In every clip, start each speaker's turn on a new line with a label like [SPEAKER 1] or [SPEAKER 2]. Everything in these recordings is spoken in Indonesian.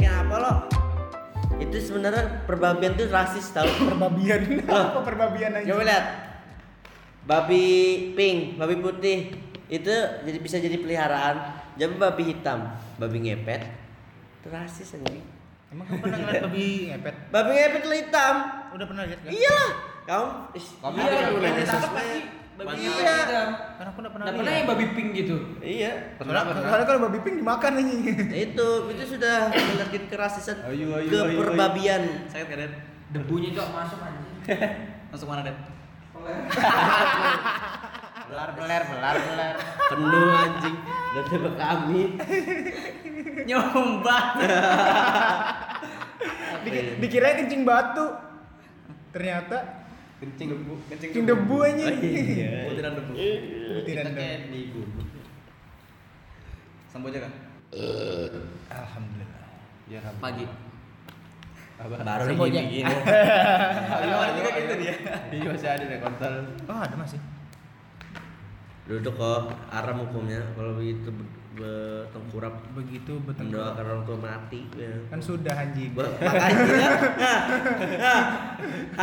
[SPEAKER 1] Eh, itu sebenarnya perbabian tuh rasis tau
[SPEAKER 2] perbabian
[SPEAKER 1] Lah.
[SPEAKER 2] apa perbabian aja
[SPEAKER 1] coba lihat babi pink babi putih itu jadi bisa jadi peliharaan jadi babi hitam babi ngepet itu rasis anjing
[SPEAKER 3] Emang kamu pernah ngeliat babi ngepet?
[SPEAKER 1] babi ngepet itu hitam
[SPEAKER 3] Udah pernah lihat kan?
[SPEAKER 1] iyalah kamu ih,
[SPEAKER 4] Kamu
[SPEAKER 1] iya,
[SPEAKER 4] ada
[SPEAKER 1] udah
[SPEAKER 4] yang
[SPEAKER 1] rasis.
[SPEAKER 4] ditangkap pasti babi
[SPEAKER 1] Iya.
[SPEAKER 4] hitam.
[SPEAKER 3] Kan aku udah pernah
[SPEAKER 4] Nggak pernah
[SPEAKER 3] lihat.
[SPEAKER 4] yang babi pink gitu.
[SPEAKER 1] iya
[SPEAKER 2] Soalnya- soalnya kalau babi pink dimakan aja
[SPEAKER 1] itu itu sudah penyakit kerasisan
[SPEAKER 2] Ayo, ayo,
[SPEAKER 1] ke
[SPEAKER 2] ayo, ayo.
[SPEAKER 1] perbabian
[SPEAKER 5] Sakit gak, Den?
[SPEAKER 4] Debunya cok masuk anjing.
[SPEAKER 5] Masuk mana, Den?
[SPEAKER 4] Belar belar belar belar.
[SPEAKER 1] penuh anjing dan tebak kami
[SPEAKER 5] Nyombat.
[SPEAKER 1] Iya.
[SPEAKER 2] Diki- dikira kencing batu ternyata
[SPEAKER 5] Kencing debu, kencing
[SPEAKER 2] kencing debu aja
[SPEAKER 1] Iya.
[SPEAKER 5] Butiran debu.
[SPEAKER 4] Iya.
[SPEAKER 2] Butiran
[SPEAKER 5] Kita kayak
[SPEAKER 2] debu.
[SPEAKER 5] di gunung. Sampo aja kan?
[SPEAKER 2] alhamdulillah
[SPEAKER 1] Iya,
[SPEAKER 5] Ya,
[SPEAKER 4] Pagi. Semua
[SPEAKER 1] baru lagi
[SPEAKER 4] aja.
[SPEAKER 1] gini
[SPEAKER 5] Awalnya juga gitu dia.
[SPEAKER 4] Iya masih ada deh kontol.
[SPEAKER 2] oh ada masih
[SPEAKER 1] duduk kok aram hukumnya kalau begitu be- bertengkurap
[SPEAKER 2] begitu
[SPEAKER 1] mendoakan
[SPEAKER 2] bertengkar
[SPEAKER 1] orang tua mati ya.
[SPEAKER 2] Gitu kan sudah anjing
[SPEAKER 1] Ba- makanya ha, ha,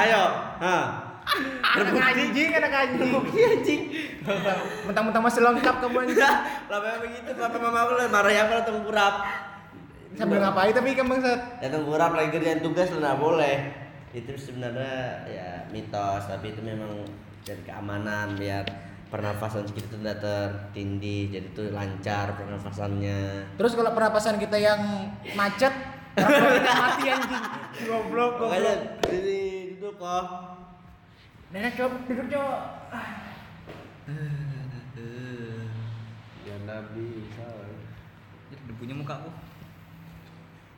[SPEAKER 1] ayo Nah. ha.
[SPEAKER 2] anak anjing anak anjing anjing mentang-mentang masih lengkap kamu anjing
[SPEAKER 1] udah lah memang begitu papa mama aku lah marah yang kalau tengkurap
[SPEAKER 2] sambil ngapain tapi kan bangsat
[SPEAKER 1] ya tengkurap lagi kerjaan tugas lah nggak boleh itu sebenarnya ya mitos tapi itu memang dari keamanan biar pernafasan kita tuh nggak tertindih jadi tuh lancar pernafasannya
[SPEAKER 2] terus kalau pernapasan kita yang macet orang kita mati anjing goblok
[SPEAKER 1] makanya
[SPEAKER 2] goblok
[SPEAKER 1] ini duduk kok
[SPEAKER 2] nenek coba duduk coba Ah.
[SPEAKER 5] Eh.
[SPEAKER 4] Ya nabi salah.
[SPEAKER 5] Jadi debunya muka aku.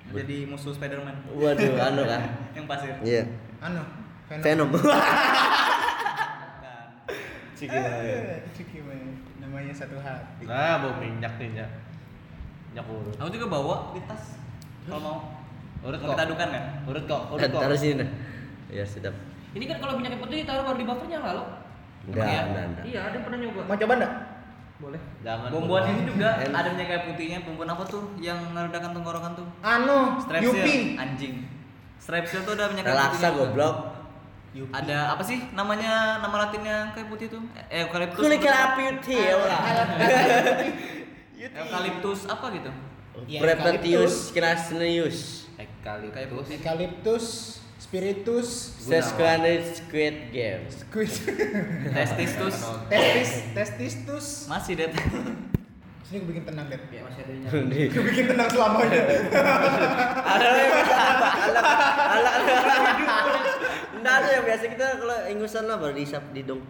[SPEAKER 5] Jadi musuh Spiderman
[SPEAKER 1] waduh anu kan
[SPEAKER 5] yang pasir.
[SPEAKER 1] iya
[SPEAKER 2] anu
[SPEAKER 1] Venom Iya,
[SPEAKER 2] Eh, Ciki man. namanya satu hati
[SPEAKER 4] Nah, bau minyak nih minyak. Minyak urut.
[SPEAKER 5] Aku juga bawa di tas kalau mau.
[SPEAKER 4] Urut kok.
[SPEAKER 5] Kalau kita adukan kan.
[SPEAKER 4] Urut kok. Urut kok.
[SPEAKER 1] taruh sini nah. ya sedap
[SPEAKER 4] Ini kan kalau minyak putih ditaruh baru di buffernya nggak lo?
[SPEAKER 1] enggak
[SPEAKER 5] Iya.
[SPEAKER 1] enggak enggak
[SPEAKER 4] Iya, ada yang pernah nyoba.
[SPEAKER 2] mau coba ndak
[SPEAKER 4] Boleh. Jangan.
[SPEAKER 5] Bumbuan ini juga
[SPEAKER 1] Enak.
[SPEAKER 5] ada minyak kayu putihnya, bumbuan apa tuh yang ngeredakan tenggorokan tuh?
[SPEAKER 2] anu
[SPEAKER 5] Strepsil,
[SPEAKER 2] Yupi
[SPEAKER 5] anjing. Strepsil tuh ada minyak kayu
[SPEAKER 1] relaksa
[SPEAKER 5] putihnya juga.
[SPEAKER 1] goblok
[SPEAKER 5] Ada apa sih namanya nama latinnya kayu putih tuh? Eh, eukaliptus.
[SPEAKER 1] kulit kelapa ya
[SPEAKER 2] Ah,
[SPEAKER 1] lah
[SPEAKER 5] Iya, Eukaliptus apa gitu?
[SPEAKER 1] Iya,
[SPEAKER 2] Ya,
[SPEAKER 1] Prepatius Krasnius
[SPEAKER 4] Eh,
[SPEAKER 5] Kayu
[SPEAKER 4] Ekaliptus.
[SPEAKER 5] putih.
[SPEAKER 2] eukaliptus spiritus
[SPEAKER 1] Sesquanis Squid Game
[SPEAKER 2] squid
[SPEAKER 5] Testistus.
[SPEAKER 2] testis testistus
[SPEAKER 5] Masih det.
[SPEAKER 2] sini gue bikin tenang deh
[SPEAKER 4] Ya
[SPEAKER 5] Iya,
[SPEAKER 4] Iya, masih ada minyak.
[SPEAKER 1] Ini.
[SPEAKER 2] gue bikin tenang selamanya
[SPEAKER 1] Ada yang biasa apa? Ala ala Enggak ada yang biasa kita kalau ingusan lah baru dihisap di dong.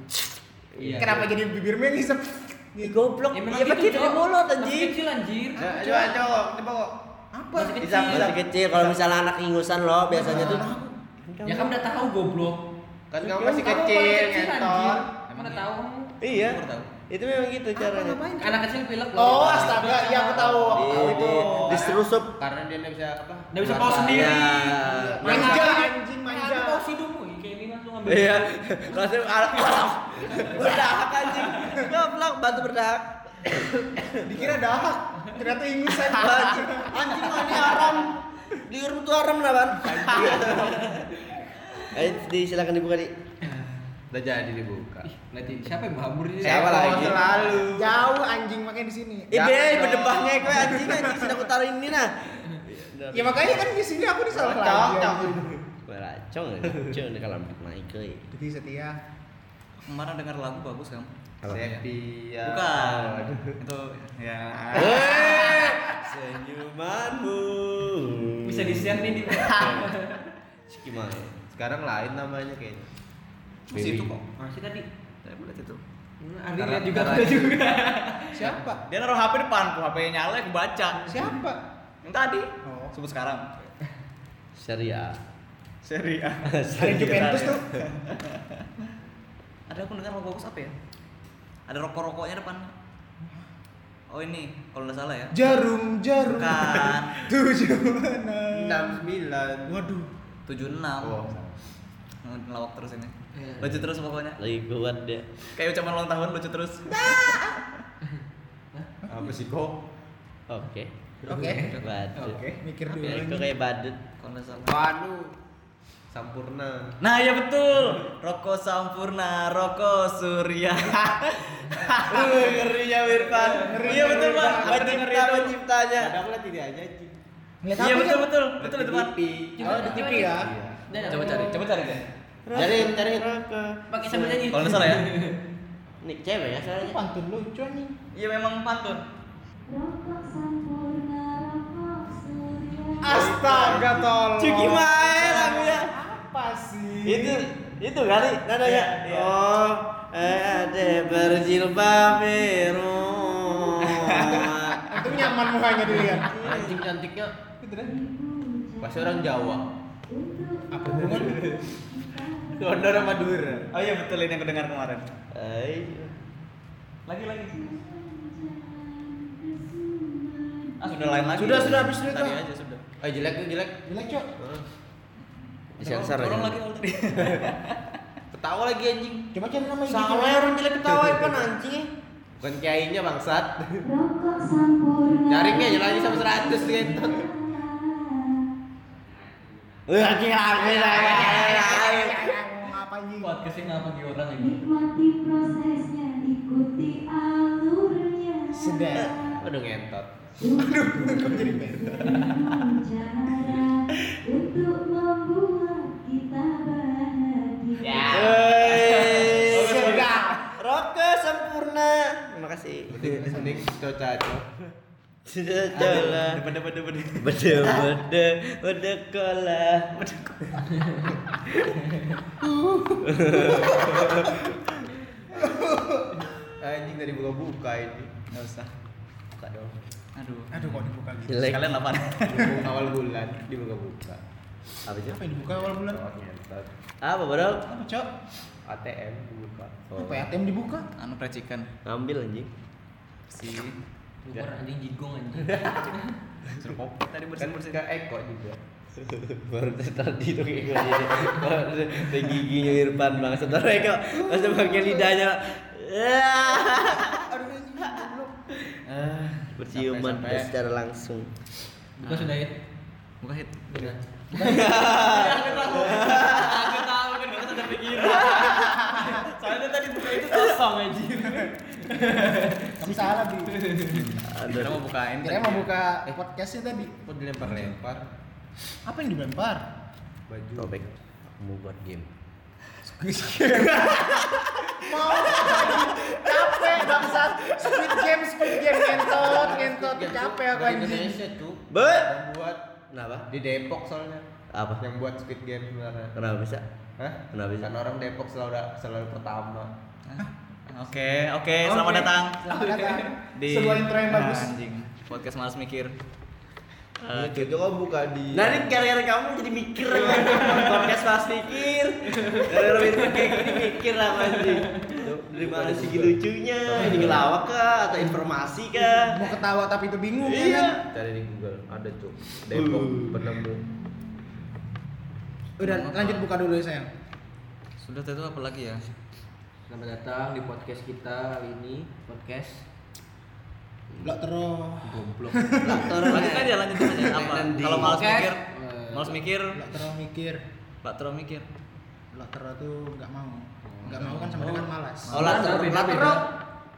[SPEAKER 4] Iya.
[SPEAKER 2] Kenapa jadi bibir mie ngisep?
[SPEAKER 1] Ih, goblok.
[SPEAKER 4] Ya
[SPEAKER 1] Ya
[SPEAKER 4] memang
[SPEAKER 1] berarti
[SPEAKER 4] gitu,
[SPEAKER 1] di
[SPEAKER 4] Cok.
[SPEAKER 1] mulut
[SPEAKER 4] Masih
[SPEAKER 1] anjing.
[SPEAKER 4] kecil anjir.
[SPEAKER 3] Ya, Coba coba coba kok.
[SPEAKER 2] Apa?
[SPEAKER 4] Masih
[SPEAKER 1] Hisap
[SPEAKER 5] Iya.
[SPEAKER 4] kecil.
[SPEAKER 1] masih kecil kalau misalnya anak ingusan lo biasanya tuh
[SPEAKER 4] Ya kamu udah tahu goblok.
[SPEAKER 3] Kan kamu
[SPEAKER 4] Kamu
[SPEAKER 3] masih
[SPEAKER 4] paling
[SPEAKER 3] kecil,
[SPEAKER 4] kecil,
[SPEAKER 3] ngentot.
[SPEAKER 4] anjir. Kamu udah tahu. kamu.
[SPEAKER 1] Iya.
[SPEAKER 5] Aku tahu.
[SPEAKER 1] Itu memang gitu caranya. Oh,
[SPEAKER 4] Anak kecil pilek loh.
[SPEAKER 2] Oh, astaga, iya aku tahu. Aku
[SPEAKER 1] Di
[SPEAKER 2] tahu
[SPEAKER 1] di
[SPEAKER 2] itu.
[SPEAKER 1] diserusup.
[SPEAKER 3] Karena dia nggak bisa apa?
[SPEAKER 4] Nggak bisa bawa sendiri.
[SPEAKER 3] Iya.
[SPEAKER 1] Ya.
[SPEAKER 2] Manja anjing manja.
[SPEAKER 4] Aku mau hidungmu, ya, kayak ini langsung ambil.
[SPEAKER 1] Iya. Langsung alat berdahak anjing. Goblok bantu berdahak.
[SPEAKER 2] Dikira dahak, ternyata ingusan.
[SPEAKER 1] Anjing, anjing mah ini haram. Di rutu haram lah, Ban. Eh, di silakan dibuka, Di.
[SPEAKER 4] Udah jadi dibuka. Nanti siapa yang babur ini?
[SPEAKER 1] Siapa lagi?
[SPEAKER 3] Eh, Selalu.
[SPEAKER 2] Jauh anjing makanya di sini.
[SPEAKER 1] Ih, Be, berdebah ngekwe ya, anjing anjing sudah aku taruh ini nah. Iya,
[SPEAKER 2] Ya makanya kan di sini aku disalah lagi. anjing.
[SPEAKER 1] Gue racong, racong di kolam naik euy.
[SPEAKER 2] Jadi setia.
[SPEAKER 5] Kemarin dengar lagu bagus kamu.
[SPEAKER 1] Apa?
[SPEAKER 5] Iya.
[SPEAKER 4] Sepia.
[SPEAKER 5] Bukan. Itu ya.
[SPEAKER 1] Eh, Senyumanmu.
[SPEAKER 4] Bisa di share nih di.
[SPEAKER 1] Gimana?
[SPEAKER 4] Sekarang lain namanya kayaknya.
[SPEAKER 5] Masih itu kok.
[SPEAKER 4] Masih tadi.
[SPEAKER 5] Saya boleh itu.
[SPEAKER 4] Ardi
[SPEAKER 5] Karena-
[SPEAKER 4] lihat juga
[SPEAKER 5] karena-
[SPEAKER 4] aku juga.
[SPEAKER 2] Siapa?
[SPEAKER 5] Dia naruh HP depanku, HP-nya nyala, aku baca.
[SPEAKER 2] Siapa?
[SPEAKER 5] Yang tadi.
[SPEAKER 2] Oh.
[SPEAKER 5] Sebut sekarang.
[SPEAKER 1] Syariah.
[SPEAKER 5] Seri A.
[SPEAKER 2] Ada Juventus tuh.
[SPEAKER 5] Ada aku dengar lagu bagus apa ya? Ada rokok-rokoknya depan. Oh ini, kalau nggak salah ya.
[SPEAKER 2] Jarum jarum.
[SPEAKER 5] Bukan.
[SPEAKER 2] Tujuh enam.
[SPEAKER 4] 69.
[SPEAKER 2] Waduh.
[SPEAKER 5] 76. Ngelawak terus ini.
[SPEAKER 4] Iya.
[SPEAKER 5] Lucu terus pokoknya.
[SPEAKER 1] Lagi kuat dia.
[SPEAKER 5] Kayak ucapan ulang tahun lucu terus.
[SPEAKER 4] Apa sih kok?
[SPEAKER 1] Oke.
[SPEAKER 2] Oke.
[SPEAKER 1] Badut.
[SPEAKER 4] Oke.
[SPEAKER 2] Mikir
[SPEAKER 1] Apa
[SPEAKER 2] dulu.
[SPEAKER 1] ya,
[SPEAKER 2] ini.
[SPEAKER 1] Kok Iya. kayak badut.
[SPEAKER 5] Kalau nggak salah.
[SPEAKER 4] Panu Sampurna.
[SPEAKER 5] Nah ya betul, rokok sampurna, rokok surya.
[SPEAKER 1] Uh,
[SPEAKER 5] ya.
[SPEAKER 1] ngerinya Wirfan. Iya betul, Pak. Pencipta penciptanya.
[SPEAKER 4] Padahal lah tidak aja Ji.
[SPEAKER 2] Ngeliat
[SPEAKER 5] Iya
[SPEAKER 2] apa,
[SPEAKER 5] betul
[SPEAKER 2] Cok?
[SPEAKER 5] betul, betul itu Pak.
[SPEAKER 2] Oh, di TV ya.
[SPEAKER 4] Iya.
[SPEAKER 5] Coba cari, coba cari deh.
[SPEAKER 1] Cari, cari.
[SPEAKER 6] Pakai sambil nyanyi.
[SPEAKER 5] Kalau nggak salah ya.
[SPEAKER 1] Nih cewek ya
[SPEAKER 2] Itu
[SPEAKER 1] soalnya.
[SPEAKER 2] pantun lucu nih.
[SPEAKER 5] Iya memang pantun.
[SPEAKER 7] Rokok sampurna, rokok surya.
[SPEAKER 2] Astaga tolong.
[SPEAKER 1] Cuki Mae ya. lagunya.
[SPEAKER 2] Apa sih?
[SPEAKER 1] Itu itu kali nadanya.
[SPEAKER 5] Iya, iya.
[SPEAKER 1] Oh, eh ada berjilbab biru.
[SPEAKER 2] Untung nyaman mukanya dilihat.
[SPEAKER 4] Anjing cantiknya
[SPEAKER 2] Gitu deh.
[SPEAKER 4] pasti orang Jawa.
[SPEAKER 2] Apa hubungan?
[SPEAKER 4] Gondor sama Madura.
[SPEAKER 5] Oh iya betul ini yang aku dengar kemarin.
[SPEAKER 1] Eh,
[SPEAKER 5] Lagi lagi. Ah sudah lain lagi.
[SPEAKER 2] Sudah, sudah, habis dulu,
[SPEAKER 5] Tadi
[SPEAKER 2] Kak.
[SPEAKER 5] aja sudah.
[SPEAKER 4] Eh jelek tuh jelek.
[SPEAKER 2] Jelek, Cok.
[SPEAKER 1] disensor aja.
[SPEAKER 5] Orang lagi kalau tadi.
[SPEAKER 4] Ketawa lagi anjing.
[SPEAKER 2] Coba cari nama gitu ya. IG
[SPEAKER 1] Salah orang jelek ketawa Ipan anjing.
[SPEAKER 4] Bukan kiainya bangsat.
[SPEAKER 7] Rokok sampurna.
[SPEAKER 4] Nyaringnya aja lagi sama 100 gitu.
[SPEAKER 1] Eh, anjing rame rame, rame.
[SPEAKER 2] Apa anjing?
[SPEAKER 5] Buat kesini apa di orang ini?
[SPEAKER 7] Nikmati prosesnya, ikuti alurnya.
[SPEAKER 2] Sedap.
[SPEAKER 4] Aduh ngentot.
[SPEAKER 7] Aduh,
[SPEAKER 2] Kok jadi beda?
[SPEAKER 7] untuk membuat kita bahagia.
[SPEAKER 2] Ya.
[SPEAKER 1] Eh,
[SPEAKER 2] Bagus, bagus.
[SPEAKER 1] Roke sempurna. Terima kasih.
[SPEAKER 4] Mending coca-coca.
[SPEAKER 1] Jalan.
[SPEAKER 5] Beda beda beda.
[SPEAKER 1] Bede bede bede kola.
[SPEAKER 4] Anjing dari buka-buka ini.
[SPEAKER 5] Nggak usah.
[SPEAKER 4] Buka dong.
[SPEAKER 5] Aduh.
[SPEAKER 2] Aduh, kok dibuka gitu?
[SPEAKER 1] Jelek.
[SPEAKER 5] Kalian lapan.
[SPEAKER 4] Mumpung awal bulan dibuka-buka.
[SPEAKER 1] Apa sih?
[SPEAKER 2] Apa yang dibuka awal bulan?
[SPEAKER 4] Oh, ngentot.
[SPEAKER 1] Apa bro?
[SPEAKER 2] Apa, Cok?
[SPEAKER 4] ATM dibuka.
[SPEAKER 1] Oh.
[SPEAKER 2] Apa ya, ATM dibuka?
[SPEAKER 5] Anu racikan
[SPEAKER 1] Ambil anjing.
[SPEAKER 5] si
[SPEAKER 6] Luar anjing jigong anjing.
[SPEAKER 5] suruh kopi tadi
[SPEAKER 4] Kan
[SPEAKER 5] bersin bersin.
[SPEAKER 4] ke Eko juga.
[SPEAKER 1] Baru dari tadi tuh kayak gue jadi. Baru dari giginya Irfan bang. Setelah mereka langsung pakai lidahnya. Berciuman
[SPEAKER 5] Sampai- sampai.
[SPEAKER 1] secara langsung.
[SPEAKER 6] Bukan sudah ya?
[SPEAKER 5] Buka hit.
[SPEAKER 6] Sudah.
[SPEAKER 5] Aku tahu kan enggak sadar pikiran. Soalnya tadi buka itu kosong aja.
[SPEAKER 2] Kamu salah, Bi.
[SPEAKER 5] Kita mau
[SPEAKER 1] Aduh.
[SPEAKER 5] bukain.
[SPEAKER 2] Kira mau buka podcastnya tadi.
[SPEAKER 4] Kok dilempar-lempar
[SPEAKER 2] Apa yang dilempar?
[SPEAKER 4] baju.
[SPEAKER 1] Topik. Mau buat game.
[SPEAKER 2] mau capek bangsat squid game squid game ngentot ngentot capek aku
[SPEAKER 4] Dari
[SPEAKER 2] anjing
[SPEAKER 4] Indonesia, Cuk.
[SPEAKER 1] Be.
[SPEAKER 4] Yang buat
[SPEAKER 1] Kenapa?
[SPEAKER 4] di Depok soalnya.
[SPEAKER 1] Apa?
[SPEAKER 4] Yang buat Squid Game sebenarnya.
[SPEAKER 1] Kenapa bisa?
[SPEAKER 4] Hah?
[SPEAKER 1] Kenapa bisa?
[SPEAKER 4] Karena orang Depok selalu selalu pertama.
[SPEAKER 5] Oke, oke, selamat datang
[SPEAKER 2] selamat datang
[SPEAKER 5] di Nah,
[SPEAKER 2] sebuah intro yang bagus
[SPEAKER 5] Anjing. Podcast Malas Mikir.
[SPEAKER 4] Uh, itu kok buka di
[SPEAKER 1] Eh, Nah ini gara-gara kamu jadi mikir Podcast pas mikir Gara-gara mikir kayak gini mikir lah anjing Dari mana segi lucunya Ini ngelawak kah? Atau informasi kah?
[SPEAKER 2] mau ketawa tapi itu bingung ya
[SPEAKER 1] Iya.
[SPEAKER 2] kan?
[SPEAKER 4] cari di Google ada tuh Depok
[SPEAKER 1] Uh.
[SPEAKER 4] penemu.
[SPEAKER 2] udah lanjut buka dulu ya sayang
[SPEAKER 5] Sudah itu apa lagi ya?
[SPEAKER 6] Selamat datang di podcast kita kali ini podcast
[SPEAKER 2] lo terus
[SPEAKER 6] goblok.
[SPEAKER 1] Faktor
[SPEAKER 5] Lanjut aja, lanjut aja. Apa?
[SPEAKER 1] Nanti.
[SPEAKER 5] Kalau malas
[SPEAKER 6] Podcast.
[SPEAKER 5] mikir, malas mikir,
[SPEAKER 2] lo terus mikir
[SPEAKER 5] Pak Tero mikir.
[SPEAKER 2] lo terus tuh nggak mau nggak mau kan sama dengan malas
[SPEAKER 1] Oh later
[SPEAKER 6] Beda, beda.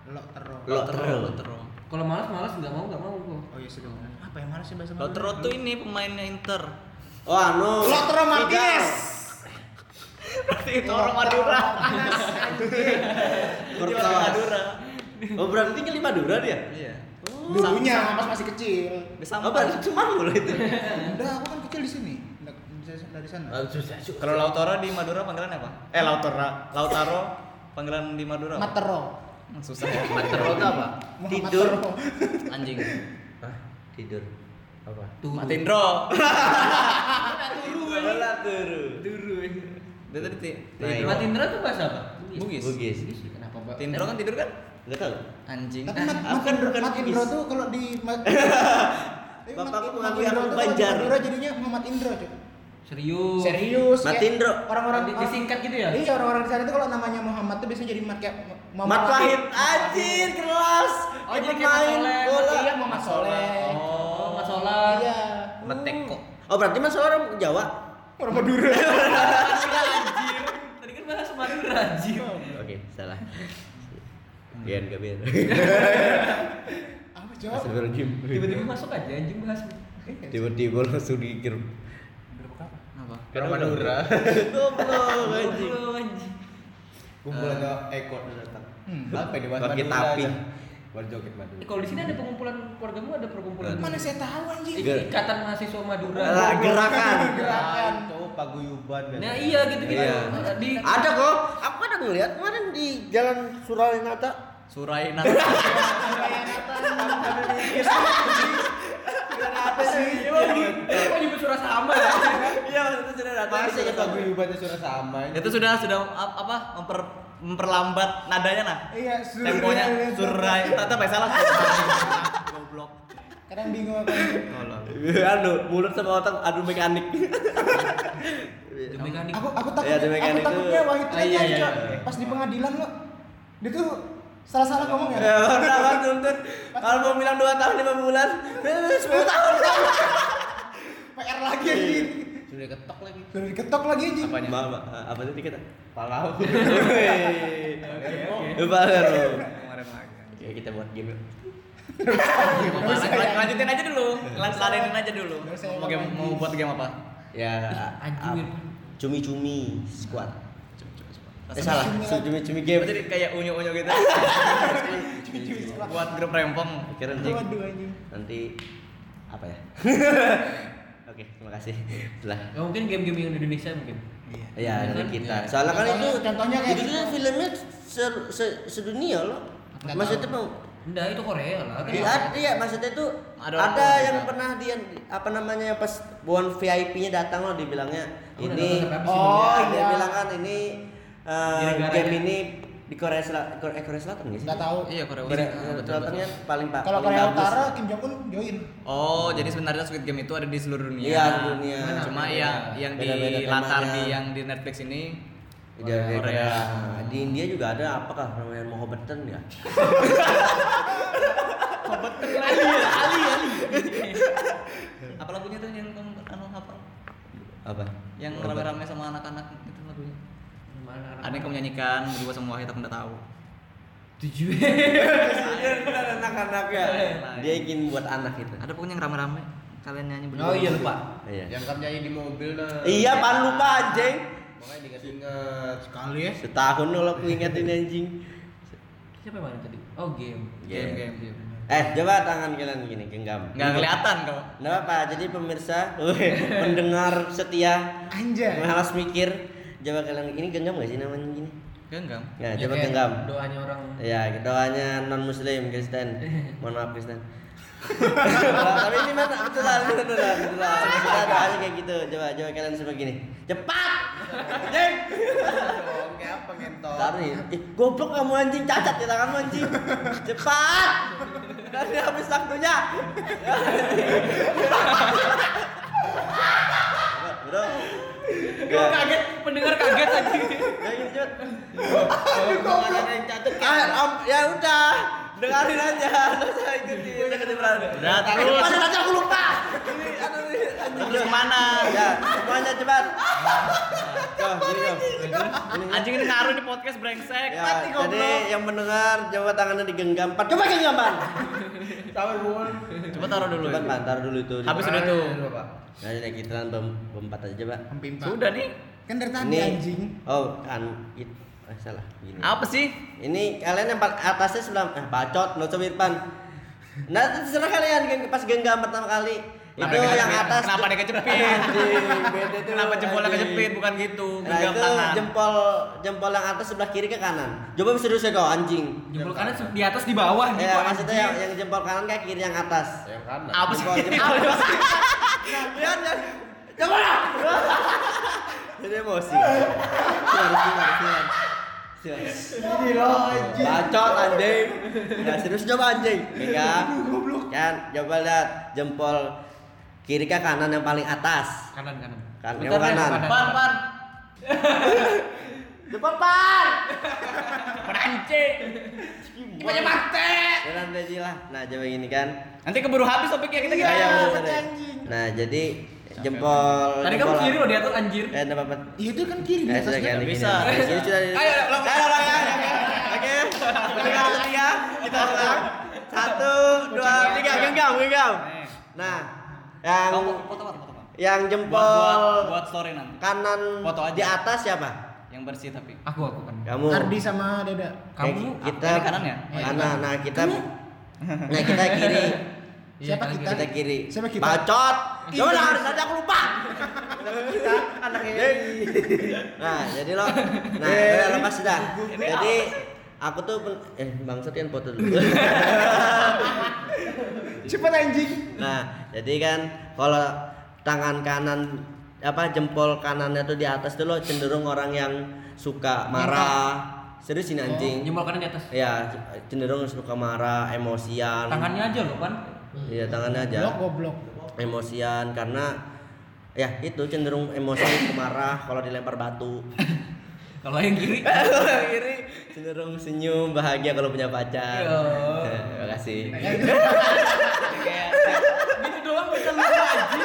[SPEAKER 1] Later
[SPEAKER 2] lo terus
[SPEAKER 1] Lo tero.
[SPEAKER 5] Lo Tero.
[SPEAKER 6] Kalau malas malas nggak mau nggak mau kok.
[SPEAKER 2] oh iya sudah apa yang malas sih bahasa
[SPEAKER 5] Lo Tero tuh ini pemainnya Inter.
[SPEAKER 1] Oh anu
[SPEAKER 2] lo terus Martinez
[SPEAKER 5] Berarti itu orang Madura. Itu
[SPEAKER 6] Iya,
[SPEAKER 5] orang
[SPEAKER 1] Kurtos
[SPEAKER 5] Madura.
[SPEAKER 1] Oh berarti tinggal di Madura dia?
[SPEAKER 5] Iya.
[SPEAKER 2] dulunya pas masih kecil
[SPEAKER 5] Bisa
[SPEAKER 1] Oh berarti cuma lo itu
[SPEAKER 2] udah aku kan kecil di sini nggak bisa dari sana
[SPEAKER 5] Kalau Lautaro di Madura panggilan apa? Eh Lautara, Lautaro panggilan di Madura. apa?
[SPEAKER 2] matero
[SPEAKER 5] Hmm, Susah ya.
[SPEAKER 1] Terus apa?
[SPEAKER 2] Muhammad
[SPEAKER 1] Tidur
[SPEAKER 2] Tero.
[SPEAKER 5] Anjing.
[SPEAKER 1] Tidur Apa?
[SPEAKER 6] Tuh.
[SPEAKER 5] Matindro.
[SPEAKER 1] Bola turu
[SPEAKER 6] Turun.
[SPEAKER 5] Dia tadi ti.
[SPEAKER 1] Naik.
[SPEAKER 6] Mati Indra tuh bahasa apa?
[SPEAKER 5] Bugis.
[SPEAKER 1] Bugis
[SPEAKER 6] Kenapa Pak?
[SPEAKER 5] Tindro kan tidur kan?
[SPEAKER 1] Gak tau
[SPEAKER 5] Anjing.
[SPEAKER 2] Tapi mat,
[SPEAKER 1] aku
[SPEAKER 2] mat,
[SPEAKER 1] kan bukan
[SPEAKER 2] mat
[SPEAKER 1] Bugis.
[SPEAKER 2] Indro tuh kalau di mat, Tapi
[SPEAKER 1] Bapakku
[SPEAKER 2] Mat- Mat
[SPEAKER 1] mengakui
[SPEAKER 2] Indro
[SPEAKER 1] aku
[SPEAKER 2] tuh kalau di
[SPEAKER 1] Banjar.
[SPEAKER 2] Madura jadinya Muhammad Indro cuy.
[SPEAKER 6] Serius.
[SPEAKER 2] Serius.
[SPEAKER 1] Mat
[SPEAKER 2] kayak
[SPEAKER 1] Indro.
[SPEAKER 2] Orang-orang
[SPEAKER 6] Di- disingkat gitu ya?
[SPEAKER 2] Iya orang-orang di sana tuh kalau namanya Muhammad tuh biasanya jadi mat kayak
[SPEAKER 1] Mat Wahid anjir kelas
[SPEAKER 6] Oh,
[SPEAKER 1] Kayak
[SPEAKER 6] jadi kayak
[SPEAKER 1] pemain
[SPEAKER 6] Mas Soleh,
[SPEAKER 1] bola
[SPEAKER 2] Iya Muhammad Soleh.
[SPEAKER 6] Oh,
[SPEAKER 5] Meteko.
[SPEAKER 1] Oh berarti mas orang Jawa?
[SPEAKER 2] Orang Madura.
[SPEAKER 5] Anjir. Tadi kan bahasa Madura anjir.
[SPEAKER 1] Oke salah. Gian Gabriel.
[SPEAKER 2] Apa jawab?
[SPEAKER 1] Astagfirullahaladzim.
[SPEAKER 6] Tiba-tiba masuk aja anjing bahas.
[SPEAKER 1] Tiba-tiba langsung dikirim.
[SPEAKER 5] Apa?
[SPEAKER 1] Orang Madura. Goblok anjing.
[SPEAKER 6] Lu anjing.
[SPEAKER 4] Kumpulan Eko datang. Apa ini mas?
[SPEAKER 1] Bangkit
[SPEAKER 4] Madura
[SPEAKER 1] api.
[SPEAKER 4] ada. Berjoget Madura.
[SPEAKER 6] Eh, Kalau di sini ada pengumpulan keluargamu ada perkumpulan.
[SPEAKER 2] Mana saya tahu anjing.
[SPEAKER 5] Iya.
[SPEAKER 1] Ge-
[SPEAKER 6] Ikatan mahasiswa Madura.
[SPEAKER 1] Alah, Gerakan.
[SPEAKER 2] Gerakan.
[SPEAKER 4] Cowok paguyuban.
[SPEAKER 6] Nah iya gitu-gitu.
[SPEAKER 1] Iya.
[SPEAKER 6] Di
[SPEAKER 1] Ada kok. Aku ada ngeliat kemarin di Jalan Suralinata.
[SPEAKER 5] Surai Nata.
[SPEAKER 2] Apa sih?
[SPEAKER 6] Eh, kok nyebut surah sama ya?
[SPEAKER 5] Iya, itu sudah datang.
[SPEAKER 4] Masih aja paguyuban itu ya sudah sama.
[SPEAKER 5] Itu sudah sudah ap- apa? Memper memperlambat nadanya nah.
[SPEAKER 2] Iya, surai.
[SPEAKER 5] Temponya Surai. Tata apa ya, salah? Goblok.
[SPEAKER 2] Kadang bingung aku. anjing.
[SPEAKER 1] Aduh, mulut sama otak adu mekanik.
[SPEAKER 6] Mekanik.
[SPEAKER 2] Aku aku
[SPEAKER 1] Iya,
[SPEAKER 2] takut.
[SPEAKER 1] ada
[SPEAKER 2] Aku
[SPEAKER 1] mekanik
[SPEAKER 2] takutnya
[SPEAKER 1] tuh.
[SPEAKER 2] Wahid
[SPEAKER 4] Ah,
[SPEAKER 2] itu
[SPEAKER 4] iya,
[SPEAKER 2] kan,
[SPEAKER 4] iya,
[SPEAKER 2] Cok.
[SPEAKER 4] iya.
[SPEAKER 2] Pas di pengadilan lo dia tuh salah-salah ngomong ya.
[SPEAKER 1] Ya, udah kan tuntut. Kalau mau bilang 2 tahun 5 bulan, 10 tahun.
[SPEAKER 2] PR lagi anjing.
[SPEAKER 4] Sudah ketok lagi.
[SPEAKER 2] Sudah diketok lagi anjing.
[SPEAKER 1] Apanya? Mama, eh, apa tadi kata?
[SPEAKER 4] Palau.
[SPEAKER 1] Lupa Vero. Ya kita buat game. yuk.
[SPEAKER 5] Lan- Lanjutin aja dulu. Lan- Ladenin aja dulu.
[SPEAKER 2] Nggak usah
[SPEAKER 5] Mau game mau buat game apa?
[SPEAKER 1] Ya,
[SPEAKER 6] anjing,
[SPEAKER 1] ap- cumi-cumi squad. Eh
[SPEAKER 5] Rasanya
[SPEAKER 1] salah,
[SPEAKER 2] cumi lah.
[SPEAKER 1] cumi-cumi game.
[SPEAKER 5] Berarti kayak unyu-unyu gitu.
[SPEAKER 2] Cuy, surat.
[SPEAKER 5] Buat grup rempong.
[SPEAKER 1] Kira nanti
[SPEAKER 2] Waduh anjing.
[SPEAKER 1] nanti apa ya? Oke, terima kasih. Setelah
[SPEAKER 6] Ya mungkin game-game yang di Indonesia mungkin.
[SPEAKER 1] Ya,
[SPEAKER 6] Iya
[SPEAKER 1] dari
[SPEAKER 6] kan?
[SPEAKER 1] kita.
[SPEAKER 6] Iya.
[SPEAKER 1] Soalnya kan itu
[SPEAKER 2] Contohnya- contohnya kayak
[SPEAKER 1] itu
[SPEAKER 2] gitu.
[SPEAKER 1] tuh filmnya se- se- sedunia loh.
[SPEAKER 2] Nggak
[SPEAKER 1] Maksudnya mau
[SPEAKER 6] Enggak, itu Korea lah.
[SPEAKER 1] iya, iya maksudnya tuh ada,
[SPEAKER 5] Ada orang tua
[SPEAKER 1] yang
[SPEAKER 5] juga.
[SPEAKER 1] pernah dia apa namanya yang pas buan VIP-nya datang loh dibilangnya
[SPEAKER 6] Aku udah
[SPEAKER 1] ini
[SPEAKER 6] nonton tapi
[SPEAKER 2] sih Oh,
[SPEAKER 1] dia
[SPEAKER 2] iya.
[SPEAKER 1] bilang kan ini eh,
[SPEAKER 6] Di negaranya.
[SPEAKER 1] game ini di Korea Selatan Korea, Korea Selatan nggak sih?
[SPEAKER 2] Enggak tahu.
[SPEAKER 5] Iya, Korea
[SPEAKER 1] Korea
[SPEAKER 5] Utara. Betul, betul.
[SPEAKER 1] Selatannya paling pak.
[SPEAKER 2] Kalau
[SPEAKER 1] paling
[SPEAKER 2] Korea
[SPEAKER 1] bagus.
[SPEAKER 2] Utara Kim Jong Un join.
[SPEAKER 5] Oh, jadi sebenarnya Squid Game itu ada di seluruh dunia.
[SPEAKER 1] Iya, seluruh dunia.
[SPEAKER 5] Cuma
[SPEAKER 1] Beda-beda.
[SPEAKER 5] yang yang
[SPEAKER 1] Beda-beda
[SPEAKER 5] di latar
[SPEAKER 1] temanya.
[SPEAKER 5] di yang di Netflix ini
[SPEAKER 1] Di Korea.
[SPEAKER 5] Korea.
[SPEAKER 1] Di India juga ada apakah namanya Mohabatan ya?
[SPEAKER 5] apa lagunya tuh yang kamu anu apa?
[SPEAKER 1] Apa?
[SPEAKER 5] Yang
[SPEAKER 1] Mohabatan.
[SPEAKER 5] rame-rame sama anak-anak itu lagunya.
[SPEAKER 6] Mana?
[SPEAKER 5] Ada yang kamu nyanyikan berdua sama Wahid aku enggak tahu.
[SPEAKER 6] tujuh.
[SPEAKER 1] Iya, anak-anak
[SPEAKER 5] Iya,
[SPEAKER 1] ya. Dia ingin buat anak gitu. itu.
[SPEAKER 5] Ada pokoknya yang rame-rame kalian nyanyi berdua.
[SPEAKER 4] Oh iya lupa.
[SPEAKER 1] Iya.
[SPEAKER 4] Yang kamu nyanyi di mobil nah.
[SPEAKER 1] Iya, pan lupa anjing.
[SPEAKER 4] Makanya dikasih ingat.
[SPEAKER 2] Sekali ya.
[SPEAKER 1] Setahun lo aku ingetin anjing.
[SPEAKER 6] Siapa yang mana tadi? Oh, game.
[SPEAKER 5] Game game.
[SPEAKER 1] Eh, coba tangan kalian gini genggam.
[SPEAKER 5] Enggak kelihatan kok.
[SPEAKER 1] Nggak apa, jadi pemirsa, pendengar setia,
[SPEAKER 2] Anjay.
[SPEAKER 1] malas mikir. Coba kalian ini genggam gak sih namanya gini?
[SPEAKER 5] Genggam.
[SPEAKER 1] Nah,
[SPEAKER 6] Ya,
[SPEAKER 1] coba
[SPEAKER 6] kayak
[SPEAKER 1] genggam.
[SPEAKER 6] Doanya orang.
[SPEAKER 1] Ya, doanya non muslim Kristen. Mohon maaf Kristen. Tapi ini mana betulan betulan betulan. Kita doanya kayak gitu. Coba coba kalian seperti gini. Cepat. Anjing.
[SPEAKER 4] Kayak apa ngentot?
[SPEAKER 1] Taruh nih. Ih, goblok kamu anjing cacat di tanganmu anjing. Cepat. Nanti habis waktunya. Bro.
[SPEAKER 6] Gue kaget, pendengar kaget tadi.
[SPEAKER 1] Ya gini cepet. Kalau ada yang cacat. Ah, am- ya udah. Dengarin aja. Terus saya ikutin. Udah kedengeran.
[SPEAKER 5] Udah terus.
[SPEAKER 1] Pada aja aku lupa. Ini aduh ini anjing.
[SPEAKER 5] Terus kemana?
[SPEAKER 1] Ya, semuanya cepat. Tuh, gini dong. Gini.
[SPEAKER 5] Anjing ini ngaruh di podcast brengsek.
[SPEAKER 1] Ya,
[SPEAKER 5] Mati goblok.
[SPEAKER 1] jadi yang mendengar coba tangannya digenggam. Pat, coba genggam, Pan.
[SPEAKER 5] Coba taruh dulu.
[SPEAKER 1] Coba
[SPEAKER 5] itu.
[SPEAKER 1] Pan, taruh dulu itu.
[SPEAKER 5] Habis udah tuh.
[SPEAKER 1] Nah, ini kita empat aja, coba.
[SPEAKER 2] Pempimpa.
[SPEAKER 5] Sudah nih.
[SPEAKER 2] Kan dari tadi
[SPEAKER 1] Ini
[SPEAKER 2] anjing.
[SPEAKER 1] Oh, kan it eh, salah. Gini.
[SPEAKER 5] Apa sih?
[SPEAKER 1] Ini kalian yang pa- atasnya sebelah eh bacot, lo coba Irfan. Nah, terserah kalian geng- pas genggam pertama kali.
[SPEAKER 5] Kenapa
[SPEAKER 1] itu
[SPEAKER 5] dia
[SPEAKER 1] Oh, yang
[SPEAKER 5] kejepit?
[SPEAKER 1] atas
[SPEAKER 5] Kenapa dia kejepit?
[SPEAKER 1] Anjing, beda tuh,
[SPEAKER 5] Kenapa jempolnya
[SPEAKER 1] anjing.
[SPEAKER 5] kejepit bukan gitu?
[SPEAKER 1] Nah,
[SPEAKER 5] Genggam
[SPEAKER 1] itu
[SPEAKER 5] tangan.
[SPEAKER 1] jempol jempol yang atas sebelah kiri ke kanan. Coba serius ya kau anjing.
[SPEAKER 6] Jempol kanan se- di atas di bawah gitu.
[SPEAKER 1] Ya, maksudnya yang,
[SPEAKER 6] anjing.
[SPEAKER 1] yang jempol kanan kayak kiri yang atas.
[SPEAKER 4] Yang kanan.
[SPEAKER 5] Apa sih?
[SPEAKER 1] Jempol- jempol- Lihat ya. Coba lah. Jadi emosi. Siar, siar, siar. Siar. Iya,
[SPEAKER 2] Ini loh anjing.
[SPEAKER 1] Bacot anjing. Ya serius coba anjing. Mega. Kan coba lihat jempol kiri ke kanan yang paling atas.
[SPEAKER 6] kanan kanan.
[SPEAKER 1] Kan
[SPEAKER 6] Bentar,
[SPEAKER 1] yang
[SPEAKER 6] Ren,
[SPEAKER 1] kanan.
[SPEAKER 5] Pan, pan.
[SPEAKER 1] Jempol pan.
[SPEAKER 5] Peranci. Gimana mati?
[SPEAKER 1] Jalan Lady lah. Nah, coba gini kan.
[SPEAKER 5] Nanti keburu habis topiknya kita
[SPEAKER 1] Iya,
[SPEAKER 5] kita.
[SPEAKER 1] bener.
[SPEAKER 2] anjing.
[SPEAKER 1] Nah, jadi jempol
[SPEAKER 6] Tadi kamu
[SPEAKER 1] jempol-
[SPEAKER 6] kiri loh di atas anjir.
[SPEAKER 1] Eh, enggak apa-apa.
[SPEAKER 2] Iya itu kan kiri di
[SPEAKER 1] Eh, sudah
[SPEAKER 2] atasnya.
[SPEAKER 1] ganti
[SPEAKER 5] bisa.
[SPEAKER 1] gini.
[SPEAKER 5] Bisa.
[SPEAKER 1] Jadi sudah.
[SPEAKER 5] Ayo,
[SPEAKER 1] ulang. Ayo, ulang ya. Oke. Tiga, tiga. Kita ulang. Satu, dua, tiga. Genggam, genggam. Nah, yang
[SPEAKER 5] Kamu foto apa? Foto apa?
[SPEAKER 1] yang
[SPEAKER 5] Buat, buat,
[SPEAKER 1] jempol
[SPEAKER 5] buat story nanti.
[SPEAKER 1] kanan
[SPEAKER 5] Foto aja.
[SPEAKER 1] di atas siapa?
[SPEAKER 5] Yang bersih tapi.
[SPEAKER 6] Aku aku kan.
[SPEAKER 1] Kamu.
[SPEAKER 2] Ardi sama Deda.
[SPEAKER 6] Kamu
[SPEAKER 1] Eh, kita
[SPEAKER 5] ini kanan ya?
[SPEAKER 1] Kanan. Nah, kita Nah, kita kiri.
[SPEAKER 6] Iya,
[SPEAKER 2] Siapa
[SPEAKER 6] kan
[SPEAKER 2] kita?
[SPEAKER 1] Kita kiri.
[SPEAKER 2] Siapa kita?
[SPEAKER 1] Bacot. Ya udah, harus ada aku lupa.
[SPEAKER 2] Kita anaknya.
[SPEAKER 1] Nah, jadi lo Nah, udah lepas sudah. Jadi aku tuh pen- eh bangsat kan foto dulu.
[SPEAKER 2] Cepet anjing.
[SPEAKER 1] nah, jadi kan kalau tangan kanan apa jempol kanannya tuh di atas tuh lo cenderung orang yang suka marah. Serius
[SPEAKER 2] Oh.
[SPEAKER 1] ini anjing.
[SPEAKER 6] Jempol kanan di atas.
[SPEAKER 1] Ya, cenderung suka marah, emosian.
[SPEAKER 6] Tangannya aja loh pan.
[SPEAKER 1] Iya, tangannya aja.
[SPEAKER 2] Blok goblok.
[SPEAKER 1] emosian karena ya itu cenderung emosi marah kalau dilempar batu
[SPEAKER 6] Kalau yang kiri.
[SPEAKER 1] Iri, cenderung senyum bahagia kalau punya pacar
[SPEAKER 6] Yo.
[SPEAKER 1] Eh, terima kasih
[SPEAKER 6] Gitu doang bisa lupa anjir.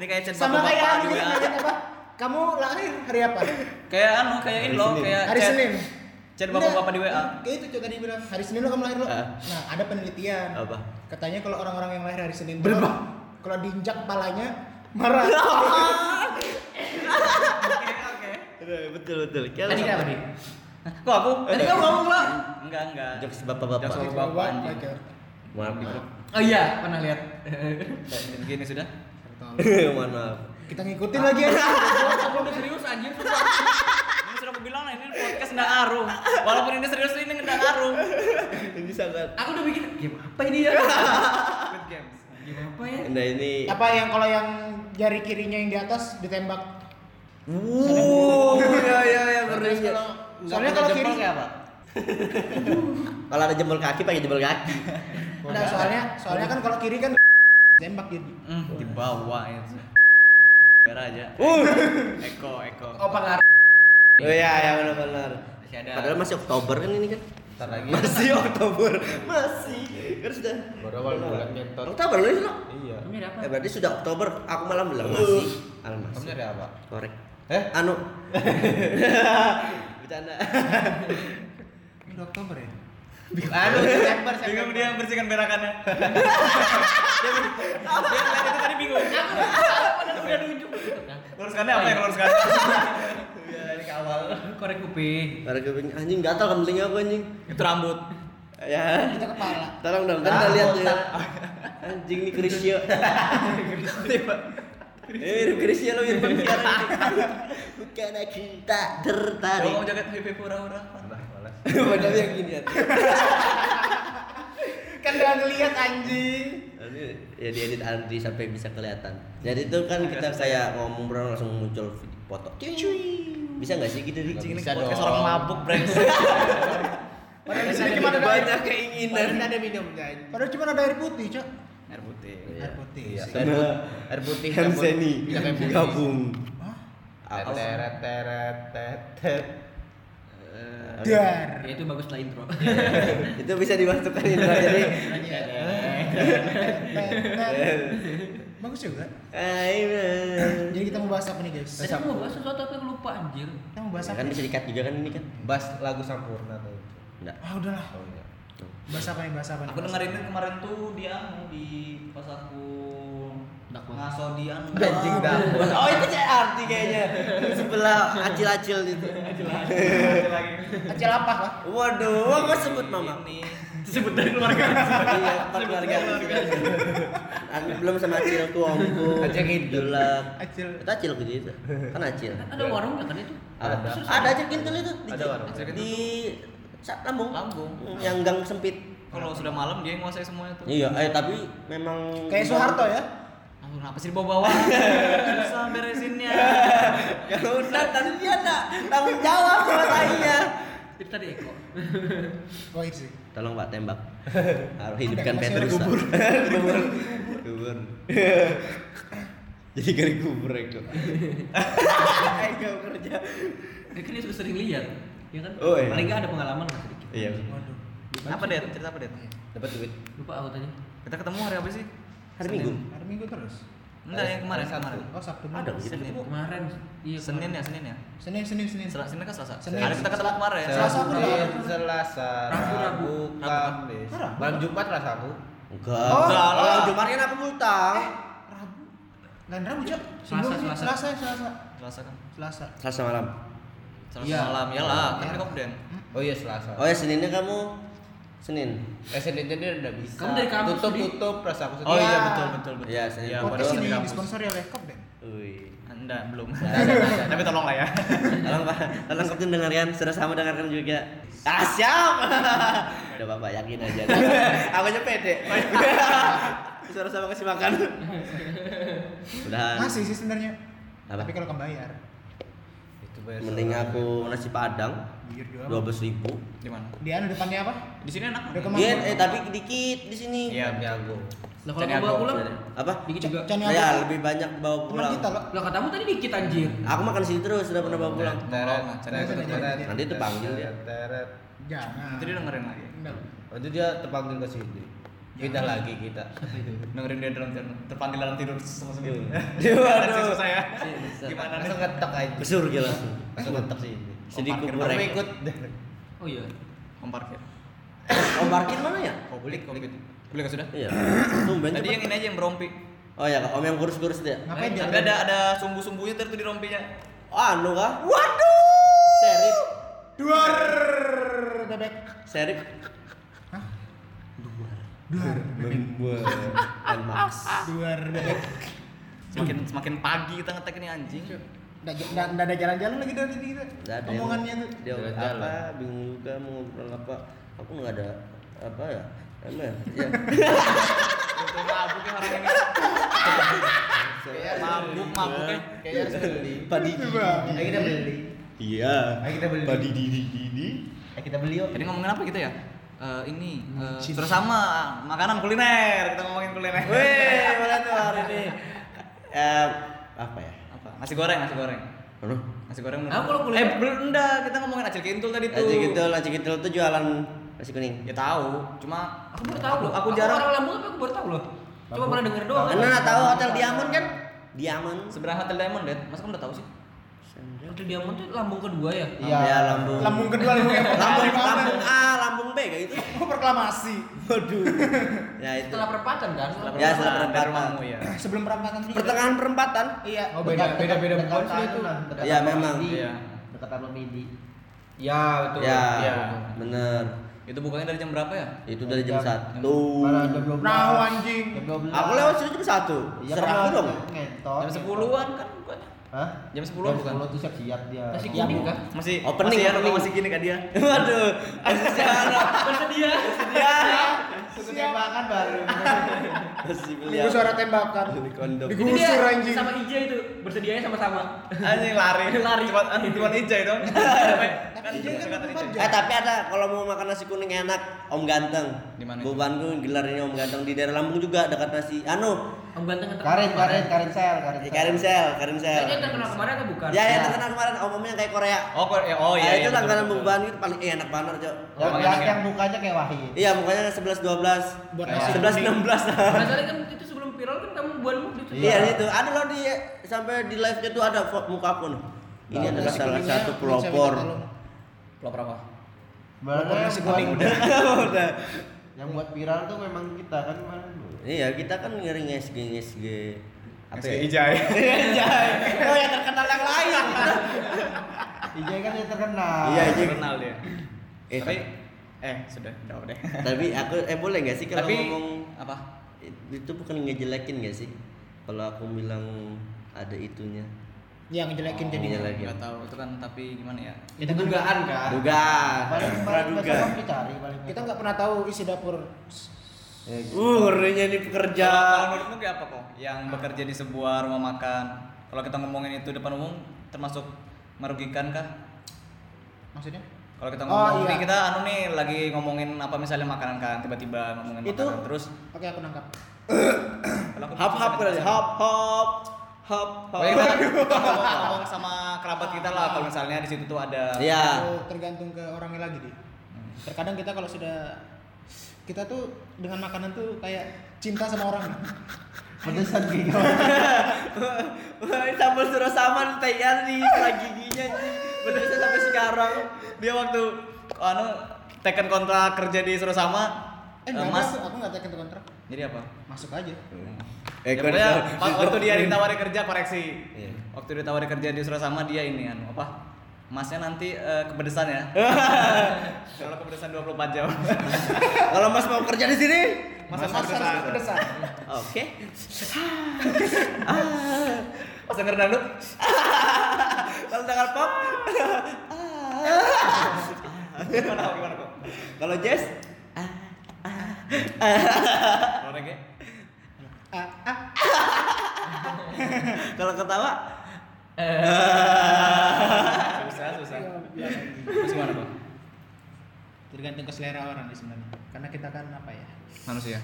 [SPEAKER 5] Ini kayak chat
[SPEAKER 2] Sama
[SPEAKER 5] bapak-bapak
[SPEAKER 2] kayak Ardi
[SPEAKER 5] juga.
[SPEAKER 2] kita nanya apa? Kamu lahir hari apa?
[SPEAKER 5] Kayak anu, kayak ini loh, kayak
[SPEAKER 2] Hari
[SPEAKER 5] chat-
[SPEAKER 2] Senin.
[SPEAKER 5] Chat bapak-bapak di WA.
[SPEAKER 2] Kayak itu cuy tadi bilang hari Senin lo kamu lahir lo.
[SPEAKER 1] Ah.
[SPEAKER 2] Nah ada penelitian.
[SPEAKER 1] apa
[SPEAKER 2] Katanya kalau orang-orang yang lahir hari Senin tuh kalau- Kalau diinjak palanya marah.
[SPEAKER 1] Eh, betul betul Kayak
[SPEAKER 6] Tadi kenapa nih?
[SPEAKER 5] Hah, Kok aku?
[SPEAKER 6] Tadi kamu ngomong lah.
[SPEAKER 5] Enggak, enggak.
[SPEAKER 1] jokes bapak bapak
[SPEAKER 5] Jokes
[SPEAKER 2] Bawa
[SPEAKER 5] Bapak anjing.
[SPEAKER 2] pacar.
[SPEAKER 1] maaf
[SPEAKER 6] Oh iya, pernah lihat.
[SPEAKER 5] Gini sudah.
[SPEAKER 1] mohon maaf
[SPEAKER 2] Kita ngikutin lagi ya.
[SPEAKER 6] Aku udah serius anjir. sumpah.
[SPEAKER 5] Ini sudah aku bilang lah, ini podcast nggak arum. Walaupun ini serius ini nggak arum.
[SPEAKER 1] ini sangat
[SPEAKER 6] Aku udah bikin game apa ini ya?
[SPEAKER 5] Good games.
[SPEAKER 6] Game apa ya?
[SPEAKER 1] nah ini
[SPEAKER 2] Apa yang kalau yang jari kirinya yang di atas ditembak?
[SPEAKER 1] wuh ya ya ya ngeri.
[SPEAKER 2] Soalnya kalau kiri
[SPEAKER 5] kayak apa?
[SPEAKER 1] kalau ada jempol kaki pakai jempol kaki
[SPEAKER 2] Nah, soalnya soalnya kan kalau kiri kan tembak jadi.
[SPEAKER 5] Hmm, di bawah ya. Merah aja.
[SPEAKER 1] Uh.
[SPEAKER 5] Eko, Eko.
[SPEAKER 6] Oh pengaruh.
[SPEAKER 1] oh ya ya benar benar
[SPEAKER 5] Masih ada.
[SPEAKER 1] padahal masih Oktober kan ini kan
[SPEAKER 4] Ntar lagi.
[SPEAKER 1] masih Oktober masih kan sudah
[SPEAKER 4] Baru awal bulan nyentot.
[SPEAKER 1] Oktober lu lo
[SPEAKER 4] Iya.
[SPEAKER 6] Kamu ada apa?
[SPEAKER 1] eh berarti sudah Oktober aku malah bilang masih malah
[SPEAKER 4] Kamu
[SPEAKER 1] masih
[SPEAKER 4] nyari apa?
[SPEAKER 1] korek
[SPEAKER 4] Eh?
[SPEAKER 1] anu bercanda
[SPEAKER 2] Ini udah Oktober ya.
[SPEAKER 5] Aduh, September, Bingung dia bersihkan berakannya. dia bingung. Dia tadi tadi bingung.
[SPEAKER 6] Udah nunjuk gitu kan.
[SPEAKER 5] Luruskannya apa yang luruskannya? Iya,
[SPEAKER 6] Korek kuping.
[SPEAKER 1] korek kuping anjing gatal kan telinga aku anjing
[SPEAKER 5] Itu rambut.
[SPEAKER 1] ya
[SPEAKER 2] Kita kepala.
[SPEAKER 1] tolong dong kan udah lihat ya anjing nih krisya mirip krisya lo mirip krisya bukan aku tak
[SPEAKER 4] Oh,
[SPEAKER 5] Kalau
[SPEAKER 1] tertarik
[SPEAKER 5] mau jaket hip hip hura hura.
[SPEAKER 4] Udah, malas.
[SPEAKER 1] padahal yang gini
[SPEAKER 4] oh,
[SPEAKER 1] ya
[SPEAKER 2] Kan udah ngeliat anjing.
[SPEAKER 1] Nanti ya diedit Andri sampai bisa kelihatan. Jadi itu kan kita kayak ngomong bro langsung muncul video foto. Bisa nggak sih gitu di
[SPEAKER 4] Nggak
[SPEAKER 1] sini?
[SPEAKER 4] bisa
[SPEAKER 5] Podcast
[SPEAKER 4] dong.
[SPEAKER 5] orang mabuk brengsek.
[SPEAKER 2] Padahal di
[SPEAKER 1] Ada
[SPEAKER 2] sini cuma ada
[SPEAKER 1] banyak
[SPEAKER 2] air.
[SPEAKER 1] keinginan.
[SPEAKER 2] Padahal ada minumnya. Padahal cuma ada air putih, Cok.
[SPEAKER 5] Air putih.
[SPEAKER 2] Air putih.
[SPEAKER 4] Iya.
[SPEAKER 2] sih.
[SPEAKER 4] Air put- air putih
[SPEAKER 1] Kan seni
[SPEAKER 4] Bisa kayak putih.
[SPEAKER 1] gabung.
[SPEAKER 2] Hah?
[SPEAKER 1] Apa?
[SPEAKER 4] Teret teret teret, teret.
[SPEAKER 2] Dar.
[SPEAKER 6] Ya itu bagus lah intro.
[SPEAKER 4] Iya.
[SPEAKER 1] Itu bisa dimasukkan intro jadi
[SPEAKER 2] Dar. Bagus juga.
[SPEAKER 1] Ayo.
[SPEAKER 2] Jadi kita mau bahas apa nih, guys?
[SPEAKER 6] Tadi aku mau bahas sesuatu tapi aku lupa anjir.
[SPEAKER 2] Kita mau bahas apa?
[SPEAKER 1] Kan bisa dikat juga kan ini kan?
[SPEAKER 4] Bas lagu sampurna tuh.
[SPEAKER 1] Enggak.
[SPEAKER 2] Ah, udahlah.
[SPEAKER 4] Oh iya.
[SPEAKER 2] Bahas apa nih? Bahas apa nih?
[SPEAKER 5] Aku dengerin kemarin tuh dia anu di pas aku
[SPEAKER 6] Dakwah.
[SPEAKER 5] ngaso di anu.
[SPEAKER 4] Anjing dah.
[SPEAKER 1] Oh itu kayak arti kayaknya Di sebelah acil-acil itu.
[SPEAKER 2] Acil apa, Pak?
[SPEAKER 1] Waduh, aku sebut mama.
[SPEAKER 5] Ini disebut dari keluarga.
[SPEAKER 1] Iya, empat keluarga. Aku belum sama Acil tuangku. Acil Julak.
[SPEAKER 2] Acil.
[SPEAKER 1] Itu Acil gitu itu. Kan Acil.
[SPEAKER 6] Ada
[SPEAKER 5] Iya.
[SPEAKER 6] warung nggak kan itu?
[SPEAKER 1] Ada.
[SPEAKER 6] Terus
[SPEAKER 1] Ada Acil Kintul itu. Di,
[SPEAKER 4] Ada warung.
[SPEAKER 1] Di Sa- Lambung.
[SPEAKER 5] Lambung.
[SPEAKER 1] Yang gang sempit.
[SPEAKER 5] Kalau sudah malam dia yang nguasai semuanya tuh.
[SPEAKER 1] Iya, eh tapi memang
[SPEAKER 2] Kayak Soeharto ya?
[SPEAKER 5] Aduh, kenapa sih dibawa-bawa? Susah beresinnya.
[SPEAKER 1] Kalau Ya udah tadi dia nak tanggung jawab sama tainya.
[SPEAKER 6] Itu tadi Eko.
[SPEAKER 2] Wah, Oh, itu sih.
[SPEAKER 1] Tolong Pak tembak. Harus hidupkan
[SPEAKER 2] Ada masih
[SPEAKER 1] Petrus.
[SPEAKER 2] ada kubur.
[SPEAKER 1] Kubur. Kubur. Jadi kali kubur Eko. Eko kerja.
[SPEAKER 6] Ya kan dia sudah sering lihat. Ya kan?
[SPEAKER 1] Oh, iya.
[SPEAKER 6] Paling nggak ada pengalaman lah sedikit.
[SPEAKER 1] Iya.
[SPEAKER 2] Waduh.
[SPEAKER 5] Apa Det? Cerita apa Det?
[SPEAKER 4] Dapat duit.
[SPEAKER 6] Lupa aku tadi.
[SPEAKER 5] Kita ketemu hari apa sih?
[SPEAKER 1] Hari Minggu.
[SPEAKER 3] Hari Minggu terus.
[SPEAKER 5] Enggak yang kemarin kemarin.
[SPEAKER 3] Oh Sabtu
[SPEAKER 1] Ada
[SPEAKER 3] Minggu.
[SPEAKER 1] begitu.
[SPEAKER 5] Senin.
[SPEAKER 6] Kemarin iya
[SPEAKER 5] Senin ya, Senin ya.
[SPEAKER 3] Senin Senin Senin.
[SPEAKER 5] Selasa Senin kan Selasa.
[SPEAKER 3] Senin.
[SPEAKER 5] Hari kita ketemu kemarin. ya? Iya.
[SPEAKER 2] Selasa aku nggak ada.
[SPEAKER 3] Selasa,
[SPEAKER 6] Rabu, Rabu.
[SPEAKER 3] Rabu, Kamis.
[SPEAKER 2] Rabu.
[SPEAKER 3] Malam Jumat lah Rabu.
[SPEAKER 1] Enggak.
[SPEAKER 3] Oh,
[SPEAKER 1] Enggak
[SPEAKER 3] enggak.
[SPEAKER 1] lah. Jumat kan aku ngutang.
[SPEAKER 2] Rabu. Lain Rabu, Cok.
[SPEAKER 6] Selasa,
[SPEAKER 2] Sebelumnya.
[SPEAKER 6] Selasa.
[SPEAKER 2] Selasa, Selasa.
[SPEAKER 5] Selasa kan.
[SPEAKER 2] Selasa.
[SPEAKER 1] Selasa malam.
[SPEAKER 5] Selasa
[SPEAKER 6] Iya.
[SPEAKER 5] malam ya lah. Kan kita komplain.
[SPEAKER 3] Oh iya Selasa.
[SPEAKER 1] Oh ya Seninnya kamu Senin.
[SPEAKER 3] Eh Senin jadi udah bisa.
[SPEAKER 6] Kamu dari kampus,
[SPEAKER 3] tutup
[SPEAKER 6] Di?
[SPEAKER 3] tutup rasa aku
[SPEAKER 5] Oh iya betul betul betul.
[SPEAKER 1] Iya, Senin.
[SPEAKER 5] Iya,
[SPEAKER 1] Podcast
[SPEAKER 2] Podcast
[SPEAKER 5] padahal
[SPEAKER 2] ini
[SPEAKER 5] di kampus.
[SPEAKER 2] disponsori oleh Kopden.
[SPEAKER 1] Wih.
[SPEAKER 5] Enggak, belum.
[SPEAKER 1] Iya,
[SPEAKER 5] Tapi tolong lah ya.
[SPEAKER 1] Tolong Pak, tolong kapten dengarkan, sudah sama dengarkan juga. Ah, siap. Udah Bapak yakin aja. Aku aja pede. Sudah sama kasih makan. Udah.
[SPEAKER 2] Masih sih sebenarnya.
[SPEAKER 1] Eh. Apa?
[SPEAKER 2] Tapi kalau kamu bayar,
[SPEAKER 3] Itu bayar
[SPEAKER 1] Mending
[SPEAKER 3] sekolah.
[SPEAKER 1] aku nasi padang
[SPEAKER 2] biar dua.
[SPEAKER 1] 12.000. ribu
[SPEAKER 5] Di mana?
[SPEAKER 2] Di anu depannya apa?
[SPEAKER 5] Di sini enak.
[SPEAKER 2] Udah kemana?
[SPEAKER 1] Iya, eh tapi dikit di sini.
[SPEAKER 5] Iya,
[SPEAKER 3] Tapi aku.
[SPEAKER 6] Lah kalau
[SPEAKER 5] Jadi
[SPEAKER 6] mau bawa
[SPEAKER 5] aku-
[SPEAKER 6] pulang
[SPEAKER 1] Apa?
[SPEAKER 6] dikit juga.
[SPEAKER 2] Can
[SPEAKER 1] Ya, lebih banyak bawa
[SPEAKER 2] Teman
[SPEAKER 1] pulang.
[SPEAKER 2] kita loh.
[SPEAKER 6] Lah katamu tadi dikit anjir.
[SPEAKER 5] Ah,
[SPEAKER 1] Aku makan sini terus, sudah pernah bawa pulang.
[SPEAKER 5] Teret, teret,
[SPEAKER 2] Jangan,
[SPEAKER 5] teret.
[SPEAKER 2] jangan.
[SPEAKER 1] Nanti terpanggil dia.
[SPEAKER 3] Teret.
[SPEAKER 2] Jangan.
[SPEAKER 5] Nanti dia dengerin lagi.
[SPEAKER 2] Enggak.
[SPEAKER 3] Waktu dia terpanggil ke sini. Kita lagi kita.
[SPEAKER 5] Dengerin dia dalam tidur. Terpanggil dalam tidur langsung gitu.
[SPEAKER 1] Waduh.
[SPEAKER 5] saya. Gimana
[SPEAKER 3] Langsung
[SPEAKER 5] nih?
[SPEAKER 3] ngetok aja.
[SPEAKER 1] Ke surga langsung.
[SPEAKER 3] Langsung ngetok sini.
[SPEAKER 1] Sedih
[SPEAKER 5] parkir
[SPEAKER 1] kuburek.
[SPEAKER 3] Kamu ikut.
[SPEAKER 6] Oh iya.
[SPEAKER 5] Komparkir.
[SPEAKER 1] Om parkir mana ya?
[SPEAKER 5] Oh, beli kopi. Beli kan sudah?
[SPEAKER 1] Iya. Tumben
[SPEAKER 5] Tadi
[SPEAKER 1] cepet.
[SPEAKER 5] yang ini aja yang berompi.
[SPEAKER 1] Oh ya, Om yang kurus-kurus dia.
[SPEAKER 2] Ngapain dia?
[SPEAKER 5] Tapi ada ada sumbu-sumbunya tuh di rompinya.
[SPEAKER 1] Anu kah? Waduh. Serif.
[SPEAKER 2] Duar bebek.
[SPEAKER 1] Serif.
[SPEAKER 2] Duar.
[SPEAKER 1] Membuat Max.
[SPEAKER 2] Duar bebek.
[SPEAKER 5] Semakin semakin pagi kita ngetek ini anjing.
[SPEAKER 2] Nggak nggak ada jalan-jalan lagi dari tadi kita.
[SPEAKER 1] Nggak ada yang-
[SPEAKER 2] Omongannya tuh.
[SPEAKER 1] Dia
[SPEAKER 3] Jalan-jalan.
[SPEAKER 1] apa? Bingung juga mau ngobrol apa? Aku nggak ada apa ya? Emang ya? ya.
[SPEAKER 5] Betul mabuk ya orang ini. Iya, Mabuk ya. mabuknya.
[SPEAKER 3] Kayaknya harus
[SPEAKER 1] Iya.
[SPEAKER 3] beli.
[SPEAKER 1] Padi.
[SPEAKER 3] Ayo kita beli.
[SPEAKER 1] Iya.
[SPEAKER 3] Ayo kita beli.
[SPEAKER 1] Padi di di di di.
[SPEAKER 3] Ayo kita beli yuk.
[SPEAKER 5] Jadi ngomongin apa kita ya? Eh ini eh,
[SPEAKER 2] Cip.
[SPEAKER 5] sudah sama makanan kuliner. Kita ngomongin kuliner.
[SPEAKER 1] Weh, boleh tuh hari ini. Eh, apa ya?
[SPEAKER 5] Apa? Nasi goreng, nasi goreng.
[SPEAKER 1] Aduh.
[SPEAKER 5] Nasi goreng.
[SPEAKER 6] Ah, kalau kuliner-
[SPEAKER 5] Eh, belum enggak. Kita ngomongin acil kintul tadi tuh.
[SPEAKER 1] Nasi gitu, nasi gitu tuh jualan nasi kuning.
[SPEAKER 5] Ya tahu, cuma
[SPEAKER 6] Aku baru tahu.
[SPEAKER 5] Aku,
[SPEAKER 6] loh.
[SPEAKER 5] aku jarang
[SPEAKER 6] orang Lampung tapi aku baru tahu loh. Cuma pernah denger
[SPEAKER 5] Oh,
[SPEAKER 6] doang. kan?
[SPEAKER 1] Anda nggak tahu hotel Diamond kan? Diamond.
[SPEAKER 5] seberang hotel Diamond, Dad. Masa kamu udah tahu sih?
[SPEAKER 6] Hotel Diamond tuh Lampung kedua ya.
[SPEAKER 1] Iya. lambung.
[SPEAKER 2] Lambung kedua lambung yang pertama
[SPEAKER 1] Lambung,
[SPEAKER 2] di mana?
[SPEAKER 1] lambung A, lambung B kayak gitu.
[SPEAKER 2] Oh, Proklamasi.
[SPEAKER 1] Waduh. ya itu.
[SPEAKER 6] Setelah perempatan Iya. kan?
[SPEAKER 1] Ya, setelah
[SPEAKER 5] Nah, dari
[SPEAKER 1] perempatan.
[SPEAKER 5] rumahmu ya.
[SPEAKER 2] Sebelum perempatan dulu.
[SPEAKER 1] Pertengahan perempatan.
[SPEAKER 2] Iya.
[SPEAKER 3] Oh beda beda
[SPEAKER 2] dekat-
[SPEAKER 3] beda bukan
[SPEAKER 2] dekat
[SPEAKER 3] sih
[SPEAKER 2] kanan
[SPEAKER 3] itu.
[SPEAKER 2] lah.
[SPEAKER 1] Iya, memang.
[SPEAKER 5] Iya.
[SPEAKER 3] Dekat Taman Midi. Ya betul.
[SPEAKER 1] Ya,
[SPEAKER 5] Iya.
[SPEAKER 1] bener.
[SPEAKER 5] Itu bukanya dari jam berapa ya?
[SPEAKER 1] Itu dari jam
[SPEAKER 3] Jam-
[SPEAKER 1] satu.
[SPEAKER 3] Parah, jam 12.
[SPEAKER 2] Nah, anjing.
[SPEAKER 3] Jam 12.
[SPEAKER 1] Aku lewat sini jam satu.
[SPEAKER 3] Iya,
[SPEAKER 1] Serah aku
[SPEAKER 3] kan,
[SPEAKER 1] dong.
[SPEAKER 6] Oh,
[SPEAKER 3] Ngentot.
[SPEAKER 6] iya.
[SPEAKER 5] Jam 10-an kan bukanya.
[SPEAKER 3] Hah?
[SPEAKER 5] Jam 10-an
[SPEAKER 3] Jam
[SPEAKER 5] bukan?
[SPEAKER 3] 10 tuh siap-siap dia. Iya.
[SPEAKER 6] Masih kuning
[SPEAKER 3] kan?
[SPEAKER 6] kan? kah?
[SPEAKER 5] Masih
[SPEAKER 1] Opening,
[SPEAKER 5] masih, ya,
[SPEAKER 1] opening.
[SPEAKER 5] masih gini kak dia.
[SPEAKER 1] Waduh. Asyara.
[SPEAKER 6] Bersedia.
[SPEAKER 3] Tunggu tembakan baru.
[SPEAKER 1] Masih beli.
[SPEAKER 2] Itu suara tembakan.
[SPEAKER 1] Beli kondom.
[SPEAKER 6] Itu dia
[SPEAKER 2] Digusur anjing.
[SPEAKER 6] Sama Ija itu bersedianya sama-sama.
[SPEAKER 5] Anjing lari, ah,
[SPEAKER 6] Lari.
[SPEAKER 5] Cuma cuma ijai dong. kan
[SPEAKER 2] Ijai kan
[SPEAKER 5] kata
[SPEAKER 2] tempat
[SPEAKER 5] ijai.
[SPEAKER 1] Eh tapi ada kalau mau makan nasi kuning enak Om Ganteng.
[SPEAKER 5] Di mana itu?
[SPEAKER 1] Bu Bandung gelar ini Om Ganteng di daerah Lampung juga dekat nasi anu
[SPEAKER 6] Om ganteng yang terkenal
[SPEAKER 3] Karin, Karin,
[SPEAKER 6] kemarin.
[SPEAKER 3] Karin sel, Karin.
[SPEAKER 5] Ya,
[SPEAKER 1] eh,
[SPEAKER 3] Sel.
[SPEAKER 1] Karim Sel, Karim
[SPEAKER 6] Nah, Ini
[SPEAKER 1] Sel.
[SPEAKER 6] yang terkenal kemarin atau bukan?
[SPEAKER 1] Ya ya terkenal kemarin omongnya kayak Korea.
[SPEAKER 5] Oh, kok- ya, oh iya.
[SPEAKER 1] Ah,
[SPEAKER 5] iya,
[SPEAKER 1] itu
[SPEAKER 5] betul,
[SPEAKER 1] langganan
[SPEAKER 5] betul.
[SPEAKER 1] Bu Bandung itu paling eh, enak banget, Cok.
[SPEAKER 3] Yang,
[SPEAKER 5] Emang
[SPEAKER 3] yang,
[SPEAKER 5] enak ya?
[SPEAKER 3] yang mukanya kayak Wahid.
[SPEAKER 1] Iya, mukanya 11 12.
[SPEAKER 2] Buat nasi
[SPEAKER 1] 11 16.
[SPEAKER 6] Masalahnya kan itu sebelum viral kan kamu buanmu gitu.
[SPEAKER 1] Iya itu ada loh di sampai di live-nya tuh ada fo- muka aku nih. Ini
[SPEAKER 3] Bagus.
[SPEAKER 1] adalah
[SPEAKER 2] Nasi
[SPEAKER 1] salah
[SPEAKER 2] kuningnya
[SPEAKER 1] satu
[SPEAKER 2] bisa
[SPEAKER 1] pelopor.
[SPEAKER 2] minta tolong.
[SPEAKER 5] Pelopor apa?
[SPEAKER 3] Mana
[SPEAKER 2] Pokoknya
[SPEAKER 3] yang
[SPEAKER 2] si
[SPEAKER 3] buat-
[SPEAKER 2] kuning
[SPEAKER 1] Udah.
[SPEAKER 3] Yang buat viral tuh memang kita kan kemarin.
[SPEAKER 1] Iya kita kan ngering SG SG apa
[SPEAKER 5] SG
[SPEAKER 1] ya?
[SPEAKER 5] Ijai.
[SPEAKER 1] Ijai. Oh yang terkenal yang lain.
[SPEAKER 3] Ijay kan yang terkenal.
[SPEAKER 1] Iya Ijai.
[SPEAKER 5] Kenal dia.
[SPEAKER 1] Eh,
[SPEAKER 5] Tapi eh sudah, udah udah.
[SPEAKER 1] Tapi aku eh boleh nggak sih kalau
[SPEAKER 5] Tapi
[SPEAKER 1] ngomong
[SPEAKER 5] apa?
[SPEAKER 1] it- itu bukan ngejelekin nggak sih? Kalau aku bilang ada itunya.
[SPEAKER 2] Yang jelekin jadi.
[SPEAKER 1] Iya, lagi.
[SPEAKER 5] Enggak tahu itu kan tapi gimana ya?
[SPEAKER 2] Itu dugaan kan.
[SPEAKER 1] Dugaan.
[SPEAKER 3] Paling kemarin
[SPEAKER 1] Praduga.
[SPEAKER 3] besok aku cari paling.
[SPEAKER 2] Kita nggak pernah tahu isi dapur.
[SPEAKER 3] Eh,
[SPEAKER 1] Uh, ngerinya ini pekerja.
[SPEAKER 5] Kalau- Kalau menurutmu kayak apa kok? Yang bekerja di sebuah rumah makan. Kalau kita ngomongin itu depan umum termasuk merugikan kah?
[SPEAKER 2] Maksudnya?
[SPEAKER 5] Kalau kita
[SPEAKER 2] Oh, iya.
[SPEAKER 5] ngomong nih, kita anu nih lagi ngomongin apa misalnya makanan kan tiba-tiba ngomongin
[SPEAKER 2] Itu-
[SPEAKER 5] makanan terus
[SPEAKER 2] Oke, aku nangkap.
[SPEAKER 5] kalau aku-
[SPEAKER 1] Hap hap kali, hap hap hap hap.
[SPEAKER 5] Pokoknya Oh, iya. kita ngomong, ngomong sama kerabat kita lah kalau misalnya di situ tuh ada
[SPEAKER 1] Iya.
[SPEAKER 2] Tergantung- Tergantung ke orangnya lagi, Di. Terkadang kita kalau sudah kita tuh dengan makanan tuh kayak cinta sama orang
[SPEAKER 3] Pedesan gitu.
[SPEAKER 5] Wah, ini sambal surasaman teyan nih setelah giginya anjing. Pedesnya sampai sekarang. Dia waktu anu tekan kontrak kerja di Surasama
[SPEAKER 2] eh
[SPEAKER 5] eh,
[SPEAKER 2] nggak ada
[SPEAKER 5] Mas
[SPEAKER 2] aku, aku nggak taken kontrak
[SPEAKER 5] jadi apa?
[SPEAKER 2] masuk aja
[SPEAKER 1] Eh,
[SPEAKER 5] ya,
[SPEAKER 1] gua udah
[SPEAKER 5] pokoknya
[SPEAKER 1] tahu.
[SPEAKER 5] pas- waktu dia ditawari kerja koreksi.
[SPEAKER 1] Iya.
[SPEAKER 5] Waktu ditawari kerja di Surasama dia ini anu apa? Masnya nanti eh, kepedesan ya. Kalau kepedesan 24 jam.
[SPEAKER 1] Kalau Mas mau kerja di sini,
[SPEAKER 5] Mas Mas kepedesan.
[SPEAKER 2] pedesan
[SPEAKER 5] Oke. Ah. Pas denger dangdut. Kalau tanggal pop. Gimana kok? Gimana kok?
[SPEAKER 1] kalau Jess
[SPEAKER 5] Kalau reggae?
[SPEAKER 1] kalau ketawa
[SPEAKER 5] Susah, kan susah.
[SPEAKER 6] Iya,
[SPEAKER 5] Terus gimana kok?
[SPEAKER 2] tergantung ke selera orang sih sebenarnya karena kita kan apa ya
[SPEAKER 5] Manusia.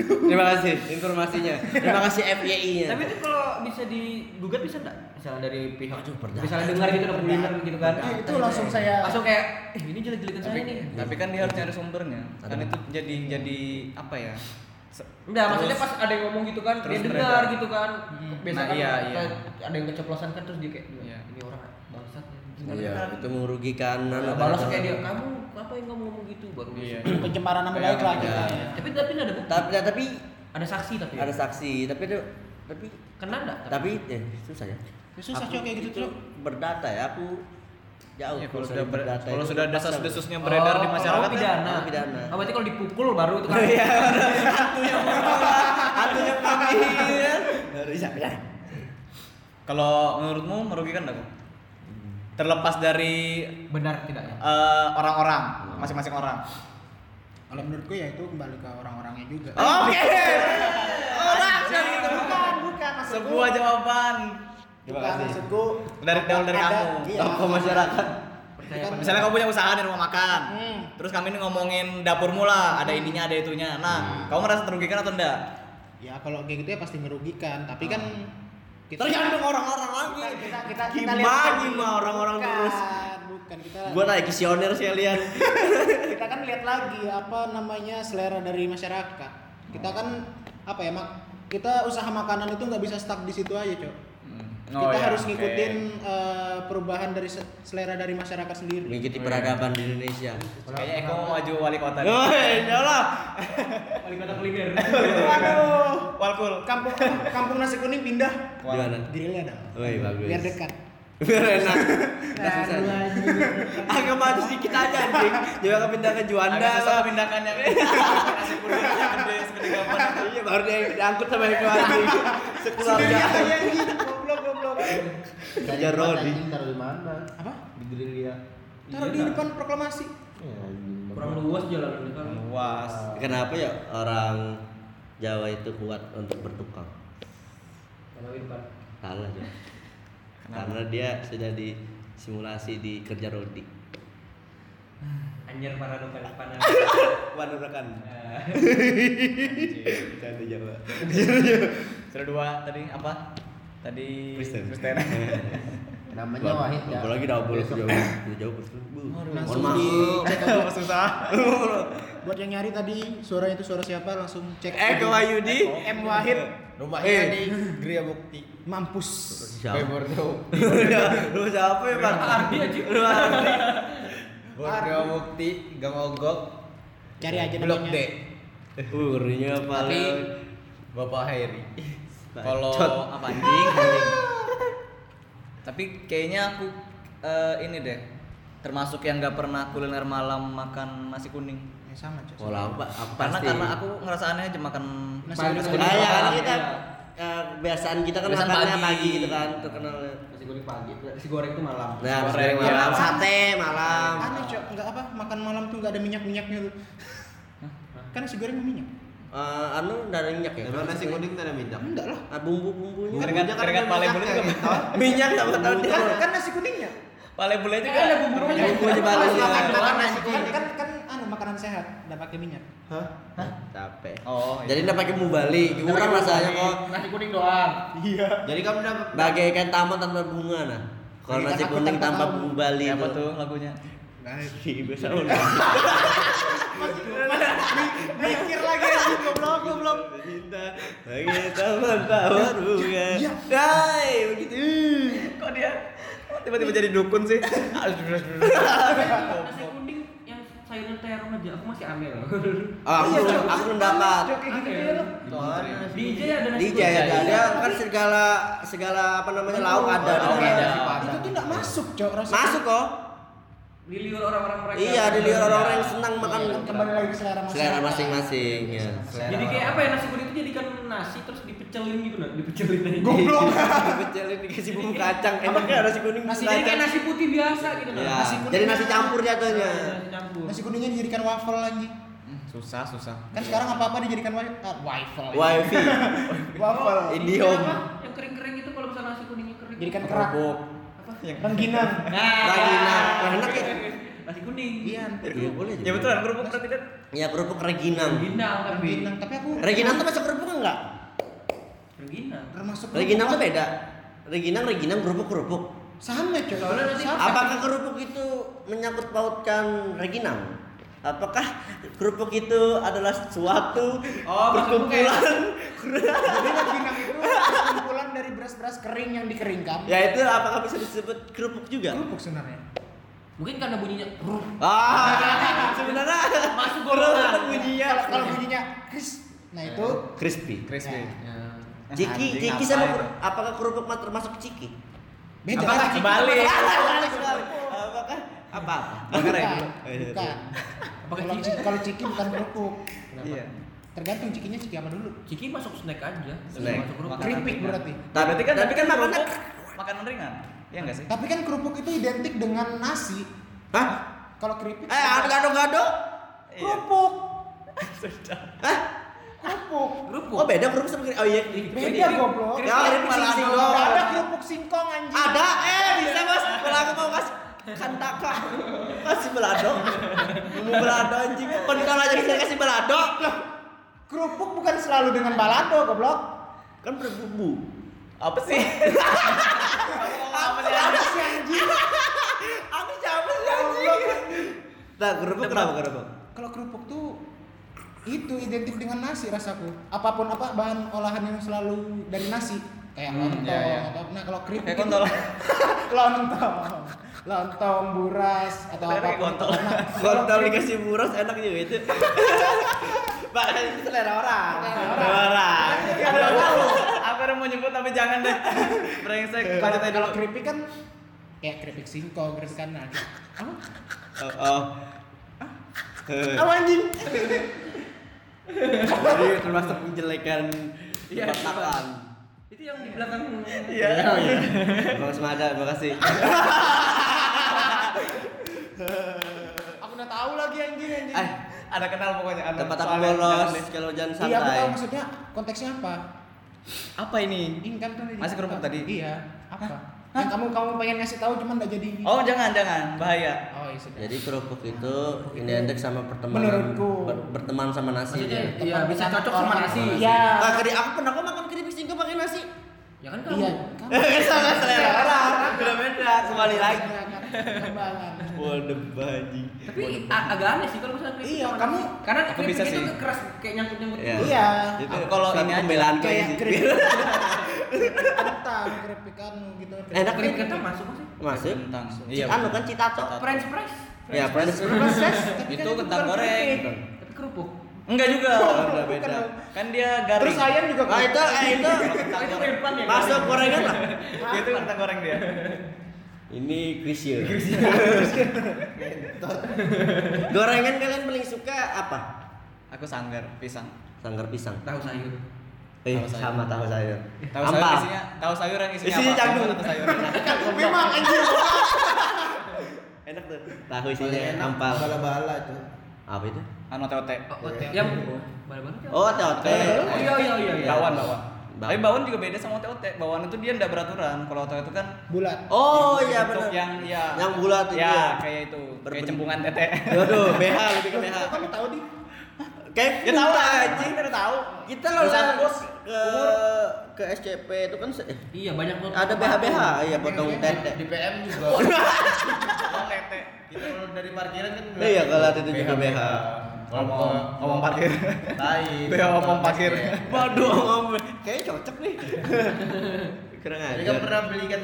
[SPEAKER 1] terima kasih informasinya terima kasih FYI nya
[SPEAKER 6] Tapi itu kalau bisa digugat bisa enggak? Misalnya dari pihak
[SPEAKER 1] Aduh, pernah.
[SPEAKER 6] Misalnya dengar gitu udah kuliner gitu kan.
[SPEAKER 2] Eh, itu langsung saya-
[SPEAKER 6] langsung kayak eh, ini jelek-jelekan saya nih.
[SPEAKER 5] Tapi kan dia harus nyari sumbernya. Kan itu jadi jadi apa ya? Se-
[SPEAKER 6] Enggak, Nah, maksudnya
[SPEAKER 5] terus-
[SPEAKER 6] pas ada yang ngomong gitu kan,
[SPEAKER 5] terus
[SPEAKER 6] dia dengar
[SPEAKER 5] beredar.
[SPEAKER 6] gitu kan. Biasa
[SPEAKER 5] Nah,
[SPEAKER 6] kan
[SPEAKER 5] iya, iya.
[SPEAKER 6] kayak ada yang keceplosan kan terus dia kayak
[SPEAKER 5] Iya.
[SPEAKER 6] ini orang bangsat.
[SPEAKER 1] iya itu merugikan
[SPEAKER 6] Nah,
[SPEAKER 1] anak.
[SPEAKER 6] balas kayak dia, kamu ngapain kamu ngomong gitu baru
[SPEAKER 5] Iya.
[SPEAKER 6] dia.
[SPEAKER 2] pencemaran nama
[SPEAKER 5] Kayak
[SPEAKER 2] baik lah
[SPEAKER 5] apa
[SPEAKER 2] kita
[SPEAKER 5] ya?
[SPEAKER 2] ya.
[SPEAKER 6] Tapi tapi nggak ada bukti.
[SPEAKER 1] tapi nah, tapi
[SPEAKER 6] Ada saksi tapi. ya.
[SPEAKER 1] ada saksi tapi itu tapi
[SPEAKER 6] Kena enggak?
[SPEAKER 1] tapi eh susah ya
[SPEAKER 2] susah
[SPEAKER 1] Aku
[SPEAKER 2] cok kayak gitu cok
[SPEAKER 1] berdata ya aku jauh
[SPEAKER 5] Ya, kalau
[SPEAKER 1] dari
[SPEAKER 5] sudah ber-
[SPEAKER 1] berdata
[SPEAKER 5] kalau
[SPEAKER 1] itu.
[SPEAKER 5] sudah desas-desusnya beredar di
[SPEAKER 6] Oh,
[SPEAKER 5] masyarakat Iya.
[SPEAKER 6] kalau pidana.
[SPEAKER 1] kan pidana.
[SPEAKER 6] Oh, berarti kalau dipukul baru itu kan.
[SPEAKER 1] Hantunya
[SPEAKER 5] Iya.
[SPEAKER 1] pamit. Bisa ya.
[SPEAKER 5] Kalau menurutmu merugikan enggak kok? Terlepas dari
[SPEAKER 6] Benar
[SPEAKER 2] ya?
[SPEAKER 6] tidaknya.
[SPEAKER 5] eh, orang-orang, masing-masing orang.
[SPEAKER 2] kalau menurutku ya itu kembali ke orang-orangnya juga
[SPEAKER 5] Oke.
[SPEAKER 2] orang bukan bukan maksudku
[SPEAKER 5] Sebuah jawaban.
[SPEAKER 2] bukan maksudku
[SPEAKER 5] Dari dari, dari
[SPEAKER 2] ada-
[SPEAKER 5] kamu.
[SPEAKER 2] iya.
[SPEAKER 1] Tokoh masyarakat.
[SPEAKER 2] Bukan-
[SPEAKER 5] Misalnya kamu punya usaha di rumah makan.
[SPEAKER 2] Hmm.
[SPEAKER 5] Terus kami ini ngomongin dapurmu lah, ada ininya, ada itunya. Nah, kamu merasa terrugikan atau enggak?
[SPEAKER 2] ya kalau kayak gitu ya pasti merugikan tapi kan kita
[SPEAKER 1] Tergantung orang-orang lagi.
[SPEAKER 2] kita kita kita, kita
[SPEAKER 1] Gimana gimana orang-orang
[SPEAKER 2] Bukan,
[SPEAKER 1] terus.
[SPEAKER 2] bukan kita
[SPEAKER 1] Gua naik visioner sih lihat.
[SPEAKER 2] kita kan lihat lagi apa namanya selera dari masyarakat kita kan apa ya mak kita usaha makanan itu nggak bisa stuck di situ aja cok
[SPEAKER 5] Oh,
[SPEAKER 2] kita
[SPEAKER 5] ya,
[SPEAKER 2] harus
[SPEAKER 5] oke.
[SPEAKER 2] ngikutin eh, perubahan dari se- selera dari masyarakat sendiri
[SPEAKER 1] Mengikuti peradaban di Indonesia.
[SPEAKER 5] Kayaknya Eko mau maju wali kota. deh.
[SPEAKER 1] Woi, lah.
[SPEAKER 6] Wali kota kuliner.
[SPEAKER 2] Waduh,
[SPEAKER 5] Walkul.
[SPEAKER 2] kampung kampung nasi kuning pindah
[SPEAKER 1] Gimana?
[SPEAKER 2] grillnya dong
[SPEAKER 5] Oh,
[SPEAKER 1] Woi,
[SPEAKER 5] iya,
[SPEAKER 1] bagus.
[SPEAKER 2] biar dekat
[SPEAKER 1] Biar enak. Nggak
[SPEAKER 2] Nah,
[SPEAKER 1] susah.
[SPEAKER 2] dua aja.
[SPEAKER 1] Agak maju sedikit aja anjing. Jangan kepindah ke Juanda.
[SPEAKER 5] Agak susah kepindahannya. Nasi kuning gede segede gambar.
[SPEAKER 1] Iya, baru dia diangkut sama Eko anjing. Sekeluarga.
[SPEAKER 2] Iya, iya, goblok goblok
[SPEAKER 1] Aja Rodi.
[SPEAKER 3] Taruh di mana?
[SPEAKER 2] apa
[SPEAKER 3] Di grill dia.
[SPEAKER 5] Iya,
[SPEAKER 2] taruh di depan proklamasi
[SPEAKER 3] Ya,
[SPEAKER 6] Kurang luas jalanannya kan.
[SPEAKER 5] Luas.
[SPEAKER 1] Kenapa ya orang Jawa itu kuat untuk bertukang?
[SPEAKER 6] Kalau di depan.
[SPEAKER 1] Salah Jok. Karena dia sudah disimulasi di kerja rodi.
[SPEAKER 6] Anjir para depan depan.
[SPEAKER 1] Waduh rekan. Canda Jawa.
[SPEAKER 5] Sudah dua tadi apa? Tadi
[SPEAKER 1] Kristen.
[SPEAKER 5] Kristen.
[SPEAKER 3] Namanya Wahid ya.
[SPEAKER 1] Apalagi double
[SPEAKER 3] Besok.
[SPEAKER 1] jauh. Udah jauh betul. Bu. Mohon
[SPEAKER 2] langsung
[SPEAKER 1] maaf.
[SPEAKER 2] di
[SPEAKER 5] Susah.
[SPEAKER 2] buat yang nyari tadi suara itu suara siapa langsung cek
[SPEAKER 5] Eh,
[SPEAKER 1] Eko Wahyudi.
[SPEAKER 2] Eh, M Wahid Eh,
[SPEAKER 3] Rumahnya di Gria Bukti.
[SPEAKER 2] mampus
[SPEAKER 1] Siapa?
[SPEAKER 3] Bordeaux.
[SPEAKER 1] Lu siapa ya, Pak?
[SPEAKER 6] Ardi aja.
[SPEAKER 1] Lu Ardi.
[SPEAKER 3] Bordeaux Bukti, Gang Ogok.
[SPEAKER 2] cari aja
[SPEAKER 3] Blok D.
[SPEAKER 2] namanya
[SPEAKER 1] Urinya apa?
[SPEAKER 3] Tapi
[SPEAKER 1] lu?
[SPEAKER 3] Bapak Hairy.
[SPEAKER 5] Kalau
[SPEAKER 1] Bacot.
[SPEAKER 5] apa anjing? anjing. Tapi kayaknya aku eh, ini deh termasuk yang gak pernah kuliner malam makan nasi kuning.
[SPEAKER 2] ya sama cok
[SPEAKER 1] kalau aku aku
[SPEAKER 5] Karena
[SPEAKER 1] pasti.
[SPEAKER 5] karena aku ngerasa aneh aja makan
[SPEAKER 2] Nasi
[SPEAKER 5] makan
[SPEAKER 1] Ah,
[SPEAKER 2] kuning
[SPEAKER 5] nasi kuning.
[SPEAKER 1] ya, karena
[SPEAKER 5] malam.
[SPEAKER 1] kita
[SPEAKER 6] Iya.
[SPEAKER 1] eh, kebiasaan kita kan
[SPEAKER 5] Kebiasaan
[SPEAKER 1] makannya
[SPEAKER 5] pagi.
[SPEAKER 1] pagi gitu kan terkenal
[SPEAKER 6] Nasi goreng pagi, nasi goreng itu malam.
[SPEAKER 1] Nah,
[SPEAKER 5] Sore,
[SPEAKER 1] sore malam,
[SPEAKER 5] malam.
[SPEAKER 1] sate malam.
[SPEAKER 2] aneh cok nggak apa makan malam tuh nggak ada minyak minyaknya tuh kan nasi goreng minyak
[SPEAKER 1] Eh, anu nggak ada minyak ya?
[SPEAKER 3] Emang nasi kuning tidak minyak?
[SPEAKER 2] enggak lah
[SPEAKER 1] Ah, bumbu-bumbunya.
[SPEAKER 3] kan
[SPEAKER 1] kan
[SPEAKER 5] Keringat keringat paling bule
[SPEAKER 3] ya?
[SPEAKER 5] juga
[SPEAKER 1] Minyak sama tahu dia.
[SPEAKER 2] kan, kan nasi kuning ya
[SPEAKER 5] paling bule juga
[SPEAKER 6] ada bumbunya.
[SPEAKER 1] Bumbunya balik.
[SPEAKER 2] Makan- makan
[SPEAKER 1] ya.
[SPEAKER 2] makan nasi kan kan kan anu makanan sehat nggak pakai minyak
[SPEAKER 1] Capek.
[SPEAKER 5] Oh, iya.
[SPEAKER 1] Jadi nggak pakai mubali, kurang rasanya kok.
[SPEAKER 6] Nasi kuning doang.
[SPEAKER 3] Jadi kamu udah
[SPEAKER 1] Bagaikan taman tanpa bunga nah. Kalau
[SPEAKER 2] Bagaikan
[SPEAKER 5] Iya,
[SPEAKER 1] nasi
[SPEAKER 2] aku
[SPEAKER 1] kuning tanpa
[SPEAKER 2] tanpa kamu.
[SPEAKER 1] mubali
[SPEAKER 5] apa
[SPEAKER 1] itu.
[SPEAKER 5] tuh lagunya?
[SPEAKER 1] bisa
[SPEAKER 2] mikir lagi anjing goblok goblok
[SPEAKER 1] cinta bagi teman tawar bunga
[SPEAKER 2] Iya.
[SPEAKER 1] hai begitu
[SPEAKER 5] Kok dia tiba-tiba jadi dukun sih?
[SPEAKER 6] nasi kuning yang sayuran teh remaja aku masih ambil loh
[SPEAKER 2] Iya,
[SPEAKER 1] oh, gitu ya, aku belum aku belum dapat
[SPEAKER 2] Joki gini
[SPEAKER 6] Ada.
[SPEAKER 2] dia lu.
[SPEAKER 5] ya.
[SPEAKER 6] di
[SPEAKER 1] di
[SPEAKER 6] IJ ada nasi kuning
[SPEAKER 1] Jaya ada kan segala segala apa namanya lauk ada di
[SPEAKER 3] Oke,
[SPEAKER 1] sana.
[SPEAKER 3] ada.
[SPEAKER 2] itu tuh nggak masuk cok rasanya
[SPEAKER 1] masuk kok
[SPEAKER 6] di liur orang-orang mereka
[SPEAKER 1] iya ada liur orang-orang yang senang makan
[SPEAKER 2] kembali lagi ke selera
[SPEAKER 1] selera
[SPEAKER 2] masyarakat.
[SPEAKER 1] masing-masing ya
[SPEAKER 6] jadi kayak apa ya nasi kuning itu jadikan nasi terus dipecelin gitu nah dipecelin aja
[SPEAKER 1] goblok dipecelin dikasih bumbu kacang enaknya nasi kuning bumbu
[SPEAKER 2] Nasi
[SPEAKER 6] jadi kayak
[SPEAKER 1] kacang
[SPEAKER 6] nasi putih biasa gitu nah
[SPEAKER 1] ya.
[SPEAKER 2] nasi kuning.
[SPEAKER 1] jadi nasi campur jatuhnya
[SPEAKER 6] Iya, nasi campur
[SPEAKER 2] nasi kuningnya dijadikan waffle lagi
[SPEAKER 5] Susah, susah.
[SPEAKER 2] kan sekarang apa apa dijadikan wa- ah, waffle
[SPEAKER 1] wifi
[SPEAKER 2] waffle
[SPEAKER 1] idiom
[SPEAKER 6] Apa? yang kering-kering itu kalau misalnya nasi kuningnya kering
[SPEAKER 2] jadikan kerak
[SPEAKER 1] Kerupuk.
[SPEAKER 6] apa
[SPEAKER 2] Iya. rengginang
[SPEAKER 1] Ragina. Enak ya?
[SPEAKER 6] nasi kuning
[SPEAKER 1] iya iya, boleh juga.
[SPEAKER 5] Ya betul kan kerupuk berarti dan
[SPEAKER 1] ya kerupuk reginang
[SPEAKER 6] rengginang tapi
[SPEAKER 2] rengginang tapi aku
[SPEAKER 1] reginang tuh masuk kerupuk enggak
[SPEAKER 6] rengginang
[SPEAKER 2] termasuk
[SPEAKER 1] reginang tuh
[SPEAKER 2] kerupuk.
[SPEAKER 1] beda reginang reginang kerupuk kerupuk
[SPEAKER 2] sama cok
[SPEAKER 6] Soalnya nanti-
[SPEAKER 2] Sama.
[SPEAKER 1] apakah kerupuk itu menyangkut pautkan reginang apakah kerupuk itu adalah suatu
[SPEAKER 6] Oh,
[SPEAKER 1] perkumpulan
[SPEAKER 2] Jadi rengginang itu kumpulan dari beras-beras kering yang dikeringkan.
[SPEAKER 1] ya itu apakah bisa disebut kerupuk juga
[SPEAKER 2] Kerupuk sebenarnya.
[SPEAKER 6] mungkin karena bunyinya
[SPEAKER 1] ah sebenarnya masuk
[SPEAKER 6] golongan.
[SPEAKER 1] bunyinya
[SPEAKER 2] Kalau kalau bunyinya kris, nah itu
[SPEAKER 1] crispy
[SPEAKER 5] crispy.
[SPEAKER 1] Ciki, ciki
[SPEAKER 5] Anjing, apa
[SPEAKER 1] sama
[SPEAKER 5] itu?
[SPEAKER 1] ker- apakah kerupuk ma- termasuk ciki?
[SPEAKER 2] beda.
[SPEAKER 5] Apakah
[SPEAKER 2] Ciki.
[SPEAKER 5] kebalik? Oh,
[SPEAKER 1] Apakah apakah apa? Apakah
[SPEAKER 2] Bukan,
[SPEAKER 5] iya,
[SPEAKER 2] bukan.
[SPEAKER 6] Apakah
[SPEAKER 2] Kalau
[SPEAKER 6] ciki?
[SPEAKER 2] ciki, kalau ciki bukan kerupuk.
[SPEAKER 5] Iya.
[SPEAKER 2] Tergantung cikinya ciki apa dulu.
[SPEAKER 6] Ciki masuk snack aja.
[SPEAKER 1] Snack.
[SPEAKER 6] Masuk kerupuk.
[SPEAKER 5] Krim.
[SPEAKER 2] Keripik berarti.
[SPEAKER 1] Tapi
[SPEAKER 5] Nah, Berarti
[SPEAKER 1] kan tapi kan makanan.
[SPEAKER 5] kerupuk makanan ringan. Iya enggak sih?
[SPEAKER 2] Tapi kan kerupuk itu identik dengan nasi.
[SPEAKER 1] Hah?
[SPEAKER 2] Kalau
[SPEAKER 1] Eh,
[SPEAKER 2] keripik
[SPEAKER 1] ada gado-gado?
[SPEAKER 2] kerupuk,
[SPEAKER 1] Hah?
[SPEAKER 2] kerupuk.
[SPEAKER 6] Kerupuk.
[SPEAKER 1] Oh, beda kerupuk sama keripik. Oh iya.
[SPEAKER 2] Beda goblok.
[SPEAKER 1] Ya, keripik
[SPEAKER 2] Nggak
[SPEAKER 1] sing-sing doang.
[SPEAKER 2] Ada kerupuk singkong anjing.
[SPEAKER 1] Ada eh bisa Mas. Kalau aku mau kasih kantaka. Kasih belado. Mau belado anjing. Pentol aja bisa kasih belado.
[SPEAKER 2] Kerupuk bukan selalu dengan balado goblok.
[SPEAKER 1] Kan berbumbu.
[SPEAKER 5] Apa sih?
[SPEAKER 1] Apa sih anjing? Aku siapa sih anjing? Nah, kerupuk kenapa kerupuk?
[SPEAKER 2] Kalau kerupuk tuh itu identik dengan nasi rasaku. Apapun apa bahan olahan yang selalu dari nasi kayak
[SPEAKER 3] Hmm,
[SPEAKER 2] lontong
[SPEAKER 3] iya, iya.
[SPEAKER 2] atau nah kalau keripik
[SPEAKER 5] Kayak
[SPEAKER 2] itu-
[SPEAKER 5] kontol.
[SPEAKER 2] lontong lontong buras atau Nah,
[SPEAKER 5] Kayak
[SPEAKER 2] apa
[SPEAKER 5] kontol.
[SPEAKER 1] Kontol dikasih buras enak juga itu. Pak, itu selera orang. Selera orang.
[SPEAKER 5] Apa tahu? Apa yang mau nyebut tapi jangan deh. Brengsek. Lanjut aja
[SPEAKER 2] Eh, kalau
[SPEAKER 5] dulu.
[SPEAKER 2] keripik kan kayak keripik singkong keripik kan nah. Apa?
[SPEAKER 1] Oh, Oh. Eh,
[SPEAKER 2] Apa anjing?
[SPEAKER 1] Jadi termasuk menjelekan
[SPEAKER 6] Iya,
[SPEAKER 1] perkataan.
[SPEAKER 6] Itu yang di belakang.
[SPEAKER 5] Iya.
[SPEAKER 1] Bang Semada, terima kasih.
[SPEAKER 2] Aku udah tahu lagi anjing anjing.
[SPEAKER 1] Eh,
[SPEAKER 5] Ada kenal pokoknya ada.
[SPEAKER 1] tempat aku
[SPEAKER 5] soalnya
[SPEAKER 1] bolos,
[SPEAKER 5] jangan deh.
[SPEAKER 1] kalau jangan
[SPEAKER 2] Iya aku tahu
[SPEAKER 1] santai.
[SPEAKER 2] maksudnya konteksnya apa.
[SPEAKER 5] Apa ini?
[SPEAKER 2] Ini kan tadi.
[SPEAKER 5] Masih kerupuk tadi?
[SPEAKER 2] Iya. Apa? Yang kamu kamu pengen ngasih tahu cuman nggak jadi.
[SPEAKER 5] Oh, jangan jangan, bahaya.
[SPEAKER 2] Oh, iya sudah.
[SPEAKER 1] Jadi kerupuk itu identik sama pertemanan
[SPEAKER 2] Menurutku.
[SPEAKER 1] ber- berteman sama nasi
[SPEAKER 6] Maksudnya
[SPEAKER 1] dia.
[SPEAKER 6] iya bisa cocok sama nasi.
[SPEAKER 2] Iya.
[SPEAKER 1] Ah, keri aku pernah kok makan keripik singkong pakai nasi.
[SPEAKER 6] Ya kan kamu.
[SPEAKER 2] Iya.
[SPEAKER 1] Sama selera orang. Beda-beda kembali lagi. Iya.
[SPEAKER 2] Kembangan.
[SPEAKER 1] Waduh, anjing.
[SPEAKER 6] Tapi a- agak aneh sih kalau misalnya keripik
[SPEAKER 2] Iya,
[SPEAKER 6] sama
[SPEAKER 2] kamu-
[SPEAKER 6] nasi. karena
[SPEAKER 5] aku
[SPEAKER 6] keripik
[SPEAKER 5] bisa
[SPEAKER 6] itu
[SPEAKER 5] sih.
[SPEAKER 6] keras kayak nyangkut-nyangkut. gitu.
[SPEAKER 1] Iya.
[SPEAKER 2] Iya.
[SPEAKER 1] Itu
[SPEAKER 5] Aku
[SPEAKER 1] kalau
[SPEAKER 5] suatu
[SPEAKER 1] ini
[SPEAKER 5] pembelaan
[SPEAKER 1] pembelaan
[SPEAKER 2] Kayak
[SPEAKER 1] kayak
[SPEAKER 2] keripik. Kentang, keripik anu gitu.
[SPEAKER 1] Enak
[SPEAKER 6] Tapi
[SPEAKER 1] nih.
[SPEAKER 6] kita masuk masih.
[SPEAKER 1] Masuk.
[SPEAKER 5] Kentang.
[SPEAKER 1] Iya. Anu kan citato.
[SPEAKER 6] French press.
[SPEAKER 1] Ya, Prince.
[SPEAKER 2] Proses. tapi
[SPEAKER 5] Itu
[SPEAKER 2] kan
[SPEAKER 5] kentang
[SPEAKER 2] bukan
[SPEAKER 5] goreng.
[SPEAKER 2] keripik.
[SPEAKER 6] Tapi kerupuk.
[SPEAKER 5] Enggak juga.
[SPEAKER 1] Udah beda.
[SPEAKER 5] Kan dia garing. Nah,
[SPEAKER 2] Terus ayam juga.
[SPEAKER 1] Ah itu eh itu
[SPEAKER 6] Kalau itu depan ya.
[SPEAKER 1] masuk gorengan lah.
[SPEAKER 5] Itu kentang goreng dia.
[SPEAKER 1] Ini krisio. gorengan kalian paling suka apa?
[SPEAKER 5] Aku sanggar pisang.
[SPEAKER 1] Sanggar pisang.
[SPEAKER 6] Tahu sayur.
[SPEAKER 1] Eh,
[SPEAKER 5] Tahu sayur.
[SPEAKER 1] sama tahu sayur.
[SPEAKER 5] Tahu
[SPEAKER 1] Apa?
[SPEAKER 5] sayur isinya, tahu sayur yang isinya,
[SPEAKER 1] Isinya
[SPEAKER 5] apa?
[SPEAKER 1] jagung.
[SPEAKER 5] Tahu sayur.
[SPEAKER 2] Memang anjing.
[SPEAKER 1] Enak tuh. Tahu isinya ampal.
[SPEAKER 3] Bala-bala tuh.
[SPEAKER 1] Apa itu?
[SPEAKER 5] Anu ote-ote.
[SPEAKER 6] Oh, ote- Yang balik-balik. ya.
[SPEAKER 1] Oh, ote-ote.
[SPEAKER 5] Eh,
[SPEAKER 6] Oh, iya iya iya. iya.
[SPEAKER 5] Bawon, bawon.
[SPEAKER 1] Bawon.
[SPEAKER 5] Tapi bawon juga beda sama ote-ote. Bawon itu dia enggak beraturan. Kalau ote-ote kan
[SPEAKER 2] Bulat.
[SPEAKER 1] Oh, iya
[SPEAKER 5] bentuk
[SPEAKER 1] benar.
[SPEAKER 5] yang ya
[SPEAKER 1] Yang bulat itu
[SPEAKER 5] ya,
[SPEAKER 1] ya.
[SPEAKER 5] kayak itu. Kayak
[SPEAKER 1] Berbentuk.
[SPEAKER 5] cempungan tete.
[SPEAKER 1] Waduh, BH lebih ke BH.
[SPEAKER 2] Kok Kamu tahu di?
[SPEAKER 1] Kayak
[SPEAKER 5] Ya tahu lah anjing, udah tahu.
[SPEAKER 1] Kita loh
[SPEAKER 5] Usaha
[SPEAKER 1] lah
[SPEAKER 5] bos,
[SPEAKER 1] ke ke SCP itu kan se-
[SPEAKER 6] Iya banyak foto.
[SPEAKER 1] ada BHBH ya potong
[SPEAKER 3] Di
[SPEAKER 1] tete.
[SPEAKER 3] PM juga. Kita kalau dari parkiran kan juga.
[SPEAKER 1] Iya, kalau itu juga BH.
[SPEAKER 3] Kalau mau
[SPEAKER 5] Ngomong- ngomong parkir.
[SPEAKER 3] Lain.
[SPEAKER 5] Beo ngomong parkir.
[SPEAKER 1] Waduh, ngomong. Kayaknya cocok nih. Kurang
[SPEAKER 3] Jadi
[SPEAKER 1] aja.
[SPEAKER 3] kan pernah belikan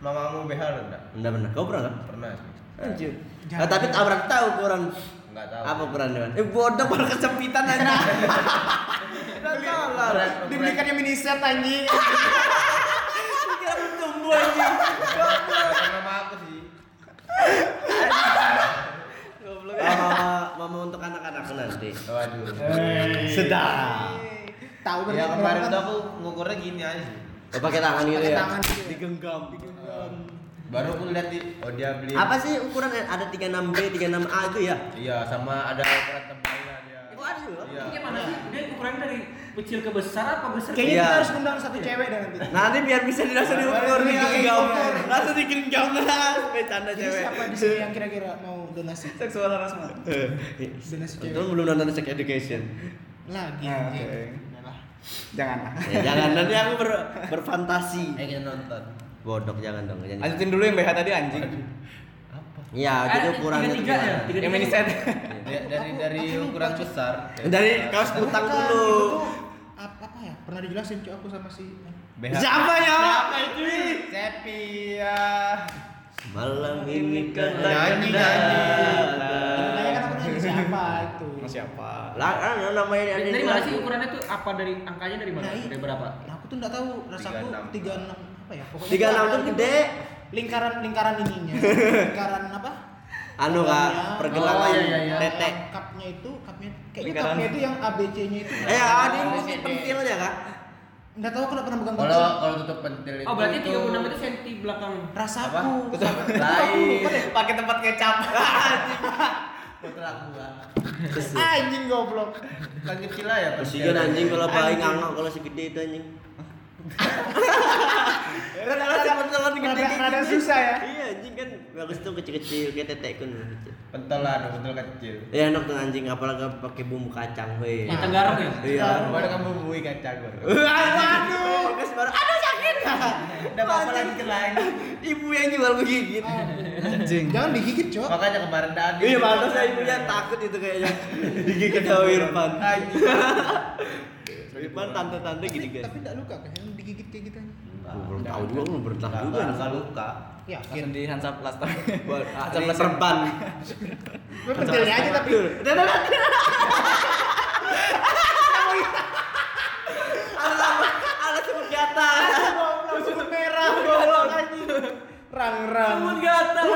[SPEAKER 3] mamamu BH lo enggak?
[SPEAKER 1] Enggak pernah. Kau pernah kan? nggak?
[SPEAKER 3] Pernah sih.
[SPEAKER 1] Anjir. Nah, tapi abrak tahu kurang
[SPEAKER 3] Enggak tahu.
[SPEAKER 1] apa kurang Dewan? Eh bodoh malah kesempitan aja. Enggak tahu lah.
[SPEAKER 2] Dibelikannya mini set anjing.
[SPEAKER 1] Kira bertumbuh aja.
[SPEAKER 3] Bukan mama aku sih.
[SPEAKER 1] Mama mama untuk anak-anakku nanti.
[SPEAKER 3] Waduh.
[SPEAKER 5] Sedap.
[SPEAKER 2] Tahu
[SPEAKER 3] Ya
[SPEAKER 2] berarti
[SPEAKER 3] kemarin
[SPEAKER 2] berapa
[SPEAKER 3] tuh
[SPEAKER 2] kan?
[SPEAKER 3] aku ngukurnya gini aja sih.
[SPEAKER 1] Oh, pakai tangan gitu
[SPEAKER 2] Pakai
[SPEAKER 1] ya.
[SPEAKER 2] tangan gitu ya.
[SPEAKER 5] Digenggam.
[SPEAKER 3] Baru aku lihat di oh dia beli.
[SPEAKER 1] Apa sih ukuran ada 36B, 36A itu ya?
[SPEAKER 3] Iya, sama ada ukuran tebalnya dia.
[SPEAKER 1] Oh, ada juga?
[SPEAKER 3] Iya.
[SPEAKER 6] Gimana sih? Dia ukuran dari kecil ke besar apa besar?
[SPEAKER 2] Kayaknya
[SPEAKER 1] Iya.
[SPEAKER 2] kita harus undang satu cewek deh nanti.
[SPEAKER 1] Nanti biar bisa dirasa diukur nih genggam. Langsung digenggam lah sampai canda
[SPEAKER 2] Jadi
[SPEAKER 1] cewek.
[SPEAKER 2] siapa di sini yang kira-kira mau donasi?
[SPEAKER 5] Seksual harassment.
[SPEAKER 2] Donasi cewek.
[SPEAKER 1] Untung belum nonton Sex Education.
[SPEAKER 2] Lagi
[SPEAKER 5] Nah,
[SPEAKER 2] anjing.
[SPEAKER 5] oke.
[SPEAKER 2] Udahlah.
[SPEAKER 5] Jangan.
[SPEAKER 1] Ya, jangan nanti aku ber- berfantasi.
[SPEAKER 3] Eh kita nonton.
[SPEAKER 1] Bodok jangan dong. Jangan.
[SPEAKER 5] Lanjutin dulu yang BH tadi anjing.
[SPEAKER 1] Iya, jadi ukurannya itu
[SPEAKER 6] tiga ya.
[SPEAKER 1] gimana?
[SPEAKER 6] Tiga
[SPEAKER 5] Yang mini set.
[SPEAKER 3] Ya, dari dari ukuran besar.
[SPEAKER 1] Dari kaos
[SPEAKER 3] besar.
[SPEAKER 1] kutang dulu.
[SPEAKER 2] Bukan, itu tuh ap- apa ya? Pernah dijelasin cuy aku sama si
[SPEAKER 3] BH.
[SPEAKER 1] Siapa ya?
[SPEAKER 5] Sepia.
[SPEAKER 1] Malam ini katakan
[SPEAKER 3] Nyanyi,
[SPEAKER 2] Nah,
[SPEAKER 1] datang.
[SPEAKER 2] Makanya kan aku nanya siapa itu.
[SPEAKER 5] Mas siapa?
[SPEAKER 1] Lah, ah, namanya ini
[SPEAKER 6] Dari mana sih ukurannya tuh apa dari angkanya dari mana?
[SPEAKER 2] Nah, iya.
[SPEAKER 6] Dari berapa?
[SPEAKER 2] Nah, aku tuh enggak tahu rasaku
[SPEAKER 3] 36.
[SPEAKER 2] 36 apa ya? Pokoknya
[SPEAKER 1] Tiga enam
[SPEAKER 2] ada
[SPEAKER 1] tuh gede.
[SPEAKER 2] Lingkaran lingkaran ininya. lingkaran apa?
[SPEAKER 1] Anu kak, pergelangan
[SPEAKER 6] Oh, iya, iya, iya.
[SPEAKER 1] tete.
[SPEAKER 2] Cupnya itu, cupnya kayaknya
[SPEAKER 5] Lingkaran.
[SPEAKER 2] cupnya itu yang ABC-nya itu.
[SPEAKER 1] Eh,
[SPEAKER 6] Iya,
[SPEAKER 1] ada yang mesti pentilnya kak.
[SPEAKER 2] Enggak tahu aku enggak pernah pegang
[SPEAKER 3] Kalau kalau tutup pentil itu.
[SPEAKER 6] Oh berarti 36 itu senti belakang.
[SPEAKER 2] rasaku.
[SPEAKER 3] Lain.
[SPEAKER 5] Pakai tempat kecap.
[SPEAKER 3] Kontrak gua.
[SPEAKER 2] Anjing goblok.
[SPEAKER 3] Kan kecil lah ya.
[SPEAKER 1] Kesian anjing kalau bayi ngangok kalau segede itu anjing. Kan Rada rada pentelan gede.
[SPEAKER 2] Rada- rada susah ya.
[SPEAKER 1] Iya anjing kan bagus tuh kecil-kecil kayak tetek kun.
[SPEAKER 3] Pentil lah, ada pentil kecil.
[SPEAKER 1] Ya enak tuh anjing apalagi pakai bumbu kacang weh.
[SPEAKER 6] Yang tenggarok ya.
[SPEAKER 1] Iya.
[SPEAKER 3] Baru kamu bui kacang baru.
[SPEAKER 1] Waduh. Terus baru aduh sakit.
[SPEAKER 3] Udah apa lagi lagi.
[SPEAKER 1] Ibu yang jual begigit.
[SPEAKER 2] Oh.
[SPEAKER 5] Anjing.
[SPEAKER 2] Jangan digigit, Cok.
[SPEAKER 3] Makanya kemarin tadi.
[SPEAKER 1] Iya, pantas saya ibunya takut itu kayaknya. Digigit sama Irfan. Irfan tante-tante gini guys.
[SPEAKER 2] Tapi enggak luka kan digigit kayak gitu.
[SPEAKER 1] Gua belum tahu juga, belum bertah juga nih.
[SPEAKER 3] Kalau luka.
[SPEAKER 2] Yakin.
[SPEAKER 5] Langsung di Hansap Plaster.
[SPEAKER 1] Buat
[SPEAKER 6] Ah,
[SPEAKER 5] Hansap Plaster.
[SPEAKER 1] serban.
[SPEAKER 2] Gue pentilnya aja tapi
[SPEAKER 1] Ada sebut kata.
[SPEAKER 2] langsung merah goblok anjing. Rang-rang,
[SPEAKER 6] Kamu gatal.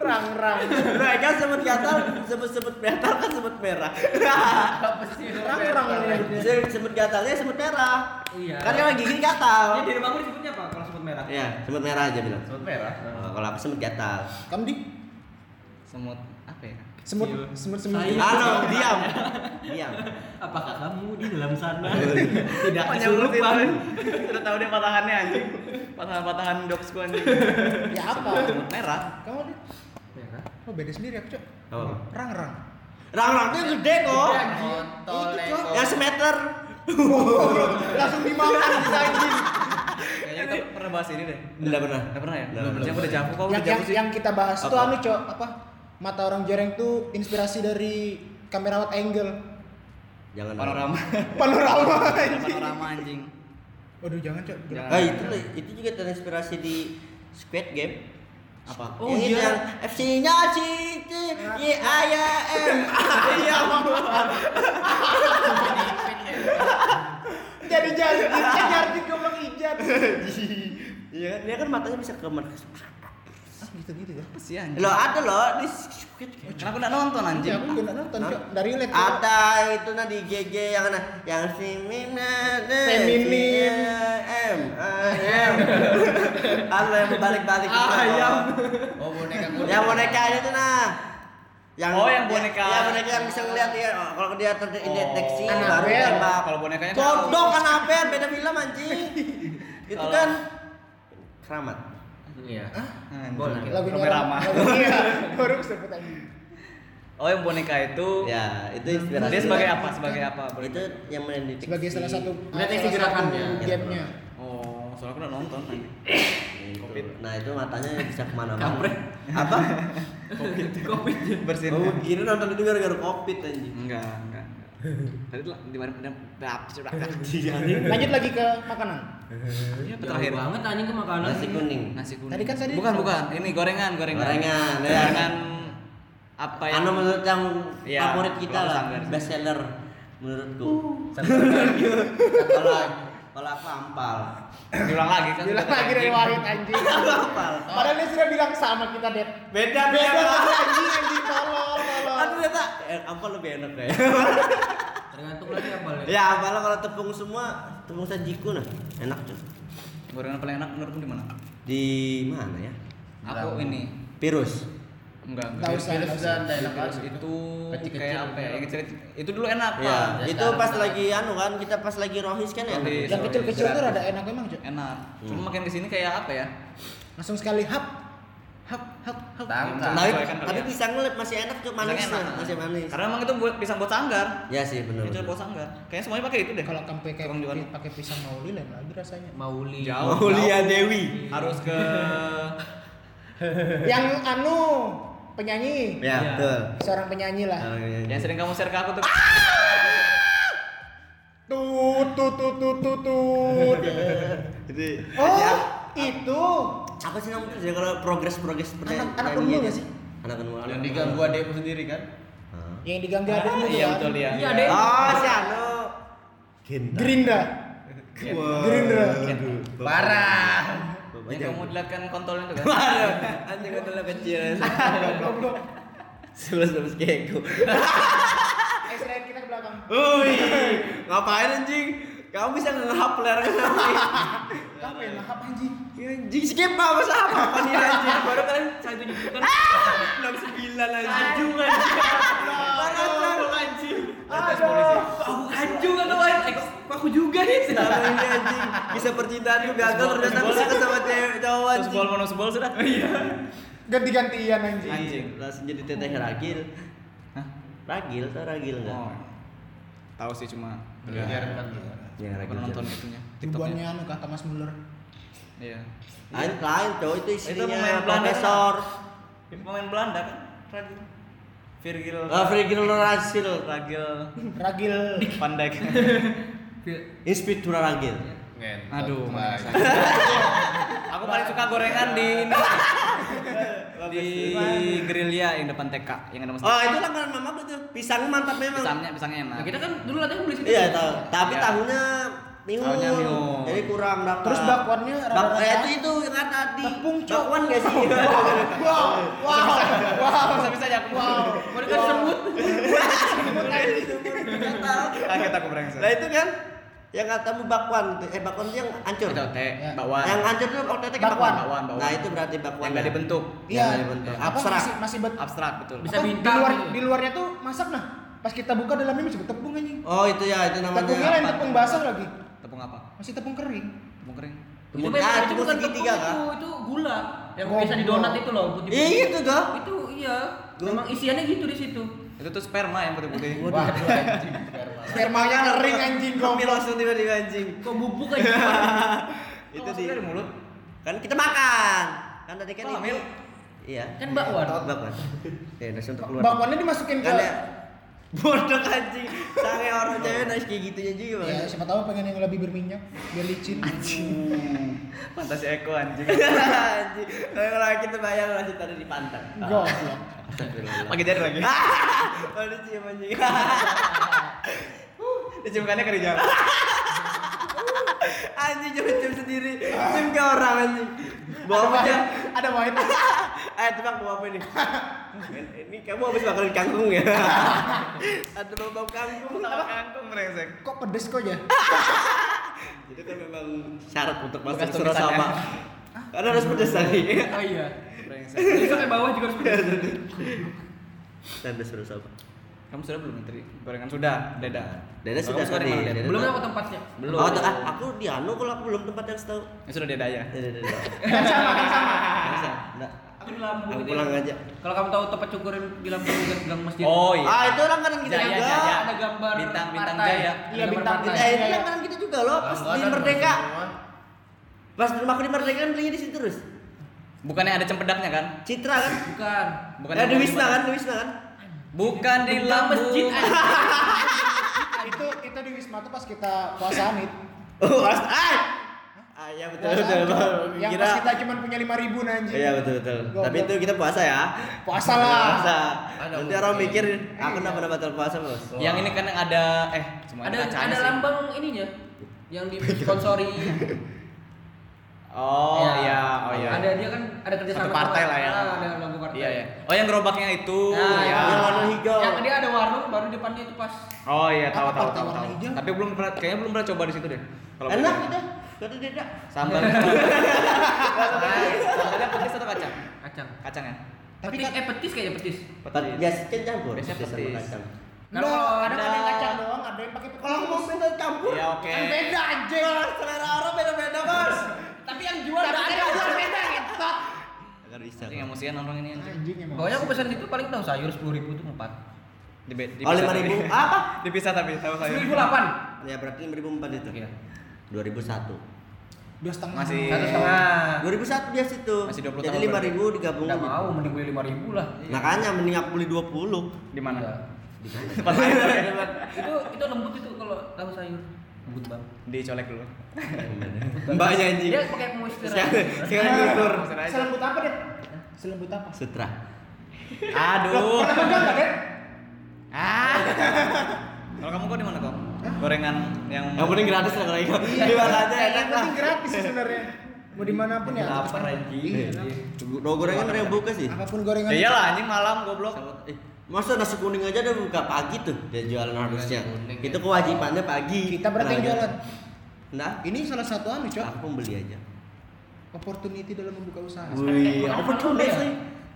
[SPEAKER 2] rang-rang.
[SPEAKER 1] Mereka Nah, kan sebut kata, sebut-sebut metal kan sebut merah.
[SPEAKER 3] Apa sih?
[SPEAKER 2] Rang-rang ini.
[SPEAKER 1] Sebut- sebut gatalnya sebut merah.
[SPEAKER 6] Iya.
[SPEAKER 1] Kan yang lagi gini gatal.
[SPEAKER 6] Ini di rumahku disebutnya apa? Kalau sebut merah.
[SPEAKER 1] Iya, sebut merah aja bilang.
[SPEAKER 3] Semut merah.
[SPEAKER 1] Oh, kalau aku sebut gatal.
[SPEAKER 2] Kamu di
[SPEAKER 5] Semut apa ya?
[SPEAKER 2] semut semut semut.
[SPEAKER 6] Sayur.
[SPEAKER 1] Halo, diam. Diam.
[SPEAKER 6] Apakah kamu di dalam sana
[SPEAKER 5] Iya.
[SPEAKER 6] tidak kesurupan?
[SPEAKER 5] Panjang Sudah tahu dia patahannya anjing. Patahan-patahan dogs gua anjing.
[SPEAKER 2] Ya apa?
[SPEAKER 5] Semut merah.
[SPEAKER 2] Kamu di
[SPEAKER 6] Merah.
[SPEAKER 2] Oh beda sendiri aku, Cok.
[SPEAKER 1] Apa?
[SPEAKER 2] Rang-rang.
[SPEAKER 1] Rang-rang tuh Oh. gede
[SPEAKER 2] Iya,
[SPEAKER 1] kok.
[SPEAKER 3] Kontol
[SPEAKER 6] Oh.
[SPEAKER 3] lego.
[SPEAKER 1] Yang semeter.
[SPEAKER 2] Langsung dimakan kita anjing.
[SPEAKER 5] Kayaknya kita pernah bahas ini deh.
[SPEAKER 1] Enggak pernah.
[SPEAKER 5] Enggak pernah ya?
[SPEAKER 1] Belum, belum.
[SPEAKER 5] Yang udah jago kok udah
[SPEAKER 2] Yang yang,
[SPEAKER 5] jago sih.
[SPEAKER 2] yang kita bahas tuh
[SPEAKER 1] Apa?
[SPEAKER 2] anu, Cok, apa? Mata orang jereng tuh inspirasi dari kamera wide angle.
[SPEAKER 1] Jangan.
[SPEAKER 5] Panorama.
[SPEAKER 2] Panorama. anjing.
[SPEAKER 5] Panorama anjing.
[SPEAKER 2] Waduh, jangan, Cok.
[SPEAKER 5] Jangan.
[SPEAKER 1] Ah itu lah, itu juga terinspirasi di Squid Game.
[SPEAKER 5] Apa?
[SPEAKER 1] Oh yang iya. Yang FC-nya C C Y A Y M. Iya.
[SPEAKER 2] Jadi jadi kejar di goblok ijat.
[SPEAKER 1] Iya kan dia kan matanya bisa ke mana?
[SPEAKER 2] Ah, gitu-gitu ya.
[SPEAKER 5] Apa sih anjing?
[SPEAKER 1] Lo ada lo di Squid Game.
[SPEAKER 5] Kenapa enggak nonton
[SPEAKER 2] Ya,
[SPEAKER 5] anjing?
[SPEAKER 2] aku juga nggak nonton, Cok. Dari relate. Cok.
[SPEAKER 1] Ada itu nah di GG yang mana? Yang feminin.
[SPEAKER 2] Feminim.
[SPEAKER 1] M ayam. Ada yang balik-balik.
[SPEAKER 6] Ayam.
[SPEAKER 1] iya.
[SPEAKER 3] Oh boneka kuda.
[SPEAKER 1] Yang boneka itu nah. Yang
[SPEAKER 5] Oh, yang boneka.
[SPEAKER 1] Ya, boneka yang bisa ngeliat ya. Oh, Kalau dia terdeteksi
[SPEAKER 2] Oh.
[SPEAKER 1] baru
[SPEAKER 2] Anabel.
[SPEAKER 1] tembak.
[SPEAKER 5] Kalau bonekanya
[SPEAKER 1] Kodok kan Abel, beda film anjing. itu
[SPEAKER 5] Kalau-
[SPEAKER 1] kan keramat.
[SPEAKER 6] Iya.
[SPEAKER 5] Anjing.
[SPEAKER 6] Boleh.
[SPEAKER 2] Lagunya Iya,
[SPEAKER 5] Rame-rama.
[SPEAKER 2] Lagunya baru sebut aja.
[SPEAKER 5] Oh, yang boneka itu
[SPEAKER 1] ya itu inspirasi
[SPEAKER 5] Iya. dia sebagai apa? Sebagai ya? apa? Boleh-
[SPEAKER 1] itu yang main di
[SPEAKER 2] sebagai salah satu
[SPEAKER 4] Berarti
[SPEAKER 2] salah
[SPEAKER 4] gerakannya.
[SPEAKER 2] satu gamenya
[SPEAKER 5] Oh, soalnya aku udah nonton. anjing.
[SPEAKER 1] Itu.
[SPEAKER 5] Covid.
[SPEAKER 1] nah itu matanya bisa kemana-mana
[SPEAKER 6] Kampret.
[SPEAKER 1] apa
[SPEAKER 6] Covid. Covid.
[SPEAKER 5] Bersihin.
[SPEAKER 1] oh gini nonton itu gara-gara covid anjing
[SPEAKER 5] Enggak, enggak. Tadi tuh di mana di Iya.
[SPEAKER 2] lanjut lagi ke makanan
[SPEAKER 5] terakhir.
[SPEAKER 6] Terakhir banget anjing ke makanan.
[SPEAKER 1] nasi kuning
[SPEAKER 5] Iya, Nasi kuning.
[SPEAKER 2] Tadi kan tadi-
[SPEAKER 5] Bukan, bukan. Ini gorengan, gorengan.
[SPEAKER 1] Gorengan, ya.
[SPEAKER 5] Gorengan apa yang
[SPEAKER 1] anu menurut yang
[SPEAKER 5] Iya,
[SPEAKER 1] favorit kita
[SPEAKER 5] kalau
[SPEAKER 1] lah
[SPEAKER 5] standar.
[SPEAKER 1] best seller menurutku kalau kalau aku ampal
[SPEAKER 5] diulang lagi kan?
[SPEAKER 2] bilang
[SPEAKER 5] sudah
[SPEAKER 2] lagi dari
[SPEAKER 5] tadi.
[SPEAKER 2] Wahid anjing
[SPEAKER 1] ampal
[SPEAKER 2] padahal dia sudah bilang sama kita det
[SPEAKER 1] beda
[SPEAKER 2] beda lagi anjing anjing tolol tolol
[SPEAKER 1] aduh ternyata eh, ampal lebih enak deh
[SPEAKER 6] Tergantung lagi apa
[SPEAKER 5] Iya.
[SPEAKER 6] ya.
[SPEAKER 1] ya ampal kalau tepung semua tepung sajiku nah enak tuh
[SPEAKER 5] Gorengan paling enak menurutmu di mana?
[SPEAKER 1] di mana ya
[SPEAKER 5] Aku
[SPEAKER 3] Dalam.
[SPEAKER 5] ini.
[SPEAKER 1] virus
[SPEAKER 5] Enggak, enggak.
[SPEAKER 2] Tahu usah
[SPEAKER 3] Virus
[SPEAKER 2] nggak usah.
[SPEAKER 3] dan daerah kan
[SPEAKER 5] Itu
[SPEAKER 3] Kecil-kecil,
[SPEAKER 5] kayak apa ya?
[SPEAKER 3] merah.
[SPEAKER 5] Yang kecil- Itu dulu enak,
[SPEAKER 2] Iya.
[SPEAKER 5] Pak.
[SPEAKER 1] ya,
[SPEAKER 3] ya
[SPEAKER 1] itu
[SPEAKER 3] sekarang
[SPEAKER 1] pas
[SPEAKER 3] udah.
[SPEAKER 1] lagi anu kan kita pas lagi rohis kan ya
[SPEAKER 5] Rohis.
[SPEAKER 2] yang kecil-kecil tuh rada enak emang Cok.
[SPEAKER 5] Enak. Cuma
[SPEAKER 1] Hmm.
[SPEAKER 5] makin kesini kayak apa ya?
[SPEAKER 2] langsung sekali hap
[SPEAKER 5] Hap, hap, hap.
[SPEAKER 3] Tangga.
[SPEAKER 1] tapi,
[SPEAKER 5] Menyesuaikan kali
[SPEAKER 1] tapi
[SPEAKER 5] ya.
[SPEAKER 1] pisang lep masih enak tuh
[SPEAKER 5] Pisangnya
[SPEAKER 1] manisnya
[SPEAKER 5] enak.
[SPEAKER 1] masih manis
[SPEAKER 5] Karena emang itu buat pisang buat sanggar.
[SPEAKER 1] ya sih benar
[SPEAKER 5] Itu buat sanggar. Kayaknya semuanya pakai itu deh.
[SPEAKER 2] kalau kamu pakai
[SPEAKER 5] Tukang jualan.
[SPEAKER 2] pakai pisang mauli lain lagi rasanya
[SPEAKER 6] Mauli.
[SPEAKER 5] Jauh.
[SPEAKER 1] Maulia
[SPEAKER 5] jauh.
[SPEAKER 1] Dewi
[SPEAKER 5] Harus ke
[SPEAKER 2] yang anu penyanyi
[SPEAKER 1] ya betul
[SPEAKER 2] seorang penyanyi
[SPEAKER 3] Oh,
[SPEAKER 2] lah
[SPEAKER 3] iya,
[SPEAKER 5] yang sering kamu share ke aku tuh.
[SPEAKER 1] Ah!
[SPEAKER 2] tut tut tut tut tut tut
[SPEAKER 1] jadi
[SPEAKER 2] oh itu
[SPEAKER 1] apa sih namanya ya kalau progres progres
[SPEAKER 2] Anak- anak unmul nggak sih?
[SPEAKER 1] anak unmul
[SPEAKER 3] Yang diganggu adekmu sendiri kan?
[SPEAKER 1] Hah?
[SPEAKER 2] yang diganggu ada
[SPEAKER 5] Iya betul dia.
[SPEAKER 6] Iya, Dek.
[SPEAKER 1] oh si anu Ginta.
[SPEAKER 2] Ah, Gerinda
[SPEAKER 1] Wah.
[SPEAKER 2] Gerindra.
[SPEAKER 1] Aduh, bapak.
[SPEAKER 3] Parah.
[SPEAKER 1] Bapak
[SPEAKER 5] Yang kamu
[SPEAKER 1] jangan.
[SPEAKER 5] dilihatkan kontolnya itu kan.
[SPEAKER 1] Waduh, anjing gue telah kecil. Sebelas sebelas keko.
[SPEAKER 2] eh selain kita ke belakang
[SPEAKER 1] Ui, ngapain anjing? Kamu bisa nge-hap ler kenapa?
[SPEAKER 2] kamu yang mahap anjing
[SPEAKER 1] Anjing skip apa masa apa? Apa nih anjing? Baru kalian kan?
[SPEAKER 6] Satu juta.
[SPEAKER 1] Ah! enam sembilan anjing.
[SPEAKER 6] Anjung anjing.
[SPEAKER 1] Baru anjing.
[SPEAKER 5] Atas polisi.
[SPEAKER 6] Aku anjung atau anjing? Aku juga nih.
[SPEAKER 1] Tahu ini anjing. Kisah percintaanku gagal ternyata aku suka sama cewek cowok
[SPEAKER 5] Terus
[SPEAKER 1] anjing. Oh iya.
[SPEAKER 5] bol bonus bol sudah.
[SPEAKER 2] ganti-gantian anjing
[SPEAKER 5] Anjing.
[SPEAKER 1] Langsung jadi teteh ragil.
[SPEAKER 5] Hah?
[SPEAKER 1] Ragil tau ragil enggak?
[SPEAKER 5] Oh. Iya. Tahu sih cuma
[SPEAKER 3] Beliau diharapkan.
[SPEAKER 1] Ya
[SPEAKER 5] aku nonton itunya
[SPEAKER 2] Tujuannya
[SPEAKER 5] TikToknya.
[SPEAKER 2] anu kata Mas Muller
[SPEAKER 5] Iya.
[SPEAKER 1] Lain lain cowok itu
[SPEAKER 5] Itu
[SPEAKER 1] istrinya
[SPEAKER 5] pemain Belanda.
[SPEAKER 1] iya, profesor.
[SPEAKER 5] Pemain Belanda kan? Ragil. Virgil.
[SPEAKER 1] Ah, Virgil Norasil.
[SPEAKER 5] Ragil
[SPEAKER 2] Ragil
[SPEAKER 5] Pandai.
[SPEAKER 1] Inspitura ragil.
[SPEAKER 5] Iya.
[SPEAKER 3] Ngentot,
[SPEAKER 5] Aduh,
[SPEAKER 3] Mas.
[SPEAKER 5] Aku paling suka gorengan di ini. di gerilya yang depan TK yang
[SPEAKER 1] Oh,
[SPEAKER 5] ada mesin.
[SPEAKER 1] itu langganan mamaku tuh. Pisang mantap memang.
[SPEAKER 5] Pisangnya, pisangnya enak.
[SPEAKER 6] Nah, kita kan dulu latihan beli situ.
[SPEAKER 1] Iya tahu. Tapi
[SPEAKER 5] Iya.
[SPEAKER 1] tahunya mihun.
[SPEAKER 5] Tahunya mihun.
[SPEAKER 1] Jadi kurang dapat.
[SPEAKER 2] Terus bakwannya
[SPEAKER 1] Bak
[SPEAKER 2] rada-rada-
[SPEAKER 1] eh, itu itu yang kan tadi.
[SPEAKER 2] Tepung, Cok. Iya,
[SPEAKER 1] Bakwan nggak sih?
[SPEAKER 2] wow wow wow
[SPEAKER 5] bisa aja aku. Wow.
[SPEAKER 6] Mau
[SPEAKER 2] Iya.
[SPEAKER 6] dekat semut.
[SPEAKER 5] Kaget aku brengsek.
[SPEAKER 1] Nah itu kan yang katamu bakwan eh bakwan itu yang hancur.
[SPEAKER 5] Itu teh,
[SPEAKER 2] Ya.
[SPEAKER 5] bakwan.
[SPEAKER 1] Yang hancur itu otaknya kayak
[SPEAKER 2] Bakwan.
[SPEAKER 5] Bakwan, bakwan.
[SPEAKER 1] Nah itu berarti bakwan.
[SPEAKER 5] Yang nggak dibentuk.
[SPEAKER 1] Iya.
[SPEAKER 2] Iya.
[SPEAKER 1] dibentuk.
[SPEAKER 2] Apa,
[SPEAKER 1] Abstrak.
[SPEAKER 2] masih masih bet-
[SPEAKER 5] Abstrak betul.
[SPEAKER 6] Bisa
[SPEAKER 2] apa,
[SPEAKER 6] bintang
[SPEAKER 2] di luar
[SPEAKER 6] gitu.
[SPEAKER 2] di luarnya tuh masak nah pas kita buka dalamnya masih tepung anjing
[SPEAKER 1] Oh itu ya itu namanya.
[SPEAKER 2] tepungnya lain
[SPEAKER 5] apa?
[SPEAKER 2] tepung basah lagi
[SPEAKER 5] Tepung apa?
[SPEAKER 2] masih tepung kering
[SPEAKER 5] Tepung kering.
[SPEAKER 1] Tepung-
[SPEAKER 6] beda,
[SPEAKER 1] ah, tepung segitiga
[SPEAKER 6] tepung,
[SPEAKER 1] kah?
[SPEAKER 6] Itu, itu gula yang
[SPEAKER 2] Goblok.
[SPEAKER 6] bisa di donat itu loh putih.
[SPEAKER 1] Iya itu dah.
[SPEAKER 6] Itu iya. Memang isiannya gitu di situ.
[SPEAKER 5] Itu tuh sperma yang putih-putih.
[SPEAKER 3] Wah, anjing, sperma.
[SPEAKER 2] spermanya kering anjing
[SPEAKER 1] Kopi
[SPEAKER 2] goblok
[SPEAKER 1] langsung tiba-tiba anjing.
[SPEAKER 6] Kok bubuk aja.
[SPEAKER 1] Itu di
[SPEAKER 5] maksudnya dari mulut.
[SPEAKER 1] Kan kita makan. Kan tadi kan
[SPEAKER 5] Kok hamil?
[SPEAKER 1] Iya.
[SPEAKER 6] Kan bakwan.
[SPEAKER 1] Bakwan. Ya udah untuk keluar.
[SPEAKER 2] bakwannya dimasukin ke
[SPEAKER 1] Kan ya. Bodoh anjing. Sange orang cewek nangis kayak gitunya juga. Bang.
[SPEAKER 2] ya siapa tahu pengen yang lebih berminyak biar licin
[SPEAKER 5] Fantasi ya, Eko anjing.
[SPEAKER 1] Anjing. Kalau kita bayang lanjut tadi di pantai.
[SPEAKER 2] goblok
[SPEAKER 5] Pakai jari lagi.
[SPEAKER 1] Oh, dia cium anjing.
[SPEAKER 5] Diciumkannya kering jam.
[SPEAKER 1] Anjing cuma cium sendiri. Cium ke orang anjing. Bawa
[SPEAKER 2] ada
[SPEAKER 1] apa? Cak?
[SPEAKER 2] wahid ada wahid
[SPEAKER 1] Ayo tebak bawa apa ini? ini kamu habis makan kangkung ya? Ada bau bau kangkung.
[SPEAKER 5] Kangkung brengsek.
[SPEAKER 2] kok pedes kok ya
[SPEAKER 1] Itu kan memang syarat untuk masuk
[SPEAKER 5] Bekas
[SPEAKER 1] ke Surasama.
[SPEAKER 5] tulisannya.
[SPEAKER 1] Karena harus pedes tadi.
[SPEAKER 6] Oh iya.
[SPEAKER 5] Brengsek.
[SPEAKER 6] Jadi sampai bawah juga harus pedas.
[SPEAKER 1] Tanda Surasama.
[SPEAKER 5] Kamu sudah belum Tri? Gorengan sudah, dada.
[SPEAKER 1] Dada
[SPEAKER 5] Kamu
[SPEAKER 1] sudah
[SPEAKER 5] suka
[SPEAKER 1] tadi,
[SPEAKER 5] di mana, Dada?
[SPEAKER 1] dada
[SPEAKER 6] Belum
[SPEAKER 1] sudah.
[SPEAKER 6] apa tempatnya?
[SPEAKER 5] Belum.
[SPEAKER 1] Oh, tuh, ah, aku di anu kalau aku belum tempat yang setahu.
[SPEAKER 5] Ya sudah dada aja.
[SPEAKER 1] Ya, ya, ya, ya.
[SPEAKER 2] kan sama kan sama
[SPEAKER 1] Nggak bisa. Nggak.
[SPEAKER 2] aku
[SPEAKER 6] itu di Lampung
[SPEAKER 1] Aku
[SPEAKER 6] itu.
[SPEAKER 1] pulang aja.
[SPEAKER 6] Kalau kamu tahu tempat cukurin di Lampung dekat gang masjid.
[SPEAKER 5] Oh iya.
[SPEAKER 1] Ah itu orang kanan kita
[SPEAKER 5] Jaya,
[SPEAKER 1] juga.
[SPEAKER 5] Jaya.
[SPEAKER 6] Ada gambar
[SPEAKER 5] Bintang, bintang
[SPEAKER 6] partai.
[SPEAKER 5] Jaya.
[SPEAKER 6] Ada
[SPEAKER 2] Iya,
[SPEAKER 6] gambar
[SPEAKER 2] bintang,
[SPEAKER 6] partai.
[SPEAKER 2] bintang.
[SPEAKER 1] Eh itu yang kanan kita juga loh. Pas di
[SPEAKER 3] Langganan
[SPEAKER 1] Merdeka.
[SPEAKER 3] semua.
[SPEAKER 1] Pas di rumah aku di Merdeka kan belinya di situ terus.
[SPEAKER 5] Bukannya ada cempedaknya kan?
[SPEAKER 1] Citra kan?
[SPEAKER 6] Bukan.
[SPEAKER 5] Bukan
[SPEAKER 1] eh,
[SPEAKER 5] yang
[SPEAKER 1] di
[SPEAKER 5] mau
[SPEAKER 1] Wisna
[SPEAKER 5] gimana?
[SPEAKER 1] kan, di Wisna kan?
[SPEAKER 5] Bukan di
[SPEAKER 6] Bintang
[SPEAKER 5] Lampung.
[SPEAKER 6] masjid. anjing.
[SPEAKER 2] itu itu di wisma tuh pas kita puasa amit
[SPEAKER 1] Oh, as ah. Ah iya betul
[SPEAKER 2] Puasa
[SPEAKER 1] betul.
[SPEAKER 2] amit. yang
[SPEAKER 1] Kira
[SPEAKER 2] pas kita cuma punya lima ribu nanti
[SPEAKER 1] Iya betul betul.
[SPEAKER 2] Goblok.
[SPEAKER 1] Tapi itu kita puasa ya.
[SPEAKER 2] Puasa lah.
[SPEAKER 1] Puasa.
[SPEAKER 3] Ada
[SPEAKER 1] Nanti
[SPEAKER 3] bukti.
[SPEAKER 1] orang mikir aku enggak pernah batal puasa, Bos.
[SPEAKER 5] Yang ini kan ada eh semuanya
[SPEAKER 6] Ada
[SPEAKER 5] kacanya
[SPEAKER 6] ada
[SPEAKER 5] sih.
[SPEAKER 6] lambang ininya yang disponsori.
[SPEAKER 5] Oh
[SPEAKER 6] Ya.
[SPEAKER 5] iya, oh iya.
[SPEAKER 6] Ada dia kan ada kerja
[SPEAKER 5] satu
[SPEAKER 6] sama
[SPEAKER 5] partai lah ya.
[SPEAKER 6] Ah, Ada logo partai.
[SPEAKER 5] Iya, iya. Oh yang gerobaknya itu.
[SPEAKER 6] Nah,
[SPEAKER 5] ya.
[SPEAKER 1] yang warna hijau.
[SPEAKER 6] Yang dia ada warung baru depannya itu pas
[SPEAKER 5] Oh iya, tahu
[SPEAKER 2] Apa
[SPEAKER 5] tahu
[SPEAKER 2] partai
[SPEAKER 5] tahu.
[SPEAKER 2] warna
[SPEAKER 5] tahu.
[SPEAKER 2] hijau?
[SPEAKER 5] Tapi belum pernah kayaknya belum pernah coba di situ deh. Kalau
[SPEAKER 1] Enak
[SPEAKER 5] boleh.
[SPEAKER 1] kita. Kata dia enggak.
[SPEAKER 5] Sambal. Sambalnya petis atau kacang?
[SPEAKER 6] kacang.
[SPEAKER 5] Kacang ya?
[SPEAKER 2] Tapi
[SPEAKER 6] Petis, eh petis kayaknya petis.
[SPEAKER 1] Biasanya campur.
[SPEAKER 5] Biasanya
[SPEAKER 1] Biasanya
[SPEAKER 5] petis.
[SPEAKER 1] kacang.
[SPEAKER 2] Enggak,
[SPEAKER 6] Kalau
[SPEAKER 2] ada
[SPEAKER 5] ada-
[SPEAKER 2] kan yang kacang doang, ada yang pakai
[SPEAKER 1] Kalau aku mau
[SPEAKER 2] pepes.
[SPEAKER 1] minta campur.
[SPEAKER 5] Iya, oke.
[SPEAKER 2] Kan beda aja.
[SPEAKER 1] Selera orang beda-beda, Bos.
[SPEAKER 6] Tapi yang jual
[SPEAKER 2] Tapi
[SPEAKER 6] enggak
[SPEAKER 2] kan
[SPEAKER 6] ada.
[SPEAKER 2] yang luar beda
[SPEAKER 5] gitu.
[SPEAKER 2] ngetot.
[SPEAKER 1] Agar bisa.
[SPEAKER 5] Anjing emosian orang ini anjing.
[SPEAKER 2] Anjing emang.
[SPEAKER 6] Pokoknya aku pesan itu paling tahu sayur 10.000 itu empat.
[SPEAKER 5] Di, di
[SPEAKER 1] Oh, 5.000. Apa?
[SPEAKER 5] Dipisah tapi tahu saya.
[SPEAKER 6] 1008.
[SPEAKER 1] Ya berarti 5.004 itu.
[SPEAKER 6] Iya.
[SPEAKER 1] 2001.
[SPEAKER 2] Dua setengah.
[SPEAKER 5] Masih
[SPEAKER 6] Satu setengah.
[SPEAKER 1] 2001 dia situ.
[SPEAKER 5] Masih 20
[SPEAKER 1] Jadi
[SPEAKER 5] tahun
[SPEAKER 1] 5.000 digabung. Nah, kan?
[SPEAKER 6] Enggak mau mending beli 5.000 lah.
[SPEAKER 1] Makanya mending aku beli 20.
[SPEAKER 5] di mana?
[SPEAKER 6] Iya.
[SPEAKER 5] Tempat lain.
[SPEAKER 6] itu itu lembut itu kalau tahu sayur. Lembut banget.
[SPEAKER 5] Dicolek dulu.
[SPEAKER 1] Mbaknya ya, anjing.
[SPEAKER 6] Dia pakai moisturizer.
[SPEAKER 1] Sekarang sekarang tutur.
[SPEAKER 2] Selembut apa, Dep? Selembut apa?
[SPEAKER 1] Sutra.
[SPEAKER 5] Aduh.
[SPEAKER 2] Pernah pegang enggak, Dep?
[SPEAKER 5] Ah. Kalau kamu kok di mana kok? Gorengan yang
[SPEAKER 1] Yang penting gratis lah kalau itu. Di mana aja enak
[SPEAKER 2] Iya, Yang
[SPEAKER 1] lah.
[SPEAKER 2] penting gratis sih sebenarnya. Mau dimanapun ya.
[SPEAKER 6] Lapar anjing.
[SPEAKER 1] Iya. Dua gorengan ada yang buka sih.
[SPEAKER 2] Apapun gorengan.
[SPEAKER 5] Ya
[SPEAKER 1] Iya.
[SPEAKER 5] iyalah anjing malam goblok.
[SPEAKER 1] Sama- eh, Masa nasi kuning aja dia buka pagi tuh dia jualan harusnya.
[SPEAKER 6] kuning,
[SPEAKER 1] Itu kewajibannya pagi.
[SPEAKER 2] Kita berarti yang
[SPEAKER 1] Nah,
[SPEAKER 2] jualan.
[SPEAKER 1] Nah,
[SPEAKER 2] Ini salah satu anu, Cok.
[SPEAKER 1] aku beli aja.
[SPEAKER 2] Opportunity dalam membuka usaha.
[SPEAKER 1] Wih,
[SPEAKER 6] makan
[SPEAKER 1] apa
[SPEAKER 6] malam
[SPEAKER 1] cuma
[SPEAKER 6] ya?
[SPEAKER 1] sih?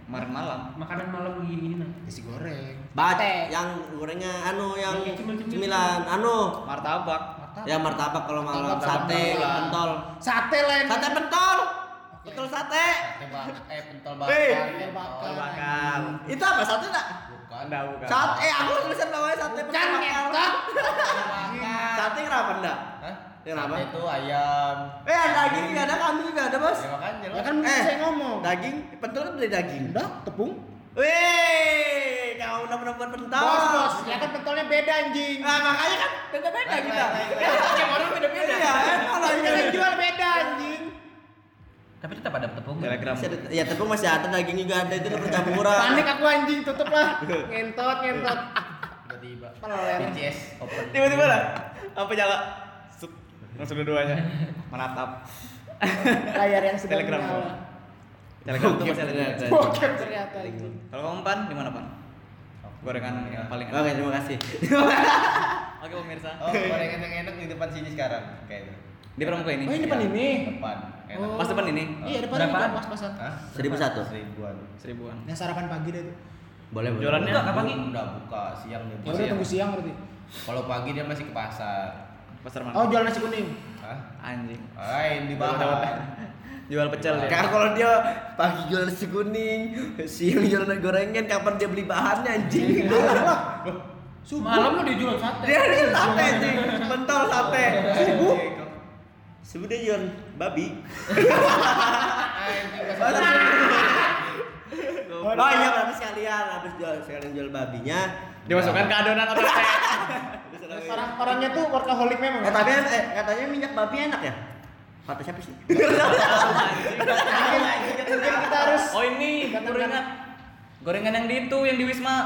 [SPEAKER 5] Kemarin malam.
[SPEAKER 6] Makanan malam begini nah.
[SPEAKER 2] Nasi goreng.
[SPEAKER 1] Bate, yang gorengan anu yang
[SPEAKER 6] Yang cemil-cemil.
[SPEAKER 1] cemilan anu.
[SPEAKER 5] Martabak.
[SPEAKER 2] Mata.
[SPEAKER 1] Ya martabak kalau malam
[SPEAKER 2] Martabak,
[SPEAKER 1] sate
[SPEAKER 2] martabak.
[SPEAKER 1] pentol.
[SPEAKER 2] Sate lain.
[SPEAKER 1] Sate pentol. Betul sate.
[SPEAKER 3] Eh pentol
[SPEAKER 1] Hei.
[SPEAKER 2] Sate bakar.
[SPEAKER 1] Oh,
[SPEAKER 5] Bakar.
[SPEAKER 1] Itu apa sate enggak?
[SPEAKER 3] Bukan.
[SPEAKER 5] Anda bukan.
[SPEAKER 1] Sate eh aku tulisan namanya sate
[SPEAKER 2] Kan
[SPEAKER 1] pentol.
[SPEAKER 2] ngetot.
[SPEAKER 1] Sate kenapa enggak?
[SPEAKER 3] Hah?
[SPEAKER 1] Kenapa?
[SPEAKER 3] Sate Itu ayam.
[SPEAKER 1] Eh ada daging enggak ada kambing enggak ada, Bos.
[SPEAKER 3] Ya makanya
[SPEAKER 2] Ya
[SPEAKER 3] lah.
[SPEAKER 2] kan mungkin
[SPEAKER 1] Eh.
[SPEAKER 2] saya ngomong.
[SPEAKER 1] Daging pentol kan beli daging.
[SPEAKER 2] Udah, tepung.
[SPEAKER 1] Wih, kamu Eh, udah pernah buat pentol.
[SPEAKER 2] Bos, bos, ya kan pentolnya beda anjing.
[SPEAKER 1] Nah, makanya kan beda-beda
[SPEAKER 3] Baik,
[SPEAKER 1] kita.
[SPEAKER 3] baik,
[SPEAKER 1] Tiap orang beda-beda. Iya, emang lah
[SPEAKER 2] Kita
[SPEAKER 1] ini.
[SPEAKER 2] kan jual beda anjing.
[SPEAKER 6] Tapi tetap ada tepung.
[SPEAKER 5] Telegram.
[SPEAKER 1] Masih ada- Ya tepung masih ada, daging juga ada, itu udah percampuran.
[SPEAKER 2] Panik aku anjing, tutup lah. Ngentot, ngentot.
[SPEAKER 3] Tiba-tiba.
[SPEAKER 2] Peler.
[SPEAKER 3] BTS open.
[SPEAKER 5] Tiba-tiba lah. Apa nyala? Sup. Langsung dua-duanya. Menatap.
[SPEAKER 2] Layar yang sedang
[SPEAKER 5] Telegram.
[SPEAKER 2] menyala.
[SPEAKER 5] Telegram tuh masih ada. di-
[SPEAKER 2] Bokep ternyata anjing.
[SPEAKER 5] Kalau kamu pan di mana pan? Gorengan yang paling
[SPEAKER 1] Oke,
[SPEAKER 5] enak.
[SPEAKER 1] terima kasih.
[SPEAKER 5] Oke pemirsa.
[SPEAKER 3] Oh, gorengan yang enak di depan sini sekarang kayaknya.
[SPEAKER 5] Di pramuka ini.
[SPEAKER 2] Oh, ini depan ini.
[SPEAKER 3] Depan. Enak.
[SPEAKER 5] Iya.
[SPEAKER 6] Oh.
[SPEAKER 5] Pas depan ini.
[SPEAKER 2] Iya, depan ini
[SPEAKER 6] Berapaan?
[SPEAKER 2] kan pas-pasan.
[SPEAKER 3] Hah?
[SPEAKER 1] Seribu satu.
[SPEAKER 3] Seribuan.
[SPEAKER 5] Seribuan.
[SPEAKER 2] Yang sarapan pagi deh tuh.
[SPEAKER 1] Boleh, boleh.
[SPEAKER 5] Jualannya
[SPEAKER 6] Buka kapan nih?
[SPEAKER 3] Udah buka siang dia.
[SPEAKER 2] Ya udah tunggu siang berarti.
[SPEAKER 3] Kalau pagi dia masih ke pasar.
[SPEAKER 5] Pasar
[SPEAKER 2] Oh,
[SPEAKER 5] mana?
[SPEAKER 2] jual nasi kuning.
[SPEAKER 3] Hah?
[SPEAKER 5] Anjing.
[SPEAKER 3] Lain di
[SPEAKER 5] Dapat-dapat.
[SPEAKER 3] bawah.
[SPEAKER 5] Jual pecel dia.
[SPEAKER 1] Karena kalau dia pagi jualan nasi kuning, siang jualan gorengan, kapan dia beli bahannya anjing?
[SPEAKER 2] Subuh.
[SPEAKER 6] Malam lo dia jual sate.
[SPEAKER 1] Dia ada sate anjing, pentol sate. Subuh. Subuh dia jualan babi. Oh iya, berarti sekalian habis jual sekalian jual babinya.
[SPEAKER 5] Dimasukkan ke adonan atau teh.
[SPEAKER 1] Terus ada-
[SPEAKER 2] Orang orangnya Nah, tuh workaholic memang.
[SPEAKER 1] Eh tapi eh, katanya minyak babi enak ya? Kata siapa sih?
[SPEAKER 2] Mungkin kita harus
[SPEAKER 5] Oh ini gorengan. Gorengan yang di itu yang di Wisma.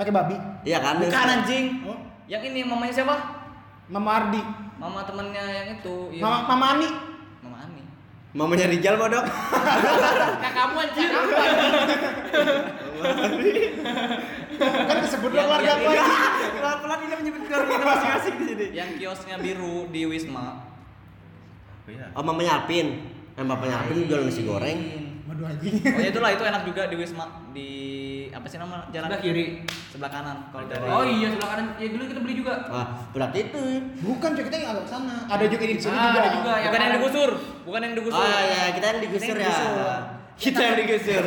[SPEAKER 2] pakai babi.
[SPEAKER 1] Iya kan?
[SPEAKER 5] Bukan anjing.
[SPEAKER 2] Oh,
[SPEAKER 5] Yang ini mamanya siapa?
[SPEAKER 2] Mama Ardi.
[SPEAKER 5] Mama temennya yang itu. iya.
[SPEAKER 2] Mama Mama Ani.
[SPEAKER 5] Mama Ani.
[SPEAKER 1] Mamanya Rijal bodoh.
[SPEAKER 6] Kakak kamu anjir.
[SPEAKER 2] Kan disebut
[SPEAKER 5] Yang-
[SPEAKER 2] keluarga
[SPEAKER 5] yang
[SPEAKER 6] iya,
[SPEAKER 2] gua.
[SPEAKER 5] ini.
[SPEAKER 2] anjing.
[SPEAKER 1] Pelan-pelan dia menyebut keluarga kita masing-masing di sini.
[SPEAKER 5] Yang kiosnya biru di Wisma.
[SPEAKER 1] Oh, mamanya Alvin. Yang bapaknya Alvin jualan nasi goreng.
[SPEAKER 2] Waduh anjing.
[SPEAKER 5] Oh ya itulah itu enak juga di Wisma di apa sih nama jalan
[SPEAKER 6] Sebelah kiri.
[SPEAKER 5] sebelah kanan kalau dari
[SPEAKER 6] Oh iya sebelah kanan. Ya dulu kita beli juga.
[SPEAKER 1] Wah, berarti itu.
[SPEAKER 2] Bukan, Cok, kita yang agak sana. Ada juga di sini
[SPEAKER 6] Ah,
[SPEAKER 2] juga.
[SPEAKER 6] ada juga.
[SPEAKER 5] bukan yang digusur bukan yang digusur
[SPEAKER 1] Oh ya, Oh, iya, kita yang digusur
[SPEAKER 5] Kita yang
[SPEAKER 1] ya.
[SPEAKER 5] digusur. Kita yang digeser.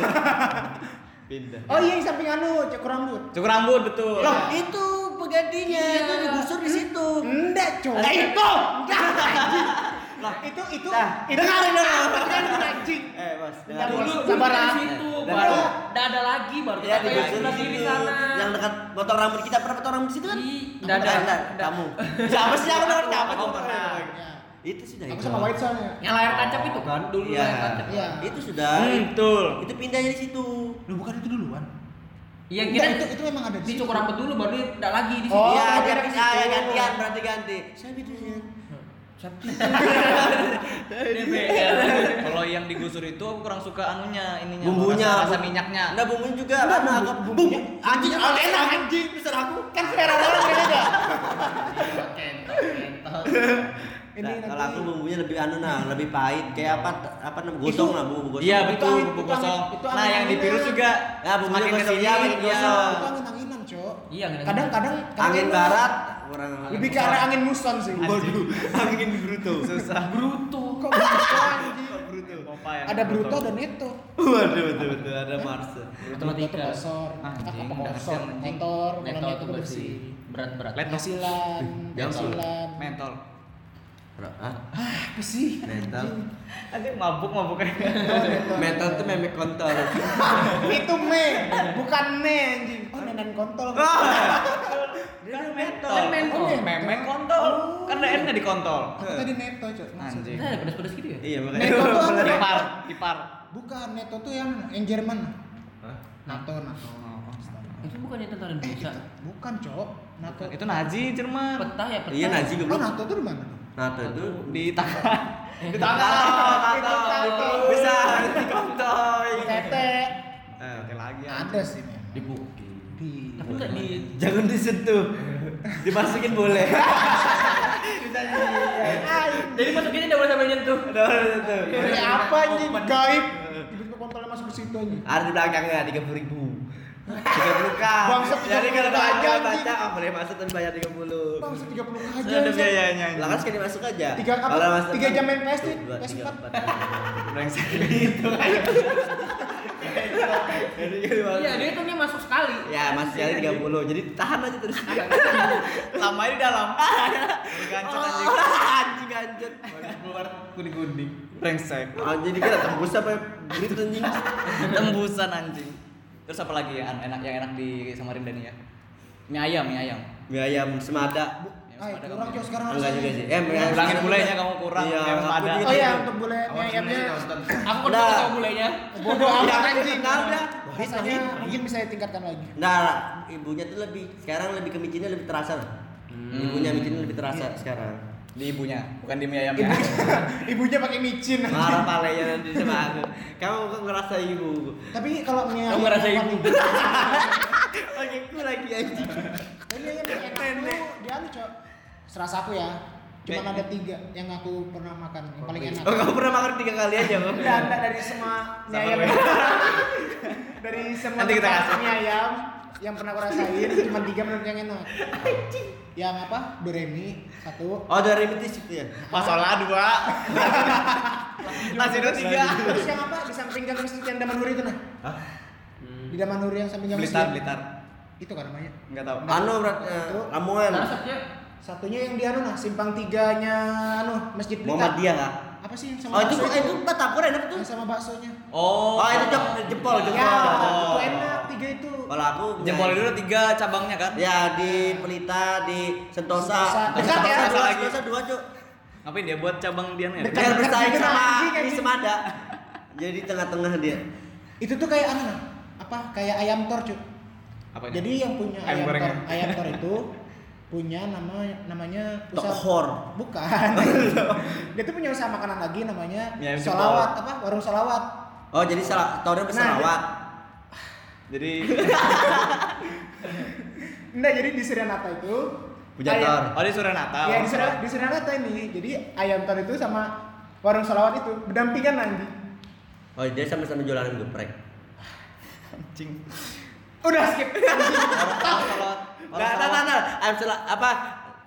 [SPEAKER 5] Pindah.
[SPEAKER 2] Oh iya yang samping anu cukur rambut.
[SPEAKER 5] Cukur rambut betul.
[SPEAKER 1] Loh, itu penggantinya Iya, itu digusur di situ.
[SPEAKER 2] Hmm? Enggak, cowok.
[SPEAKER 5] Lah, itu!
[SPEAKER 2] Lah, itu itu
[SPEAKER 5] Nah,
[SPEAKER 2] itu dengarin dengarin anjing.
[SPEAKER 1] Eh, Mas.
[SPEAKER 2] Yang
[SPEAKER 1] dengar.
[SPEAKER 2] dulu.
[SPEAKER 6] Sabar
[SPEAKER 2] Sabar,
[SPEAKER 6] ah.
[SPEAKER 2] ah.
[SPEAKER 6] Situ
[SPEAKER 1] Eh,
[SPEAKER 6] baru
[SPEAKER 1] dengar.
[SPEAKER 6] enggak ada lagi baru
[SPEAKER 5] Iya,
[SPEAKER 1] Ya,
[SPEAKER 6] kita yang
[SPEAKER 1] digusur
[SPEAKER 6] sebelah
[SPEAKER 1] di
[SPEAKER 6] kiri
[SPEAKER 1] situ.
[SPEAKER 6] sana.
[SPEAKER 1] Yang dekat potong rambut kita pernah potong rambut di situ kan?
[SPEAKER 6] Di
[SPEAKER 1] Bukan,
[SPEAKER 6] dada.
[SPEAKER 1] bukan, Kamu. Siapa sih yang Oh, pernah Iya. siapa?
[SPEAKER 5] Aku pernah.
[SPEAKER 2] Ya.
[SPEAKER 1] Itu sudah.
[SPEAKER 2] Aku sama White soalnya.
[SPEAKER 6] Yang layar tancap itu kan dulu
[SPEAKER 1] Iya.
[SPEAKER 6] layar tancap.
[SPEAKER 2] Iya.
[SPEAKER 1] Itu sudah.
[SPEAKER 5] Hmm, betul.
[SPEAKER 1] Itu pindahnya di situ.
[SPEAKER 3] Lu bukan itu duluan.
[SPEAKER 6] Iya kita
[SPEAKER 2] Enggak, itu itu memang ada di
[SPEAKER 6] dicukur
[SPEAKER 2] situ.
[SPEAKER 6] rambut dulu baru enggak lagi di
[SPEAKER 2] Oh,
[SPEAKER 6] sini.
[SPEAKER 1] Iya,
[SPEAKER 2] kira
[SPEAKER 1] jadi
[SPEAKER 2] di
[SPEAKER 1] ah, ya,
[SPEAKER 2] situ.
[SPEAKER 1] gantian berarti ganti. Saya bidunya.
[SPEAKER 6] DBL.
[SPEAKER 5] Kalau yang digusur itu aku kurang suka anunya, ininya.
[SPEAKER 1] Bumbunya.
[SPEAKER 5] rasa, rasa minyaknya.
[SPEAKER 1] Enggak bumbunya juga.
[SPEAKER 2] Enggak,
[SPEAKER 1] Nah,
[SPEAKER 2] bumbu-
[SPEAKER 1] aku-
[SPEAKER 2] bumbunya.
[SPEAKER 1] bumbu. Anjing, ah, enak anjing. Pesan aku.
[SPEAKER 2] Kan selera orang beda. Ini
[SPEAKER 1] Nah,
[SPEAKER 2] nanti
[SPEAKER 1] kalau aku bumbunya lebih anu nah, lebih pahit kayak apa apa namanya gosong lah bumbu gosong.
[SPEAKER 5] Iya
[SPEAKER 2] Itu
[SPEAKER 5] betul,
[SPEAKER 2] angin-
[SPEAKER 5] bumbu
[SPEAKER 2] itu
[SPEAKER 5] gosong.
[SPEAKER 2] angin- itu
[SPEAKER 5] Nah
[SPEAKER 2] angin-
[SPEAKER 5] yang di virus
[SPEAKER 2] anginnya.
[SPEAKER 5] juga.
[SPEAKER 1] Nah, bumbunya
[SPEAKER 5] semakin
[SPEAKER 1] gosong,
[SPEAKER 5] kesini,
[SPEAKER 1] iya, makin
[SPEAKER 5] iya.
[SPEAKER 1] gosong.
[SPEAKER 2] itu angin anginan, cowok.
[SPEAKER 6] Iya, angin-anginan.
[SPEAKER 2] Kadang-kadang
[SPEAKER 1] Angin
[SPEAKER 2] kadang-
[SPEAKER 1] barat kurang
[SPEAKER 2] Lebih ke arah angin muson sih.
[SPEAKER 5] Anjing.
[SPEAKER 1] angin bruto.
[SPEAKER 5] Susah.
[SPEAKER 6] Bruto.
[SPEAKER 2] Kok bruto anjing? ya?
[SPEAKER 5] Bruto.
[SPEAKER 2] Ada bruto dan neto.
[SPEAKER 1] Waduh betul betul ada Mars.
[SPEAKER 6] Bruto
[SPEAKER 2] Bruto itu
[SPEAKER 6] tiga.
[SPEAKER 2] kosor.
[SPEAKER 5] Anjing,
[SPEAKER 2] Apa
[SPEAKER 5] udah
[SPEAKER 2] kosor?
[SPEAKER 5] kesian, anjing.
[SPEAKER 2] Kotor, kalau
[SPEAKER 6] Netol
[SPEAKER 2] neto
[SPEAKER 6] tuh bersih.
[SPEAKER 2] bersih.
[SPEAKER 6] Berat-berat.
[SPEAKER 5] Let-
[SPEAKER 2] Penghasilan,
[SPEAKER 1] Langsung.
[SPEAKER 2] penghasilan.
[SPEAKER 5] Mentol.
[SPEAKER 1] Ah,
[SPEAKER 2] Apa sih?
[SPEAKER 1] mental.
[SPEAKER 5] Ada mabuk mabuk
[SPEAKER 1] Mental tuh memek kontol.
[SPEAKER 2] itu me, bukan ne anjing. Oh, nenan kontol.
[SPEAKER 5] Ah. Dia kan mentol.
[SPEAKER 6] Kan mentol.
[SPEAKER 5] Oh, Memek kontol. Kan
[SPEAKER 2] Oh.
[SPEAKER 5] ada N-nya di kontol.
[SPEAKER 2] Aku tadi neto, cok.
[SPEAKER 5] Anjing.
[SPEAKER 6] Nah, pedas-pedas gitu ya?
[SPEAKER 1] Iya
[SPEAKER 2] Mental tuh
[SPEAKER 1] makanya.
[SPEAKER 2] apa?
[SPEAKER 5] Ipar, ipar.
[SPEAKER 2] Bukan neto tuh yang yang Jerman. NATO, NATO.
[SPEAKER 6] Itu bukannya tentara Indonesia.
[SPEAKER 2] Bukan, cok. NATO.
[SPEAKER 5] Nah, Itu Nazi Jerman.
[SPEAKER 6] Petah ya, petah.
[SPEAKER 1] Iya Nazi
[SPEAKER 2] Oh,
[SPEAKER 1] goblok.
[SPEAKER 2] NATO tuh di mana?
[SPEAKER 1] Nah, tuh itu Ah,
[SPEAKER 5] Di tangan. Di
[SPEAKER 2] Itu NATO.
[SPEAKER 5] Bisa di kontol.
[SPEAKER 2] Tete.
[SPEAKER 1] Eh,
[SPEAKER 5] Oke lagi.
[SPEAKER 2] Ada sih, men.
[SPEAKER 6] Di bukit.
[SPEAKER 2] Di
[SPEAKER 6] Tapi enggak di
[SPEAKER 1] Jangan disentuh. Dimasukin boleh.
[SPEAKER 6] Jadi masukinnya enggak boleh sampai nyentuh.
[SPEAKER 2] Dari apa anjing? Gaib. Iya. Tiba-tiba kontolnya masuk ke situ anjing.
[SPEAKER 1] Ada di belakangnya tiga puluh ribu. Tiga puluh k.
[SPEAKER 2] Bangsat,
[SPEAKER 1] Jadi
[SPEAKER 2] 30K
[SPEAKER 1] kalau baca
[SPEAKER 2] aja,
[SPEAKER 1] baca nggak boleh masuk tapi bayar tiga puluh.
[SPEAKER 2] Bang, 30 aja.
[SPEAKER 5] Ada
[SPEAKER 2] Ustaz.
[SPEAKER 5] biayanya.
[SPEAKER 1] Lah kan sekali masuk aja.
[SPEAKER 2] Tiga apa?
[SPEAKER 1] Kalau masuk
[SPEAKER 2] Tiga
[SPEAKER 1] kan-
[SPEAKER 2] jam main PS,
[SPEAKER 1] Satu, dua,
[SPEAKER 2] PS
[SPEAKER 1] tiga,
[SPEAKER 2] empat.
[SPEAKER 5] Brengsek.
[SPEAKER 1] Jadi kali
[SPEAKER 6] Iya,
[SPEAKER 1] masuk.
[SPEAKER 6] dia itu nih masuk sekali.
[SPEAKER 1] Ya, masih
[SPEAKER 5] Iya,
[SPEAKER 1] ada 30. Jadi tahan aja terus.
[SPEAKER 5] Lama di dalam. Gancet anjing.
[SPEAKER 1] Anjing anjing.
[SPEAKER 5] Keluar kuning-kuning. Brengsek.
[SPEAKER 1] Ah, jadi kira tembus apa gitu anjing.
[SPEAKER 5] tembusan anjing terus apa lagi ya enak yang enak di Samarinda nih ya mie ayam mie ayam
[SPEAKER 1] Mie ayam semada.
[SPEAKER 2] Ay, Eh, kurang cok sekarang harus.
[SPEAKER 1] Iya, Enggak juga sih. Eh, mie ayam
[SPEAKER 5] Kurangin
[SPEAKER 1] semada.
[SPEAKER 5] gulanya kamu kurang,
[SPEAKER 1] Iya,
[SPEAKER 5] mie ayam semada.
[SPEAKER 1] aku juga
[SPEAKER 2] Oh iya,
[SPEAKER 1] gitu.
[SPEAKER 2] untuk boleh
[SPEAKER 3] Awas
[SPEAKER 2] ayamnya.
[SPEAKER 3] mulai, Ustaz.
[SPEAKER 6] Aku kan
[SPEAKER 1] Nah.
[SPEAKER 6] sama bulenya.
[SPEAKER 2] Bodoh
[SPEAKER 1] Iya,
[SPEAKER 2] amat anjing.
[SPEAKER 1] nggak ada.
[SPEAKER 2] Rasanya mungkin bisa ditingkatkan lagi.
[SPEAKER 1] Nah, ibunya tuh lebih sekarang lebih ke micinnya lebih terasa. lah. Ibunya micinnya lebih terasa sekaram.
[SPEAKER 5] di ibunya bukan di mie ya. ayamnya
[SPEAKER 2] Ibunya pakai micin.
[SPEAKER 1] Marah palenya nanti sama aku. Kamu kok ngerasa ibu?
[SPEAKER 2] Tapi kalau mie
[SPEAKER 6] Kamu ngerasa
[SPEAKER 2] yang
[SPEAKER 6] ibu.
[SPEAKER 2] paling-
[SPEAKER 1] Oke, aku lagi anjing.
[SPEAKER 2] Tapi mie ayam yang enak dulu, dia anu cok. Serasa aku ya. Cuman ada tiga yang aku pernah makan yang paling enak.
[SPEAKER 1] Oh, kamu pernah makan tiga kali aja, Bang?
[SPEAKER 2] Enggak, enggak dari semua mie
[SPEAKER 5] Sabar,
[SPEAKER 2] ayam.
[SPEAKER 5] Bang.
[SPEAKER 2] dari semua
[SPEAKER 5] Nanti kita
[SPEAKER 2] tempat
[SPEAKER 5] kasih.
[SPEAKER 2] mie ayam yang pernah aku rasain cuma tiga menurut yang enak. Yang apa? Doremi satu.
[SPEAKER 1] Oh, dari mitis itu ya.
[SPEAKER 5] masalah dua nasi dua Ah, tiga
[SPEAKER 2] Terus yang apa? Di samping gang masjid yang Damanhuri itu nah. Di Damanhuri yang samping gang
[SPEAKER 5] blitar
[SPEAKER 2] masjid.
[SPEAKER 5] blitar
[SPEAKER 2] Itu kan namanya.
[SPEAKER 5] nggak tahu
[SPEAKER 1] Anu berarti eh,
[SPEAKER 2] Itu.
[SPEAKER 1] Lamongan.
[SPEAKER 6] Nah, satunya
[SPEAKER 2] Satunya yang di anu nah, simpang tiganya anu Masjid Blitar.
[SPEAKER 1] Muhammadiyah enggak?
[SPEAKER 2] Apa sih yang sama
[SPEAKER 1] Oh, itu
[SPEAKER 2] bakso
[SPEAKER 1] itu batagor enak tuh.
[SPEAKER 2] Yang sama baksonya.
[SPEAKER 5] oh
[SPEAKER 1] Oh, itu jep- jempol,
[SPEAKER 2] Ya, itu
[SPEAKER 1] jempol.
[SPEAKER 2] enak tiga itu.
[SPEAKER 1] Kalau aku
[SPEAKER 5] jempol dulu tiga cabangnya kan
[SPEAKER 1] Ya di Pelita, di Sentosa.
[SPEAKER 2] Sentosa. Dekat ya?
[SPEAKER 1] Sentosa,
[SPEAKER 5] Lagi.
[SPEAKER 1] Sentosa dua, Cuk.
[SPEAKER 5] ngapain dia buat cabang dia nih
[SPEAKER 1] Biar
[SPEAKER 2] Dekat
[SPEAKER 1] bersaing
[SPEAKER 2] juga
[SPEAKER 1] sama
[SPEAKER 2] lagi, kayak
[SPEAKER 1] di
[SPEAKER 2] gitu.
[SPEAKER 1] Semada. Jadi tengah-tengah dia.
[SPEAKER 2] Itu tuh kayak anu nah, apa? Kayak ayam tor, cuy.
[SPEAKER 5] apa
[SPEAKER 2] Jadi yang punya
[SPEAKER 5] Ayam
[SPEAKER 2] ayam,
[SPEAKER 5] goreng.
[SPEAKER 2] tor, ayam tor itu punya nama namanya
[SPEAKER 1] Tokhor.
[SPEAKER 2] Bukan. Dia tuh punya usaha makanan lagi namanya
[SPEAKER 5] Mie ayam Iya, jempol.
[SPEAKER 2] Solawat apa? Warung Solawat.
[SPEAKER 1] Oh, jadi salah tahunnya berselawat.
[SPEAKER 5] jadi
[SPEAKER 2] Nah, jadi di Surinata itu
[SPEAKER 1] Punya
[SPEAKER 2] ayam-
[SPEAKER 1] tor.
[SPEAKER 5] oh di Suranata
[SPEAKER 2] Ya di Surinata, di Surinata ini. Jadi ayam tor itu sama warung Solawat itu berdampingan nanti.
[SPEAKER 1] Oh, dia sama-sama jualan geprek.
[SPEAKER 5] anjing
[SPEAKER 2] Udah skip.
[SPEAKER 1] Nah, nah, nah, nah. Am- sela- apa?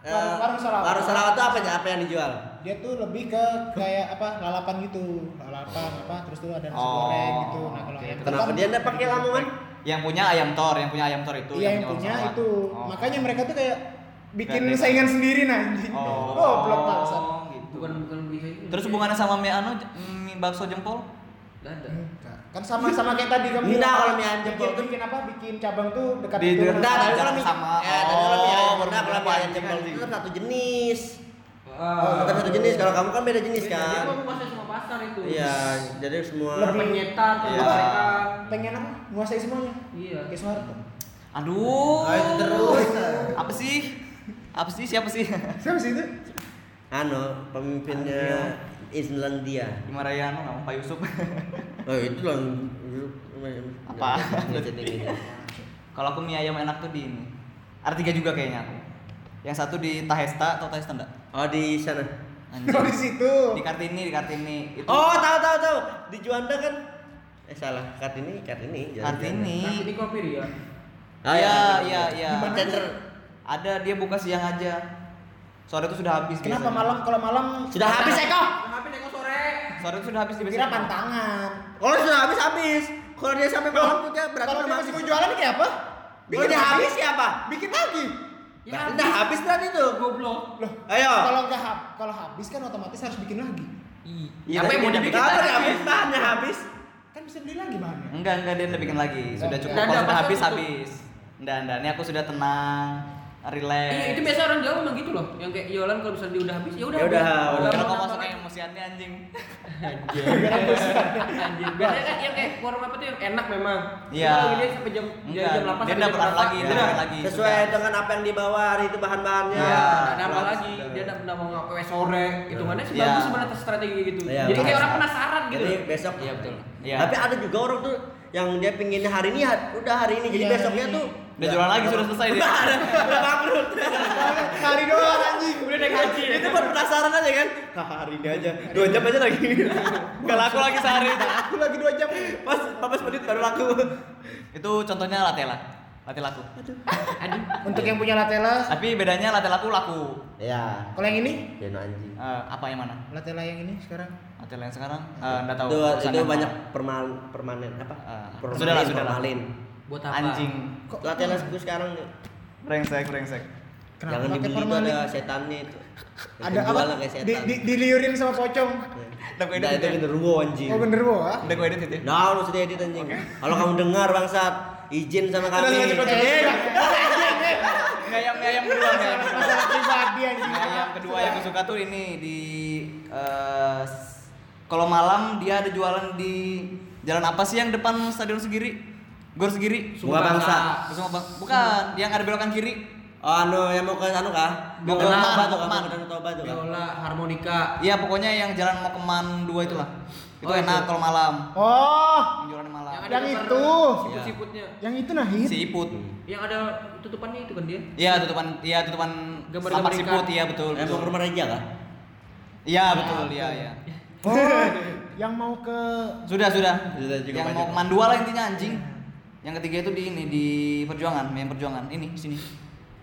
[SPEAKER 1] eh,
[SPEAKER 2] Warung- warung selawat.
[SPEAKER 1] Warung selawat itu ya? apa? Apa yang dijual?
[SPEAKER 2] dia tuh lebih ke kayak apa lalapan gitu lalapan apa terus tuh ada nasi
[SPEAKER 5] Oh,
[SPEAKER 2] goreng gitu nah kalau yang
[SPEAKER 1] Kenapa dia enggak pakai lamongan?
[SPEAKER 5] Yang punya ayam tor, yang punya ayam tor itu.
[SPEAKER 2] iya yang
[SPEAKER 5] orang
[SPEAKER 2] punya
[SPEAKER 5] Sarawak.
[SPEAKER 2] itu
[SPEAKER 5] Oh.
[SPEAKER 2] makanya mereka tuh kayak bikin
[SPEAKER 5] Kreatif.
[SPEAKER 2] saingan sendiri nah anjing
[SPEAKER 5] Oh,
[SPEAKER 2] goblok paksa
[SPEAKER 5] gitu.
[SPEAKER 6] bukan bukan beli kayak gitu.
[SPEAKER 5] Terus hubungannya sama mie anu j- mie bakso jempol?
[SPEAKER 6] Nggak ada.
[SPEAKER 2] kan sama sama kayak tadi kamu
[SPEAKER 1] Enggak,
[SPEAKER 2] bilang,
[SPEAKER 1] kalau mie ayam jempol
[SPEAKER 2] bikin,
[SPEAKER 1] tuh-
[SPEAKER 2] bikin apa bikin cabang tuh dekat
[SPEAKER 5] Di-
[SPEAKER 2] itu
[SPEAKER 5] di-
[SPEAKER 1] Enggak, tapi kalau mie
[SPEAKER 5] Sama.
[SPEAKER 1] eh, tapi kalau mie ayam, enggak,
[SPEAKER 5] Oh,
[SPEAKER 1] kalau mie ayam
[SPEAKER 5] perbandingan
[SPEAKER 1] jempol
[SPEAKER 5] sih.
[SPEAKER 1] itu kan satu jenis.
[SPEAKER 6] Ah.
[SPEAKER 1] Tetap satu jenis. Kalau kamu kan beda jenis
[SPEAKER 6] Jadi
[SPEAKER 1] kan.
[SPEAKER 6] aku kuasai semua pasar itu.
[SPEAKER 1] Iya, jadi semua
[SPEAKER 2] Lebih-
[SPEAKER 6] Penyetan,
[SPEAKER 5] Iya.
[SPEAKER 6] pemasaran.
[SPEAKER 2] pengen apa nguasai semuanya
[SPEAKER 6] Iya.
[SPEAKER 2] kayak Soeharto
[SPEAKER 5] Aduh.
[SPEAKER 3] Ah, itu terus.
[SPEAKER 5] Apa sih? Apa sih? Siapa sih?
[SPEAKER 2] siapa sih itu
[SPEAKER 1] anu pemimpinnya Islandia.
[SPEAKER 5] Lima Rayano nggak mau Pak Yusuf.
[SPEAKER 1] Oh, itu lah
[SPEAKER 5] Apa?
[SPEAKER 1] Nggak, nggak, nggak.
[SPEAKER 5] Kalau aku mie ayam enak tuh di ini. Ada tiga juga kayaknya aku. Yang satu di Tahesta atau Tahesta enggak?
[SPEAKER 1] Oh, di sana.
[SPEAKER 2] oh di situ
[SPEAKER 5] Di Kartini, di Kartini. Itu
[SPEAKER 1] Oh, tahu tahu tahu. Di Juanda kan Eh salah, Kartini, Kartini. jalan
[SPEAKER 5] Kartini.
[SPEAKER 6] Nanti di kopi ya.
[SPEAKER 1] Juanda. Ah,
[SPEAKER 5] Iya, iya, iya.
[SPEAKER 1] Di mana? Center.
[SPEAKER 5] Ada dia buka siang aja. Sore itu sudah habis.
[SPEAKER 2] kenapa
[SPEAKER 5] biasanya.
[SPEAKER 2] malam kalau malam
[SPEAKER 1] Sudah habis Eko.
[SPEAKER 6] Ngapain ya kok sore?
[SPEAKER 5] Sore itu sudah habis di
[SPEAKER 2] kira pantangan
[SPEAKER 1] Kalau Oh, sudah habis habis. Kalau dia sampai malam tuh dia berarti
[SPEAKER 2] kalau dia
[SPEAKER 1] memang
[SPEAKER 2] masih mau jualan kayak apa
[SPEAKER 1] Kalau dia habis ya apa?
[SPEAKER 2] bikin lagi
[SPEAKER 6] Ya,
[SPEAKER 1] Nah,
[SPEAKER 6] habis.
[SPEAKER 1] udah habis berarti tuh.
[SPEAKER 6] Goblok.
[SPEAKER 2] loh
[SPEAKER 1] Ayo.
[SPEAKER 2] kalau nggak hab kalau habis kan otomatis harus bikin lagi
[SPEAKER 5] Iya,
[SPEAKER 6] Apa yang mau dibikin?
[SPEAKER 1] Kalau
[SPEAKER 6] lagi?
[SPEAKER 1] udah habis bahannya habis.
[SPEAKER 2] kan bisa beli lagi bahannya
[SPEAKER 5] Enggak, enggak dia udah bikin lagi. Sudah
[SPEAKER 2] Enggak,
[SPEAKER 5] cukup.
[SPEAKER 6] enggak.
[SPEAKER 5] Kalau sudah
[SPEAKER 6] Enggak,
[SPEAKER 5] habis
[SPEAKER 6] pasar tutup.
[SPEAKER 5] habis. Enggak, enggak. Ini aku sudah tenang, relax.
[SPEAKER 6] Iya, itu biasa orang Jawa memang gitu loh. Yang kayak jualan kalau misalnya dia udah habis, ya udah.
[SPEAKER 1] Ya udah,
[SPEAKER 6] habis.
[SPEAKER 1] udah.
[SPEAKER 5] Kalau kau
[SPEAKER 6] mau
[SPEAKER 5] masuk
[SPEAKER 6] ngapain?
[SPEAKER 5] emosiannya anjing.
[SPEAKER 6] Anjir. Biasanya kan yang kayak warung apa tuh yang enak memang.
[SPEAKER 5] Iya.
[SPEAKER 6] Kalau dia sampai jam
[SPEAKER 5] Enggak,
[SPEAKER 6] jam
[SPEAKER 5] dia
[SPEAKER 6] 8
[SPEAKER 5] udah
[SPEAKER 6] sampai jam
[SPEAKER 5] pernah
[SPEAKER 6] berapa,
[SPEAKER 5] lagi,
[SPEAKER 3] Iya,
[SPEAKER 6] ya
[SPEAKER 5] dia
[SPEAKER 6] udah.
[SPEAKER 5] udah lagi.
[SPEAKER 1] Sesuai
[SPEAKER 5] sudah.
[SPEAKER 1] dengan apa yang dibawa hari itu bahan-bahannya.
[SPEAKER 5] Iya.
[SPEAKER 6] Nah, nambah lagi dia enggak pernah mau ngapain sore. Hitungannya sih
[SPEAKER 5] Iya.
[SPEAKER 6] bagus sebenarnya atas strategi gitu.
[SPEAKER 1] Iya,
[SPEAKER 6] Jadi kayak
[SPEAKER 1] betul.
[SPEAKER 6] orang penasaran gitu.
[SPEAKER 1] Jadi besok.
[SPEAKER 5] Iya, betul. Iya.
[SPEAKER 1] Tapi ada juga orang tuh yang dia pinginnya hari ini ha- udah hari ini jadi
[SPEAKER 2] Iya,
[SPEAKER 1] besoknya
[SPEAKER 2] hari ini.
[SPEAKER 1] tuh
[SPEAKER 5] Udah jualan lagi sudah selesai dia.
[SPEAKER 1] udah bangkrut.
[SPEAKER 2] kali doang anjing
[SPEAKER 6] Udah naik haji ya.
[SPEAKER 1] itu buat penasaran aja kan. Hah, hari ini aja. Dua jam aja lagi.
[SPEAKER 5] Kalau aku lagi sehari itu.
[SPEAKER 2] aku lagi dua jam
[SPEAKER 1] Pas 15 menit baru laku.
[SPEAKER 5] Itu contohnya latte lah. Latte laku.
[SPEAKER 6] Aduh.
[SPEAKER 2] untuk yang punya latela
[SPEAKER 5] Tapi bedanya latte laku laku.
[SPEAKER 1] Ya,
[SPEAKER 2] kalau yang ini
[SPEAKER 1] dia anjing.
[SPEAKER 5] Eh, apa yang mana?
[SPEAKER 2] latela yang ini sekarang
[SPEAKER 5] Latte yang sekarang Eh, enggak tahu.
[SPEAKER 1] Itu,
[SPEAKER 5] Urusan
[SPEAKER 1] itu
[SPEAKER 5] yang
[SPEAKER 1] banyak
[SPEAKER 5] mana.
[SPEAKER 1] perman, permanen apa?
[SPEAKER 5] Ah,
[SPEAKER 1] Permanen,
[SPEAKER 5] sudahlah, sudahlah.
[SPEAKER 1] permalin.
[SPEAKER 6] Buat apa?
[SPEAKER 5] anjing.
[SPEAKER 2] Kok-
[SPEAKER 1] Latihan gue sekarang
[SPEAKER 5] Brengsek, brengsek.
[SPEAKER 2] Kenapa
[SPEAKER 1] jangan
[SPEAKER 2] pakai
[SPEAKER 1] dibeli itu
[SPEAKER 2] formalin?
[SPEAKER 1] ada setannya itu.
[SPEAKER 2] ada
[SPEAKER 1] Dijual
[SPEAKER 2] apa
[SPEAKER 1] lah kayak
[SPEAKER 2] di,
[SPEAKER 1] setan.
[SPEAKER 2] di, diliurin sama pocong
[SPEAKER 5] Udah
[SPEAKER 1] Nah,
[SPEAKER 5] gue edit
[SPEAKER 1] itu
[SPEAKER 5] ya?
[SPEAKER 1] genderuwo anjing.
[SPEAKER 2] oh bener wah
[SPEAKER 5] Udah gue edit itu.
[SPEAKER 1] Nah, lu sudah edit anjing. Kalau kamu dengar bangsat, izin sama
[SPEAKER 5] Udah,
[SPEAKER 1] kami.
[SPEAKER 5] lanjut, lanjut.
[SPEAKER 1] Eh,
[SPEAKER 5] Ngayam ngayam kedua ngayam.
[SPEAKER 2] iya. masalah pribadi anjing
[SPEAKER 5] Iya, Yang kedua yang aku suka tuh ini di eh, s- kalau malam dia ada jualan di jalan apa sih yang depan stadion Segiri? Gor Segiri.
[SPEAKER 1] Bunga bangsa.
[SPEAKER 5] Bersama Bang. Bukan, yang ada belokan kiri.
[SPEAKER 1] Oh, anu yang mau ke anu kah?
[SPEAKER 5] Mau
[SPEAKER 1] Mau
[SPEAKER 5] ke
[SPEAKER 1] ke Toba
[SPEAKER 5] Taman, mau
[SPEAKER 1] tuh, mau
[SPEAKER 5] ke Taman.
[SPEAKER 1] ke Toba tuh.
[SPEAKER 5] Oh,
[SPEAKER 1] kan?
[SPEAKER 6] Biola, harmonika.
[SPEAKER 5] Iya, pokoknya yang jalan mau keman dua itulah. Itu
[SPEAKER 6] Oh,
[SPEAKER 5] enak
[SPEAKER 6] itu.
[SPEAKER 5] kalau malam.
[SPEAKER 2] oh
[SPEAKER 5] Yang jualan malam.
[SPEAKER 6] ada
[SPEAKER 2] Yang
[SPEAKER 6] gambar
[SPEAKER 2] itu.
[SPEAKER 1] Iya.
[SPEAKER 6] Siput-siputnya.
[SPEAKER 2] yang itu nah hit
[SPEAKER 5] Si Iput.
[SPEAKER 6] Yang ada tutupannya itu kan dia.
[SPEAKER 5] Iya, tutupan iya tutupan
[SPEAKER 6] Gambar-gambar
[SPEAKER 5] lapak
[SPEAKER 6] ikan.
[SPEAKER 5] siput, iya betul.
[SPEAKER 1] Eh, mau
[SPEAKER 5] betul.
[SPEAKER 1] ke rumah Reja kah?
[SPEAKER 5] Iya, betul, iya, iya.
[SPEAKER 2] oh yang mau ke
[SPEAKER 5] Sudah, sudah.
[SPEAKER 1] Sudah, cukup
[SPEAKER 5] yang
[SPEAKER 1] aja.
[SPEAKER 5] mau keman dua lah intinya anjing. Yang ketiga itu di ini di perjuangan, yang perjuangan ini sini.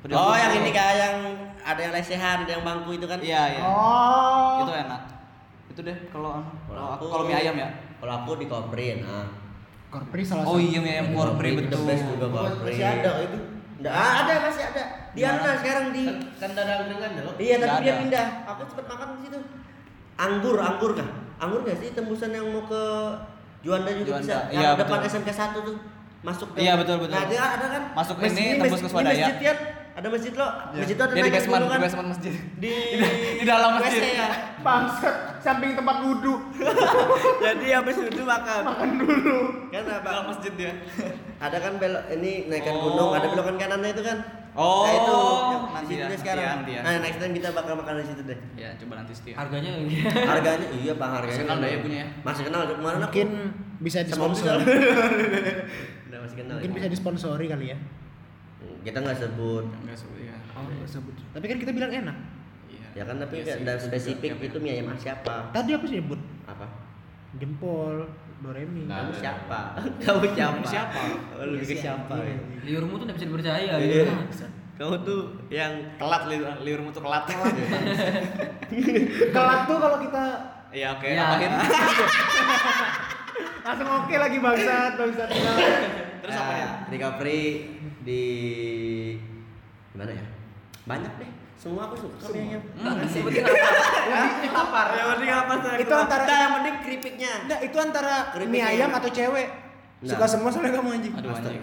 [SPEAKER 5] Perjuangan.
[SPEAKER 1] Oh, yang ini kah yang ada yang lesehan, ada yang bangku itu kan?
[SPEAKER 5] Iya, iya.
[SPEAKER 2] oh
[SPEAKER 5] Itu enak. Itu deh kalau anu. kalau aku kalau mie ayam ya.
[SPEAKER 1] Kalau aku di Kopri, nah.
[SPEAKER 2] korpri salah
[SPEAKER 5] Oh iya mie ayam korpri
[SPEAKER 1] The
[SPEAKER 5] betul.
[SPEAKER 1] best juga Kopri.
[SPEAKER 3] Masih ada itu.
[SPEAKER 1] Nggak ada, masih ada. Di anu lah sekarang di
[SPEAKER 3] Kan- Kan dadang dengan ya lo.
[SPEAKER 1] Iya,
[SPEAKER 5] Nggak
[SPEAKER 1] tapi dia
[SPEAKER 5] ada.
[SPEAKER 1] pindah. Aku cepet makan di situ. Anggur, anggur kah? Anggur nggak sih tembusan yang mau ke Juanda juga
[SPEAKER 5] Juanda,
[SPEAKER 1] bisa. Yang
[SPEAKER 5] iya,
[SPEAKER 1] depan
[SPEAKER 5] betul.
[SPEAKER 1] SMK 1 tuh. Masuk ke-
[SPEAKER 5] Iya, betul, betul.
[SPEAKER 1] Nah, dia ada kan?
[SPEAKER 5] Masuk
[SPEAKER 1] Masjid-
[SPEAKER 5] ini,
[SPEAKER 1] masjid-
[SPEAKER 5] tembus ke Swadaya. Iya.
[SPEAKER 1] ini Masjid Tian. ada masjid lo. Masjid lo ada
[SPEAKER 5] Dia di
[SPEAKER 1] naik
[SPEAKER 5] basement,
[SPEAKER 1] gunung
[SPEAKER 5] di
[SPEAKER 1] kan?
[SPEAKER 5] basement masjid.
[SPEAKER 1] Di
[SPEAKER 5] di dalam
[SPEAKER 1] WC
[SPEAKER 5] masjid.
[SPEAKER 1] ya.
[SPEAKER 2] bangsat samping tempat wudhu
[SPEAKER 1] Jadi habis itu makan. Makan dulu. Kan apa?
[SPEAKER 5] Dalam masjid dia.
[SPEAKER 1] Ada kan belok ini naikkan
[SPEAKER 5] Oh.
[SPEAKER 1] gunung, ada belokan kanannya itu kan?
[SPEAKER 5] Oh.
[SPEAKER 1] Nah, itu
[SPEAKER 5] Nanti
[SPEAKER 1] nanti
[SPEAKER 5] ya, nanti
[SPEAKER 1] sekarang.
[SPEAKER 5] ya, nanti ya.
[SPEAKER 1] Nah, next time kita bakal makan di situ deh.
[SPEAKER 5] Ya, coba nanti setia.
[SPEAKER 6] Harganya
[SPEAKER 1] Harganya iya, Bang, harganya.
[SPEAKER 5] Masih kenal dah ya punya ya?
[SPEAKER 1] Masih kenal kemarin aku.
[SPEAKER 2] mungkin bisa
[SPEAKER 1] sama Opsel.
[SPEAKER 2] disponsori
[SPEAKER 1] Udah masih kenal.
[SPEAKER 2] mungkin
[SPEAKER 1] ya?
[SPEAKER 2] bisa disponsori kali ya
[SPEAKER 1] Kita nggak sebut.
[SPEAKER 5] Enggak sebut ya.
[SPEAKER 2] tapi kan kita bilang enak
[SPEAKER 5] Iya.
[SPEAKER 1] Iya. Ya kan tapi
[SPEAKER 5] Iya
[SPEAKER 1] nggak
[SPEAKER 5] sih,
[SPEAKER 1] ada
[SPEAKER 5] itu
[SPEAKER 1] spesifik
[SPEAKER 5] juga.
[SPEAKER 1] itu mie ayam siapa?
[SPEAKER 2] tadi aku sebut
[SPEAKER 1] Apa?
[SPEAKER 2] jempol doremi
[SPEAKER 3] Nah.
[SPEAKER 1] Kamu siapa? Kamu siapa?
[SPEAKER 5] Siapa? Iya
[SPEAKER 1] Lebih ke siapa? ya?
[SPEAKER 6] liurmu tuh enggak bisa dipercaya
[SPEAKER 1] Iya.
[SPEAKER 6] gitu.
[SPEAKER 5] Kamu tuh yang kelat liur, liur mutu kelat.
[SPEAKER 2] Kelak tuh kalau kita
[SPEAKER 5] Iya oke,
[SPEAKER 6] Ya.
[SPEAKER 5] nambahin.
[SPEAKER 2] langsung oke lagi bangsat, bangsat.
[SPEAKER 5] Terus apa ya?
[SPEAKER 1] Recovery Eh, di gimana ya? Banyak deh. Semua aku suka kayaknya.
[SPEAKER 5] Hmm,
[SPEAKER 6] Nah, sebutin apa? Yang penting lapar.
[SPEAKER 5] Yang penting apa tuh?
[SPEAKER 2] Itu antara
[SPEAKER 1] Nah, yang penting keripiknya.
[SPEAKER 2] Enggak, itu antara
[SPEAKER 1] Keripik
[SPEAKER 2] mie
[SPEAKER 1] ayam.
[SPEAKER 2] ayam atau cewek.
[SPEAKER 1] Nah.
[SPEAKER 2] Suka semua soalnya kamu anjing.
[SPEAKER 5] Aduh anjing.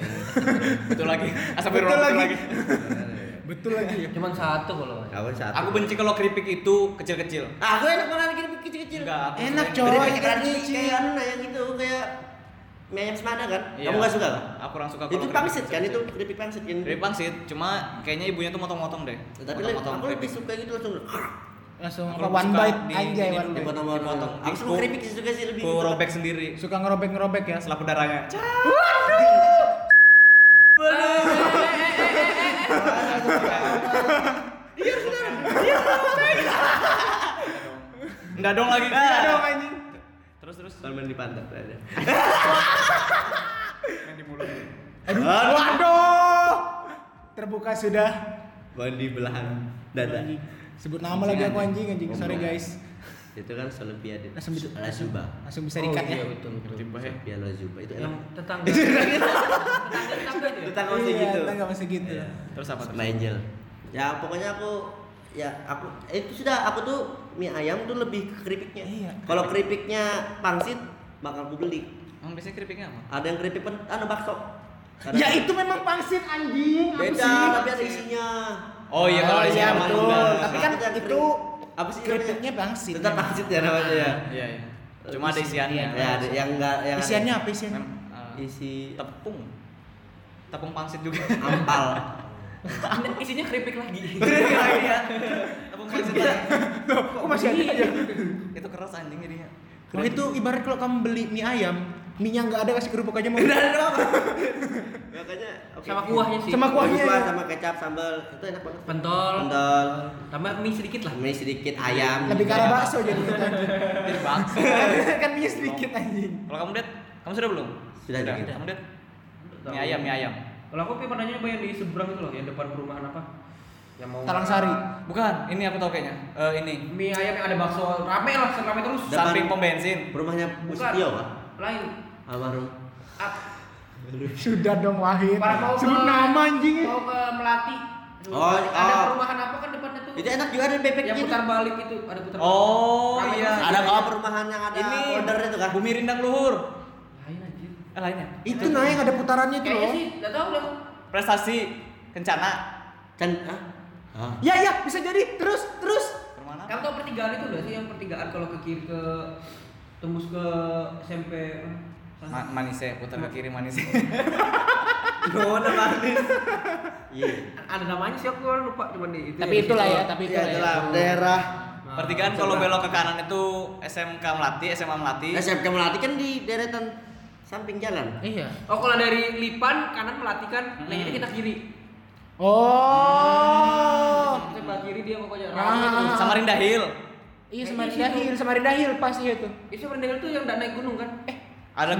[SPEAKER 5] Betul lagi. Asap
[SPEAKER 2] Betul
[SPEAKER 5] betul
[SPEAKER 2] lagi.
[SPEAKER 5] lagi.
[SPEAKER 2] Betul lagi ya.
[SPEAKER 6] Cuman satu kalau nggak salah.
[SPEAKER 1] Aku satu.
[SPEAKER 5] Aku benci kalau keripik itu kecil-kecil.
[SPEAKER 1] Ah, aku enak malah keripik kecil-kecil.
[SPEAKER 5] Enggak, aku
[SPEAKER 2] Enak
[SPEAKER 5] suka-
[SPEAKER 2] cowok
[SPEAKER 1] Keripik
[SPEAKER 2] ikan
[SPEAKER 1] crunchy kayak
[SPEAKER 2] kecil.
[SPEAKER 1] anu nah, yang gitu kayak mie ayam semana kan?
[SPEAKER 5] Iya.
[SPEAKER 1] Kamu gak suka kan?
[SPEAKER 5] Aku kurang suka
[SPEAKER 1] Itu
[SPEAKER 5] keripik
[SPEAKER 1] pangsit kan itu
[SPEAKER 5] kecil-kecil.
[SPEAKER 1] keripik pangsit kan.
[SPEAKER 5] Keripik pangsit, cuma kayaknya ibunya tuh motong-motong deh.
[SPEAKER 1] Tapi le- aku lebih suka gitu langsung.
[SPEAKER 2] Langsung
[SPEAKER 5] Aku
[SPEAKER 2] one
[SPEAKER 5] suka
[SPEAKER 2] bite
[SPEAKER 5] di-
[SPEAKER 2] anjay
[SPEAKER 5] di-
[SPEAKER 2] one
[SPEAKER 5] di-
[SPEAKER 2] bite.
[SPEAKER 5] Dipotong.
[SPEAKER 1] Aku suka
[SPEAKER 5] Aku-
[SPEAKER 1] keripik sih suka sih lebih.
[SPEAKER 5] Gue
[SPEAKER 1] gitu.
[SPEAKER 5] robek sendiri.
[SPEAKER 2] Suka ngerobek-ngerobek ya.
[SPEAKER 5] Selap darahnya. Enggak dong lagi. Enggak dong anjing. Terus terus.
[SPEAKER 1] Kalau main di pantat ada.
[SPEAKER 5] Main di mulut.
[SPEAKER 2] Aduh, waduh. Terbuka sudah.
[SPEAKER 1] Main di belahan dada.
[SPEAKER 2] Sebut nama lagi aku anjing anjing. Sorry
[SPEAKER 1] Gombel.
[SPEAKER 2] guys.
[SPEAKER 1] Itu kan Olimpiade.
[SPEAKER 2] Langsung di-
[SPEAKER 1] Lazuba.
[SPEAKER 2] Langsung
[SPEAKER 5] Oh,
[SPEAKER 2] bisa dikat
[SPEAKER 5] iya.
[SPEAKER 2] ya.
[SPEAKER 6] betul betul.
[SPEAKER 1] Olimpiade Lazuba itu
[SPEAKER 6] Yang
[SPEAKER 1] enak.
[SPEAKER 6] tetangga. tetangga tetangga itu ya?
[SPEAKER 1] Tetangga masih
[SPEAKER 2] Iya,
[SPEAKER 1] gitu.
[SPEAKER 2] tetangga masih gitu.
[SPEAKER 1] Iya.
[SPEAKER 5] Terus apa terus?
[SPEAKER 1] Sama Angel. Ya pokoknya aku ya aku eh, itu sudah aku tuh mie ayam tuh lebih ke keripiknya.
[SPEAKER 2] Iya.
[SPEAKER 1] Kalau keripiknya pangsit bakal aku beli.
[SPEAKER 5] Emang biasanya keripiknya apa?
[SPEAKER 1] Ada yang keripik pen, anu bakso. Kadang-
[SPEAKER 2] Ya itu memang pangsit anjing. apa
[SPEAKER 1] beda
[SPEAKER 2] sih?
[SPEAKER 1] tapi ada isinya.
[SPEAKER 5] Oh iya kalau
[SPEAKER 2] Oh,
[SPEAKER 5] di sini
[SPEAKER 2] iya,
[SPEAKER 5] emang
[SPEAKER 2] betul.
[SPEAKER 5] enggak.
[SPEAKER 2] Tapi kan
[SPEAKER 1] Ada yang
[SPEAKER 2] itu
[SPEAKER 1] keripik- apa sih
[SPEAKER 2] Keripiknya pangsit.
[SPEAKER 1] Tetap pangsit ya namanya ya.
[SPEAKER 5] Iya iya. Cuma ada isiannya.
[SPEAKER 1] Ya ada yang enggak yang ada-
[SPEAKER 2] Isiannya apa isiannya?
[SPEAKER 5] Mem-
[SPEAKER 1] Iya.
[SPEAKER 5] eh,
[SPEAKER 1] isi
[SPEAKER 5] tepung. Tepung pangsit juga.
[SPEAKER 1] ampal.
[SPEAKER 6] Ini Isinya keripik lagi.
[SPEAKER 5] Iya. Tepung pangsit. Iya.
[SPEAKER 2] Kok masih ada aja?
[SPEAKER 5] Itu keras anjing jadinya.
[SPEAKER 2] Wah itu ibarat kalau kamu beli mie ayam, mie yang nggak ada kasih kerupuk aja mau.
[SPEAKER 1] Makanya oke.
[SPEAKER 6] Sama kuahnya sih.
[SPEAKER 2] Sama kuah.
[SPEAKER 1] Kuahnya
[SPEAKER 2] Kuahnya ya.
[SPEAKER 1] sama kecap sambal itu enak banget.
[SPEAKER 6] Pentol.
[SPEAKER 1] Pentol.
[SPEAKER 6] Tambah mie sedikit lah.
[SPEAKER 1] Mie sedikit ayam.
[SPEAKER 2] Lebih ke arah bakso jadinya anjing.
[SPEAKER 5] Jadi bakso.
[SPEAKER 2] kan mie sedikit anjing.
[SPEAKER 5] Kalau kamu det, kamu sudah belum?
[SPEAKER 1] Sudah, sudah.
[SPEAKER 5] Kamu det? Mie ayam, mie ayam.
[SPEAKER 6] Kalau aku pengen nanya apa yang di seberang itu loh, yang depan perumahan apa? Yang mau
[SPEAKER 2] Talang Sari.
[SPEAKER 5] Bukan, ini aku tahu kayaknya. Eh ini
[SPEAKER 6] Mie ayam yang ada bakso rame lah, serame terus.
[SPEAKER 1] Depan-
[SPEAKER 5] samping pom bensin.
[SPEAKER 1] Rumahnya Bu Setio Pak.
[SPEAKER 6] Lain.
[SPEAKER 1] Almarhum.
[SPEAKER 6] Ah,
[SPEAKER 2] Sudah dong
[SPEAKER 3] Iya,
[SPEAKER 2] Wahid.
[SPEAKER 6] Para mau
[SPEAKER 2] Sebut
[SPEAKER 6] ke-
[SPEAKER 2] nama anjing.
[SPEAKER 6] Mau ke Melati.
[SPEAKER 1] Oh,
[SPEAKER 6] ada
[SPEAKER 1] oh.
[SPEAKER 6] perumahan apa kan depannya tuh?
[SPEAKER 1] Itu enak juga ada
[SPEAKER 6] Yang
[SPEAKER 1] bebeknya.
[SPEAKER 6] putar balik itu, ada putar balik.
[SPEAKER 5] Oh,
[SPEAKER 6] Rame
[SPEAKER 5] iya.
[SPEAKER 6] terus.
[SPEAKER 1] Ada kalau perumahan yang ada
[SPEAKER 5] ini
[SPEAKER 1] ordernya tuh kan.
[SPEAKER 5] Bumi Rindang Luhur.
[SPEAKER 6] Lain anjir.
[SPEAKER 5] Eh lainnya.
[SPEAKER 2] Itu nah yang ada putarannya itu
[SPEAKER 6] Kayaknya
[SPEAKER 2] loh.
[SPEAKER 6] Iya sih, enggak tahu deh.
[SPEAKER 5] Prestasi Kencana.
[SPEAKER 1] Kan ah. Ah.
[SPEAKER 2] Ya ya bisa jadi terus terus.
[SPEAKER 5] Permana?
[SPEAKER 6] Kamu tahu pertigaan itu enggak sih yang pertigaan kalau ke kiri ke tembus ke SMP
[SPEAKER 5] Ma manise, putar ke kiri manise.
[SPEAKER 1] Gimana manis. Iya.
[SPEAKER 6] ada namanya sih aku lupa cuman di itu
[SPEAKER 2] Tapi
[SPEAKER 6] di
[SPEAKER 2] itulah
[SPEAKER 6] situ.
[SPEAKER 2] ya, tapi
[SPEAKER 1] Iya,
[SPEAKER 2] itulah ya.
[SPEAKER 1] itulah daerah
[SPEAKER 6] Nah,
[SPEAKER 5] Pertigaan kalau belok ke kanan itu SMK Melati, SMA Melati.
[SPEAKER 1] SMK Melati kan di deretan samping jalan.
[SPEAKER 2] Iya.
[SPEAKER 6] Oh kalau dari Lipan kanan melatikan,
[SPEAKER 5] Hmm.
[SPEAKER 6] nah ini kita kiri.
[SPEAKER 2] Oh.
[SPEAKER 6] Sebelah kiri dia pokoknya.
[SPEAKER 2] Ah.
[SPEAKER 6] Nah,
[SPEAKER 5] Samarinda Hill.
[SPEAKER 2] Iya
[SPEAKER 6] Iya,
[SPEAKER 2] Samarinda
[SPEAKER 6] situ.
[SPEAKER 2] Hill, Samarinda Hill pas iya tuh.
[SPEAKER 6] itu Rendahil tuh yang nggak naik gunung kan? Eh,
[SPEAKER 5] Ada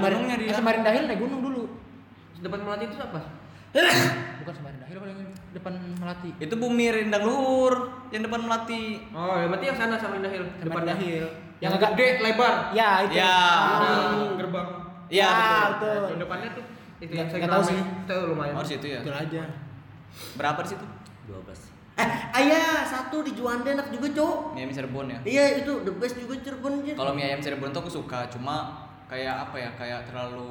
[SPEAKER 2] Samarin-
[SPEAKER 5] gunungnya
[SPEAKER 2] eh,
[SPEAKER 5] dia.
[SPEAKER 2] Samarinda Hill naik gunung dulu.
[SPEAKER 6] depan melati itu apa?
[SPEAKER 2] Bukan Samarinda Hill paling depan Melati.
[SPEAKER 5] Itu Bumi Rindang Luhur yang depan Melati.
[SPEAKER 6] Oh, ya berarti yang sana sama Rendahil. Depan
[SPEAKER 2] Samarinda Hill.
[SPEAKER 6] Yang agak gede, lebar.
[SPEAKER 2] Ya itu.
[SPEAKER 5] Ya.
[SPEAKER 2] Ah.
[SPEAKER 6] Nah, gerbang.
[SPEAKER 5] Iya,
[SPEAKER 2] Ah,
[SPEAKER 5] betul.
[SPEAKER 2] betul.
[SPEAKER 6] Yang depannya tuh itu
[SPEAKER 2] Nggak-
[SPEAKER 6] yang saya
[SPEAKER 2] nggak tahu
[SPEAKER 6] rame.
[SPEAKER 2] sih.
[SPEAKER 6] Itu lumayan.
[SPEAKER 5] Harus itu ya.
[SPEAKER 2] Betul aja.
[SPEAKER 5] Berapa di situ?
[SPEAKER 1] 12. Eh, ayah satu di Juanda enak juga, Cok.
[SPEAKER 5] Mie ayam Cirebon ya.
[SPEAKER 1] Iya, itu the best juga Cirebon aja.
[SPEAKER 5] Kalau mie ayam Cirebon tuh aku suka, cuma kayak apa ya? Kayak terlalu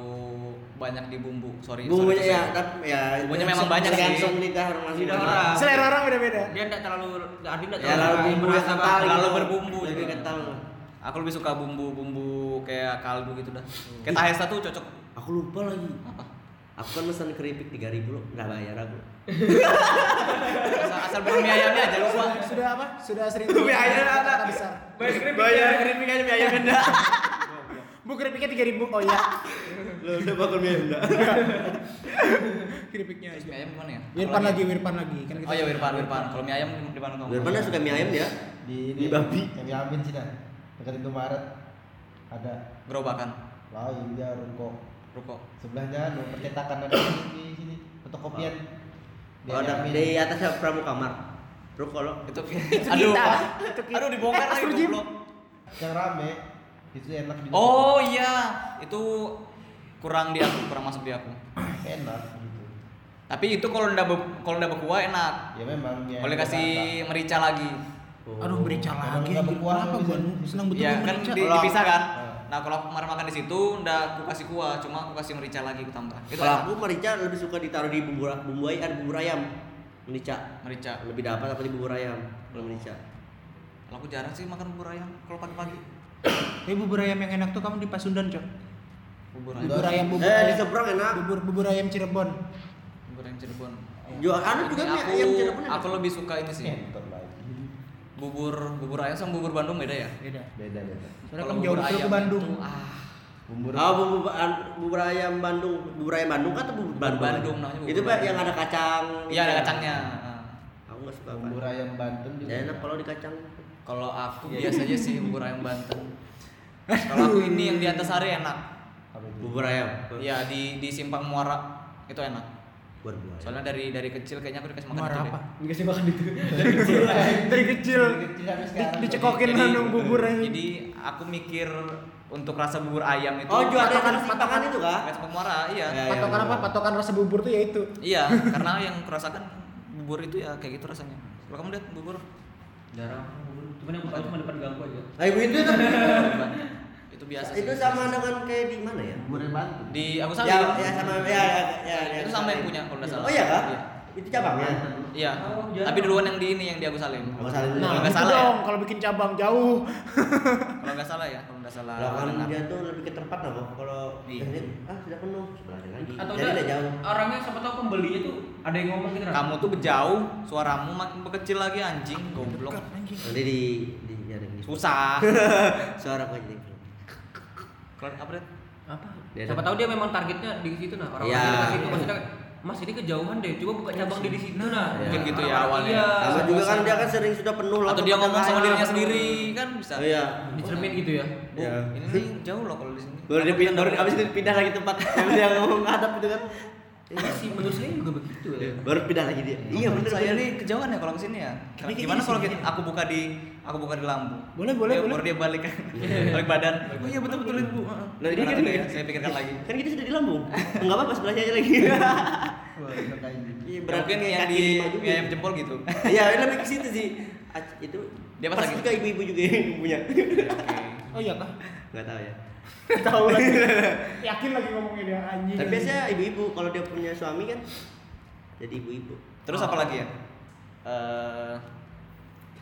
[SPEAKER 5] banyak di bumbu. Sorry. sorry,
[SPEAKER 1] Bumbunya
[SPEAKER 5] sorry.
[SPEAKER 1] ya, tapi ya
[SPEAKER 5] Bumbunya memang banyak sih.
[SPEAKER 1] Langsung lidah orang masing
[SPEAKER 6] Lidah
[SPEAKER 5] Ya,
[SPEAKER 6] orang.
[SPEAKER 2] Selera orang beda-beda.
[SPEAKER 6] Dia enggak terlalu Adi
[SPEAKER 5] Iya,
[SPEAKER 6] enggak
[SPEAKER 1] Ya lalu bumbu yang
[SPEAKER 6] berasa
[SPEAKER 1] kental,
[SPEAKER 6] banget.
[SPEAKER 5] terlalu
[SPEAKER 1] gitu.
[SPEAKER 5] berbumbu
[SPEAKER 1] lebih
[SPEAKER 5] juga.
[SPEAKER 1] kental.
[SPEAKER 5] Aku lebih suka bumbu-bumbu kayak kaldu gitu dah.
[SPEAKER 1] Hmm.
[SPEAKER 5] Kayak tahesta tuh cocok.
[SPEAKER 1] Aku lupa lagi. Apa? Aku kan pesan keripik 3000 loh, enggak bayar aku.
[SPEAKER 5] Asal, asal beli mie ayamnya aja lupa.
[SPEAKER 2] Sudah apa? Sudah sering.
[SPEAKER 5] Lebih aja ada.
[SPEAKER 2] Kata besar.
[SPEAKER 6] Bayar keripik.
[SPEAKER 5] keripik aja mie ayam
[SPEAKER 1] kan?
[SPEAKER 5] enggak.
[SPEAKER 2] Bu keripiknya tiga ribu. Oh iya.
[SPEAKER 1] Lo udah bakal mie enggak?
[SPEAKER 2] Keripiknya
[SPEAKER 5] Terus
[SPEAKER 2] aja.
[SPEAKER 5] mie ayam mana ya?
[SPEAKER 2] Wirpan lagi, Wirpan lagi. Kan kita
[SPEAKER 5] Oh iya Wirpan, Wirpan. Kalau mie ayam di mana kamu?
[SPEAKER 1] Biar mana suka mie ayam ya?
[SPEAKER 3] Di,
[SPEAKER 1] Di babi.
[SPEAKER 3] Yang diambil sih dah. Dekat itu Maret ada
[SPEAKER 5] Gerobakan,
[SPEAKER 3] lain dia ruko.
[SPEAKER 5] ruko.
[SPEAKER 3] Sebelahnya anu percetakan ada di sini, fotokopian.
[SPEAKER 1] Oh, ada di atas ada pramu kamar. Bro kalau
[SPEAKER 5] Itu, itu aduh,
[SPEAKER 2] kita.
[SPEAKER 5] Pak.
[SPEAKER 2] Itu kita.
[SPEAKER 5] Aduh
[SPEAKER 2] Eh,
[SPEAKER 5] dibongkar lagi
[SPEAKER 2] Astro Gym.
[SPEAKER 5] goblok.
[SPEAKER 3] yang rame itu enak juga
[SPEAKER 5] Oh iya, itu kurang di aku, kurang masuk di aku.
[SPEAKER 3] enak gitu
[SPEAKER 5] Tapi itu kalau udah be- kalau udah berkuah enak.
[SPEAKER 3] ya memang
[SPEAKER 2] Iya,
[SPEAKER 3] ya
[SPEAKER 5] Boleh kasih merica lagi.
[SPEAKER 2] Aduh merica
[SPEAKER 3] Emang
[SPEAKER 2] lagi.
[SPEAKER 3] nggak
[SPEAKER 2] anjir.
[SPEAKER 3] berkuah
[SPEAKER 2] Kenapa
[SPEAKER 3] nggak
[SPEAKER 2] gua
[SPEAKER 3] bisa?
[SPEAKER 2] senang betul
[SPEAKER 5] Iya
[SPEAKER 2] gua
[SPEAKER 5] kan
[SPEAKER 2] merica. Iya.
[SPEAKER 5] di-
[SPEAKER 3] Kalau-
[SPEAKER 5] dipisah kan.
[SPEAKER 3] Nah.
[SPEAKER 5] Nah kalau aku kemarin makan di situ, udah aku kasih kuah, cuma aku kasih merica lagi aku tambah. Itu
[SPEAKER 1] kalau
[SPEAKER 5] enak.
[SPEAKER 1] aku merica lebih suka ditaruh di bumbu bumbu ayam, bumbu ayam. Merica
[SPEAKER 5] Merica.
[SPEAKER 1] lebih dapat apa di bubur ayam kalau merica.
[SPEAKER 5] Kalau aku jarang sih makan bubur ayam kalau pagi-pagi.
[SPEAKER 2] Eh bubur ayam yang enak tuh kamu di Pasundan, Cok.
[SPEAKER 5] Bubur ayam,
[SPEAKER 2] Bubur ayam bubur.
[SPEAKER 1] Eh,
[SPEAKER 2] ayam-
[SPEAKER 1] di seberang enak.
[SPEAKER 2] Bubur bubur ayam Cirebon.
[SPEAKER 5] bubur ayam Cirebon.
[SPEAKER 2] Iya.
[SPEAKER 1] Jual ada juga
[SPEAKER 5] Ini
[SPEAKER 1] nih
[SPEAKER 5] aku,
[SPEAKER 1] ayam Cirebon.
[SPEAKER 5] aku lebih suka ini sih.
[SPEAKER 3] Ngentot lagi
[SPEAKER 5] Bubur bubur ayam sama bubur Bandung beda ya?
[SPEAKER 2] Beda.
[SPEAKER 3] beda beda
[SPEAKER 2] Soalnya kamu jauh dari Bandung.
[SPEAKER 5] itu, ah,
[SPEAKER 3] bumbu
[SPEAKER 1] Ah, bubur an- bubur ayam Bandung, bubur ayam Bandung kan atau bubur Bandung?
[SPEAKER 5] Bandung namanya bubur
[SPEAKER 1] Itu Pak
[SPEAKER 5] Bandung.
[SPEAKER 1] yang ada kacang.
[SPEAKER 5] iya ada
[SPEAKER 1] gitu.
[SPEAKER 5] kacangnya. Ah.
[SPEAKER 1] Aku nggak suka.
[SPEAKER 3] bumbu
[SPEAKER 1] Pak.
[SPEAKER 3] ayam Banten juga
[SPEAKER 1] Ya enak kalau di kacang.
[SPEAKER 5] Kalau aku biasanya sih bubur ayam Banten. Kalau aku ini yang di atas hari enak.
[SPEAKER 3] Apa itu?
[SPEAKER 1] Bubur ayam.
[SPEAKER 5] Ya di di Simpang Muara itu enak.
[SPEAKER 1] Buat buah.
[SPEAKER 5] Soalnya dari dari kecil kayaknya aku dikasih makan
[SPEAKER 2] Muara
[SPEAKER 5] itu deh.
[SPEAKER 2] apa?
[SPEAKER 6] Dikasih makan itu.
[SPEAKER 2] Dari kecil.
[SPEAKER 3] Dari kecil sampai sekarang.
[SPEAKER 2] Di- Dicekokin nang bubur ayam.
[SPEAKER 5] Jadi aku mikir untuk rasa bubur ayam itu.
[SPEAKER 1] Oh, jual
[SPEAKER 2] patokan-
[SPEAKER 1] ada
[SPEAKER 2] patokan.
[SPEAKER 1] patokan itu kah?
[SPEAKER 5] Kayak Simpang Muara, iya.
[SPEAKER 1] Ya, ya.
[SPEAKER 2] Patokan apa? Patokan rasa bubur tuh ya itu.
[SPEAKER 5] Iya, karena yang kurasakan bubur itu ya kayak gitu rasanya. Kalau kamu lihat bubur
[SPEAKER 6] Jarang. Cuman yang pertama cuma depan ganggu aja.
[SPEAKER 1] Ayo itu tuh.
[SPEAKER 5] itu biasa. sih.
[SPEAKER 1] Itu sama dengan kayak di mana ya?
[SPEAKER 3] bubur ayam Banten
[SPEAKER 5] di aku
[SPEAKER 1] Ya,
[SPEAKER 5] sama
[SPEAKER 1] ya sama ya ya ya. ya,
[SPEAKER 5] Itu sama yang punya, kalau nggak salah.
[SPEAKER 1] Oh iya kah?
[SPEAKER 5] Iya.
[SPEAKER 1] Itu cabangnya.
[SPEAKER 5] Iya.
[SPEAKER 6] Oh, jarang.
[SPEAKER 5] Tapi duluan yang di ini yang di Agus Salim.
[SPEAKER 1] Agus Salim.
[SPEAKER 5] Kalau
[SPEAKER 2] Nah,
[SPEAKER 5] nggak
[SPEAKER 2] gitu
[SPEAKER 5] salah. ya.
[SPEAKER 2] dong kalau bikin cabang jauh.
[SPEAKER 5] Kalau nggak salah ya, kalau nggak salah.
[SPEAKER 1] Lah kan
[SPEAKER 5] dengar.
[SPEAKER 1] dia tuh lebih ke tempat lah kok. Kalau
[SPEAKER 5] Iya.
[SPEAKER 1] ini ah sudah penuh, sebelahnya lagi.
[SPEAKER 6] Atau
[SPEAKER 1] Jadi
[SPEAKER 6] enggak
[SPEAKER 1] nggak jauh.
[SPEAKER 6] orangnya siapa tahu pembelinya tuh ada yang ngomong gitu. Ran.
[SPEAKER 5] Kamu tuh jauh, suaramu makin kecil lagi anjing, goblok.
[SPEAKER 1] Nanti di di jaring di
[SPEAKER 5] Susah.
[SPEAKER 1] suara kok jadi.
[SPEAKER 5] Kalau apa deh?
[SPEAKER 6] apa?
[SPEAKER 1] Dia
[SPEAKER 6] siapa
[SPEAKER 1] ada-
[SPEAKER 6] tahu dia memang targetnya di situ nah orang
[SPEAKER 1] Iya.
[SPEAKER 6] orang di situ maksudnya Mas ini kejauhan deh, coba buka cabang di di situ nah.
[SPEAKER 1] Mungkin
[SPEAKER 5] gitu ya
[SPEAKER 6] Orang-orang,
[SPEAKER 5] awalnya.
[SPEAKER 6] Iya.
[SPEAKER 1] Sama
[SPEAKER 6] Sama
[SPEAKER 1] juga kan dia kan sering sudah penuh lah.
[SPEAKER 5] Atau dia ngomong sama
[SPEAKER 1] pertengahan.
[SPEAKER 5] dirinya sendiri kan bisa.
[SPEAKER 1] Oh iya.
[SPEAKER 6] Dicermin gitu ya.
[SPEAKER 5] Bu,
[SPEAKER 1] Iya.
[SPEAKER 5] ini nih jauh loh kalau di sini.
[SPEAKER 1] Baru dia pindah, baru abis itu pindah lagi tempat. Abis dia ngomong ngadap itu kan. Iya,
[SPEAKER 6] Tapi sih menurut saya juga begitu ya.
[SPEAKER 1] Baru pindah lagi dia. Iya bener
[SPEAKER 5] saya
[SPEAKER 1] bener.
[SPEAKER 5] ini kejauhan ya kalau ke sini ya. Gimana kalau kita, aku buka di aku buka di lampu.
[SPEAKER 2] Boleh, boleh,
[SPEAKER 5] Dia-
[SPEAKER 2] boleh.
[SPEAKER 5] Baru dia balik kan. balik badan. Oh iya betul betul Ibu. Heeh.
[SPEAKER 1] Nah, dia
[SPEAKER 5] Gimana
[SPEAKER 1] kan-
[SPEAKER 5] tuh ya? Saya pikirkan lagi.
[SPEAKER 1] Kan kita sudah di Lampung. Enggak apa-apa sebelahnya aja lagi.
[SPEAKER 3] Wah, enak anjing.
[SPEAKER 1] Iya,
[SPEAKER 5] Ya,
[SPEAKER 1] berarti
[SPEAKER 5] mungkin
[SPEAKER 1] kayak
[SPEAKER 5] yang
[SPEAKER 1] kaki
[SPEAKER 5] di
[SPEAKER 1] lima juga. ya.
[SPEAKER 5] ayam jempol gitu.
[SPEAKER 1] Iya, lebih ke situ sih. Ac- Itu
[SPEAKER 5] Dia pas
[SPEAKER 1] pasti
[SPEAKER 5] lagi.
[SPEAKER 1] juga ibu-ibu juga yang punya.
[SPEAKER 2] Oh iya kah?
[SPEAKER 1] Enggak tahu ya.
[SPEAKER 2] Tahu lagi. Yakin lagi ngomongnya dia anjing.
[SPEAKER 1] Tapi biasanya ibu-ibu kalau dia punya suami kan jadi ibu-ibu.
[SPEAKER 5] Terus
[SPEAKER 2] Ah.
[SPEAKER 5] apa lagi ya? Eh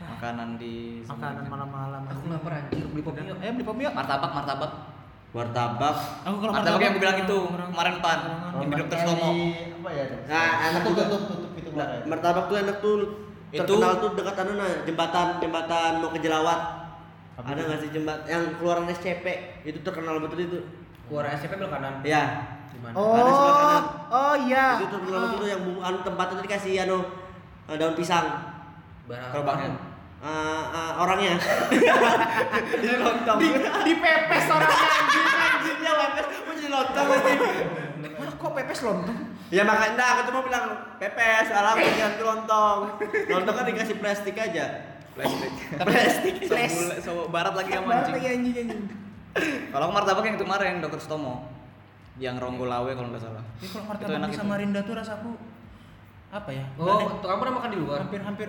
[SPEAKER 5] makanan di
[SPEAKER 2] makanan malam-malam.
[SPEAKER 6] Aku lapar anjir, beli pop mie yuk.
[SPEAKER 2] Ayo beli pop mie yuk.
[SPEAKER 5] martabak martabak
[SPEAKER 1] Martabak.
[SPEAKER 2] Aku kalau
[SPEAKER 5] martabak yang aku bilang itu
[SPEAKER 2] orang-
[SPEAKER 5] kemarin pan
[SPEAKER 3] Kalau
[SPEAKER 5] di dokter
[SPEAKER 3] makan
[SPEAKER 5] Slomo
[SPEAKER 3] di- apa ya dok?
[SPEAKER 2] Nah,
[SPEAKER 1] Ah, anak
[SPEAKER 3] tutup
[SPEAKER 1] juga.
[SPEAKER 3] tutup tutup itu
[SPEAKER 1] Nah,
[SPEAKER 3] kemarin.
[SPEAKER 1] martabak tuh enak tuh
[SPEAKER 5] Itu-
[SPEAKER 1] terkenal tuh dekat anu nah jembatan jembatan mau ke Jerawat ada nggak sih jembat yang keluaran SCP itu terkenal betul itu
[SPEAKER 6] Keluar SCP belok kanan.
[SPEAKER 1] ya
[SPEAKER 6] Gimana?
[SPEAKER 1] Ada sebelah
[SPEAKER 2] Oh,
[SPEAKER 1] kanan.
[SPEAKER 2] oh iya.
[SPEAKER 1] itu terkenal betul tuh yang bu- anu tempatnya tuh dikasih anu eh, daun pisang
[SPEAKER 6] Barang.
[SPEAKER 5] kerobaknya
[SPEAKER 1] Eh, eh, orangnya jadi lontong
[SPEAKER 2] Di, di pepes orang anjing anjing.
[SPEAKER 1] ya pepes mau jadi lontong nanti
[SPEAKER 2] Wah, kok pepes lontong?
[SPEAKER 1] ya makanya nah, aku cuma bilang pepes alam jangan ke lontong lontong kan dikasih plastik aja
[SPEAKER 5] plastik
[SPEAKER 1] plastik
[SPEAKER 5] Sobule- sobo barat lagi yang
[SPEAKER 2] Barat lagi
[SPEAKER 5] mancing
[SPEAKER 2] anjing anjing.
[SPEAKER 5] kalau aku martabak yang itu kemarin dokter Stomo yang Ronggolawe kalau nggak salah
[SPEAKER 2] Ini Ya, kalau
[SPEAKER 5] Itu
[SPEAKER 2] martabak
[SPEAKER 5] enak
[SPEAKER 2] di
[SPEAKER 5] itu.
[SPEAKER 2] Samarinda tuh rasaku apa ya?
[SPEAKER 6] Oh,
[SPEAKER 2] Aneh.
[SPEAKER 6] tuh kamu udah makan di luar?
[SPEAKER 2] hampir-hampir.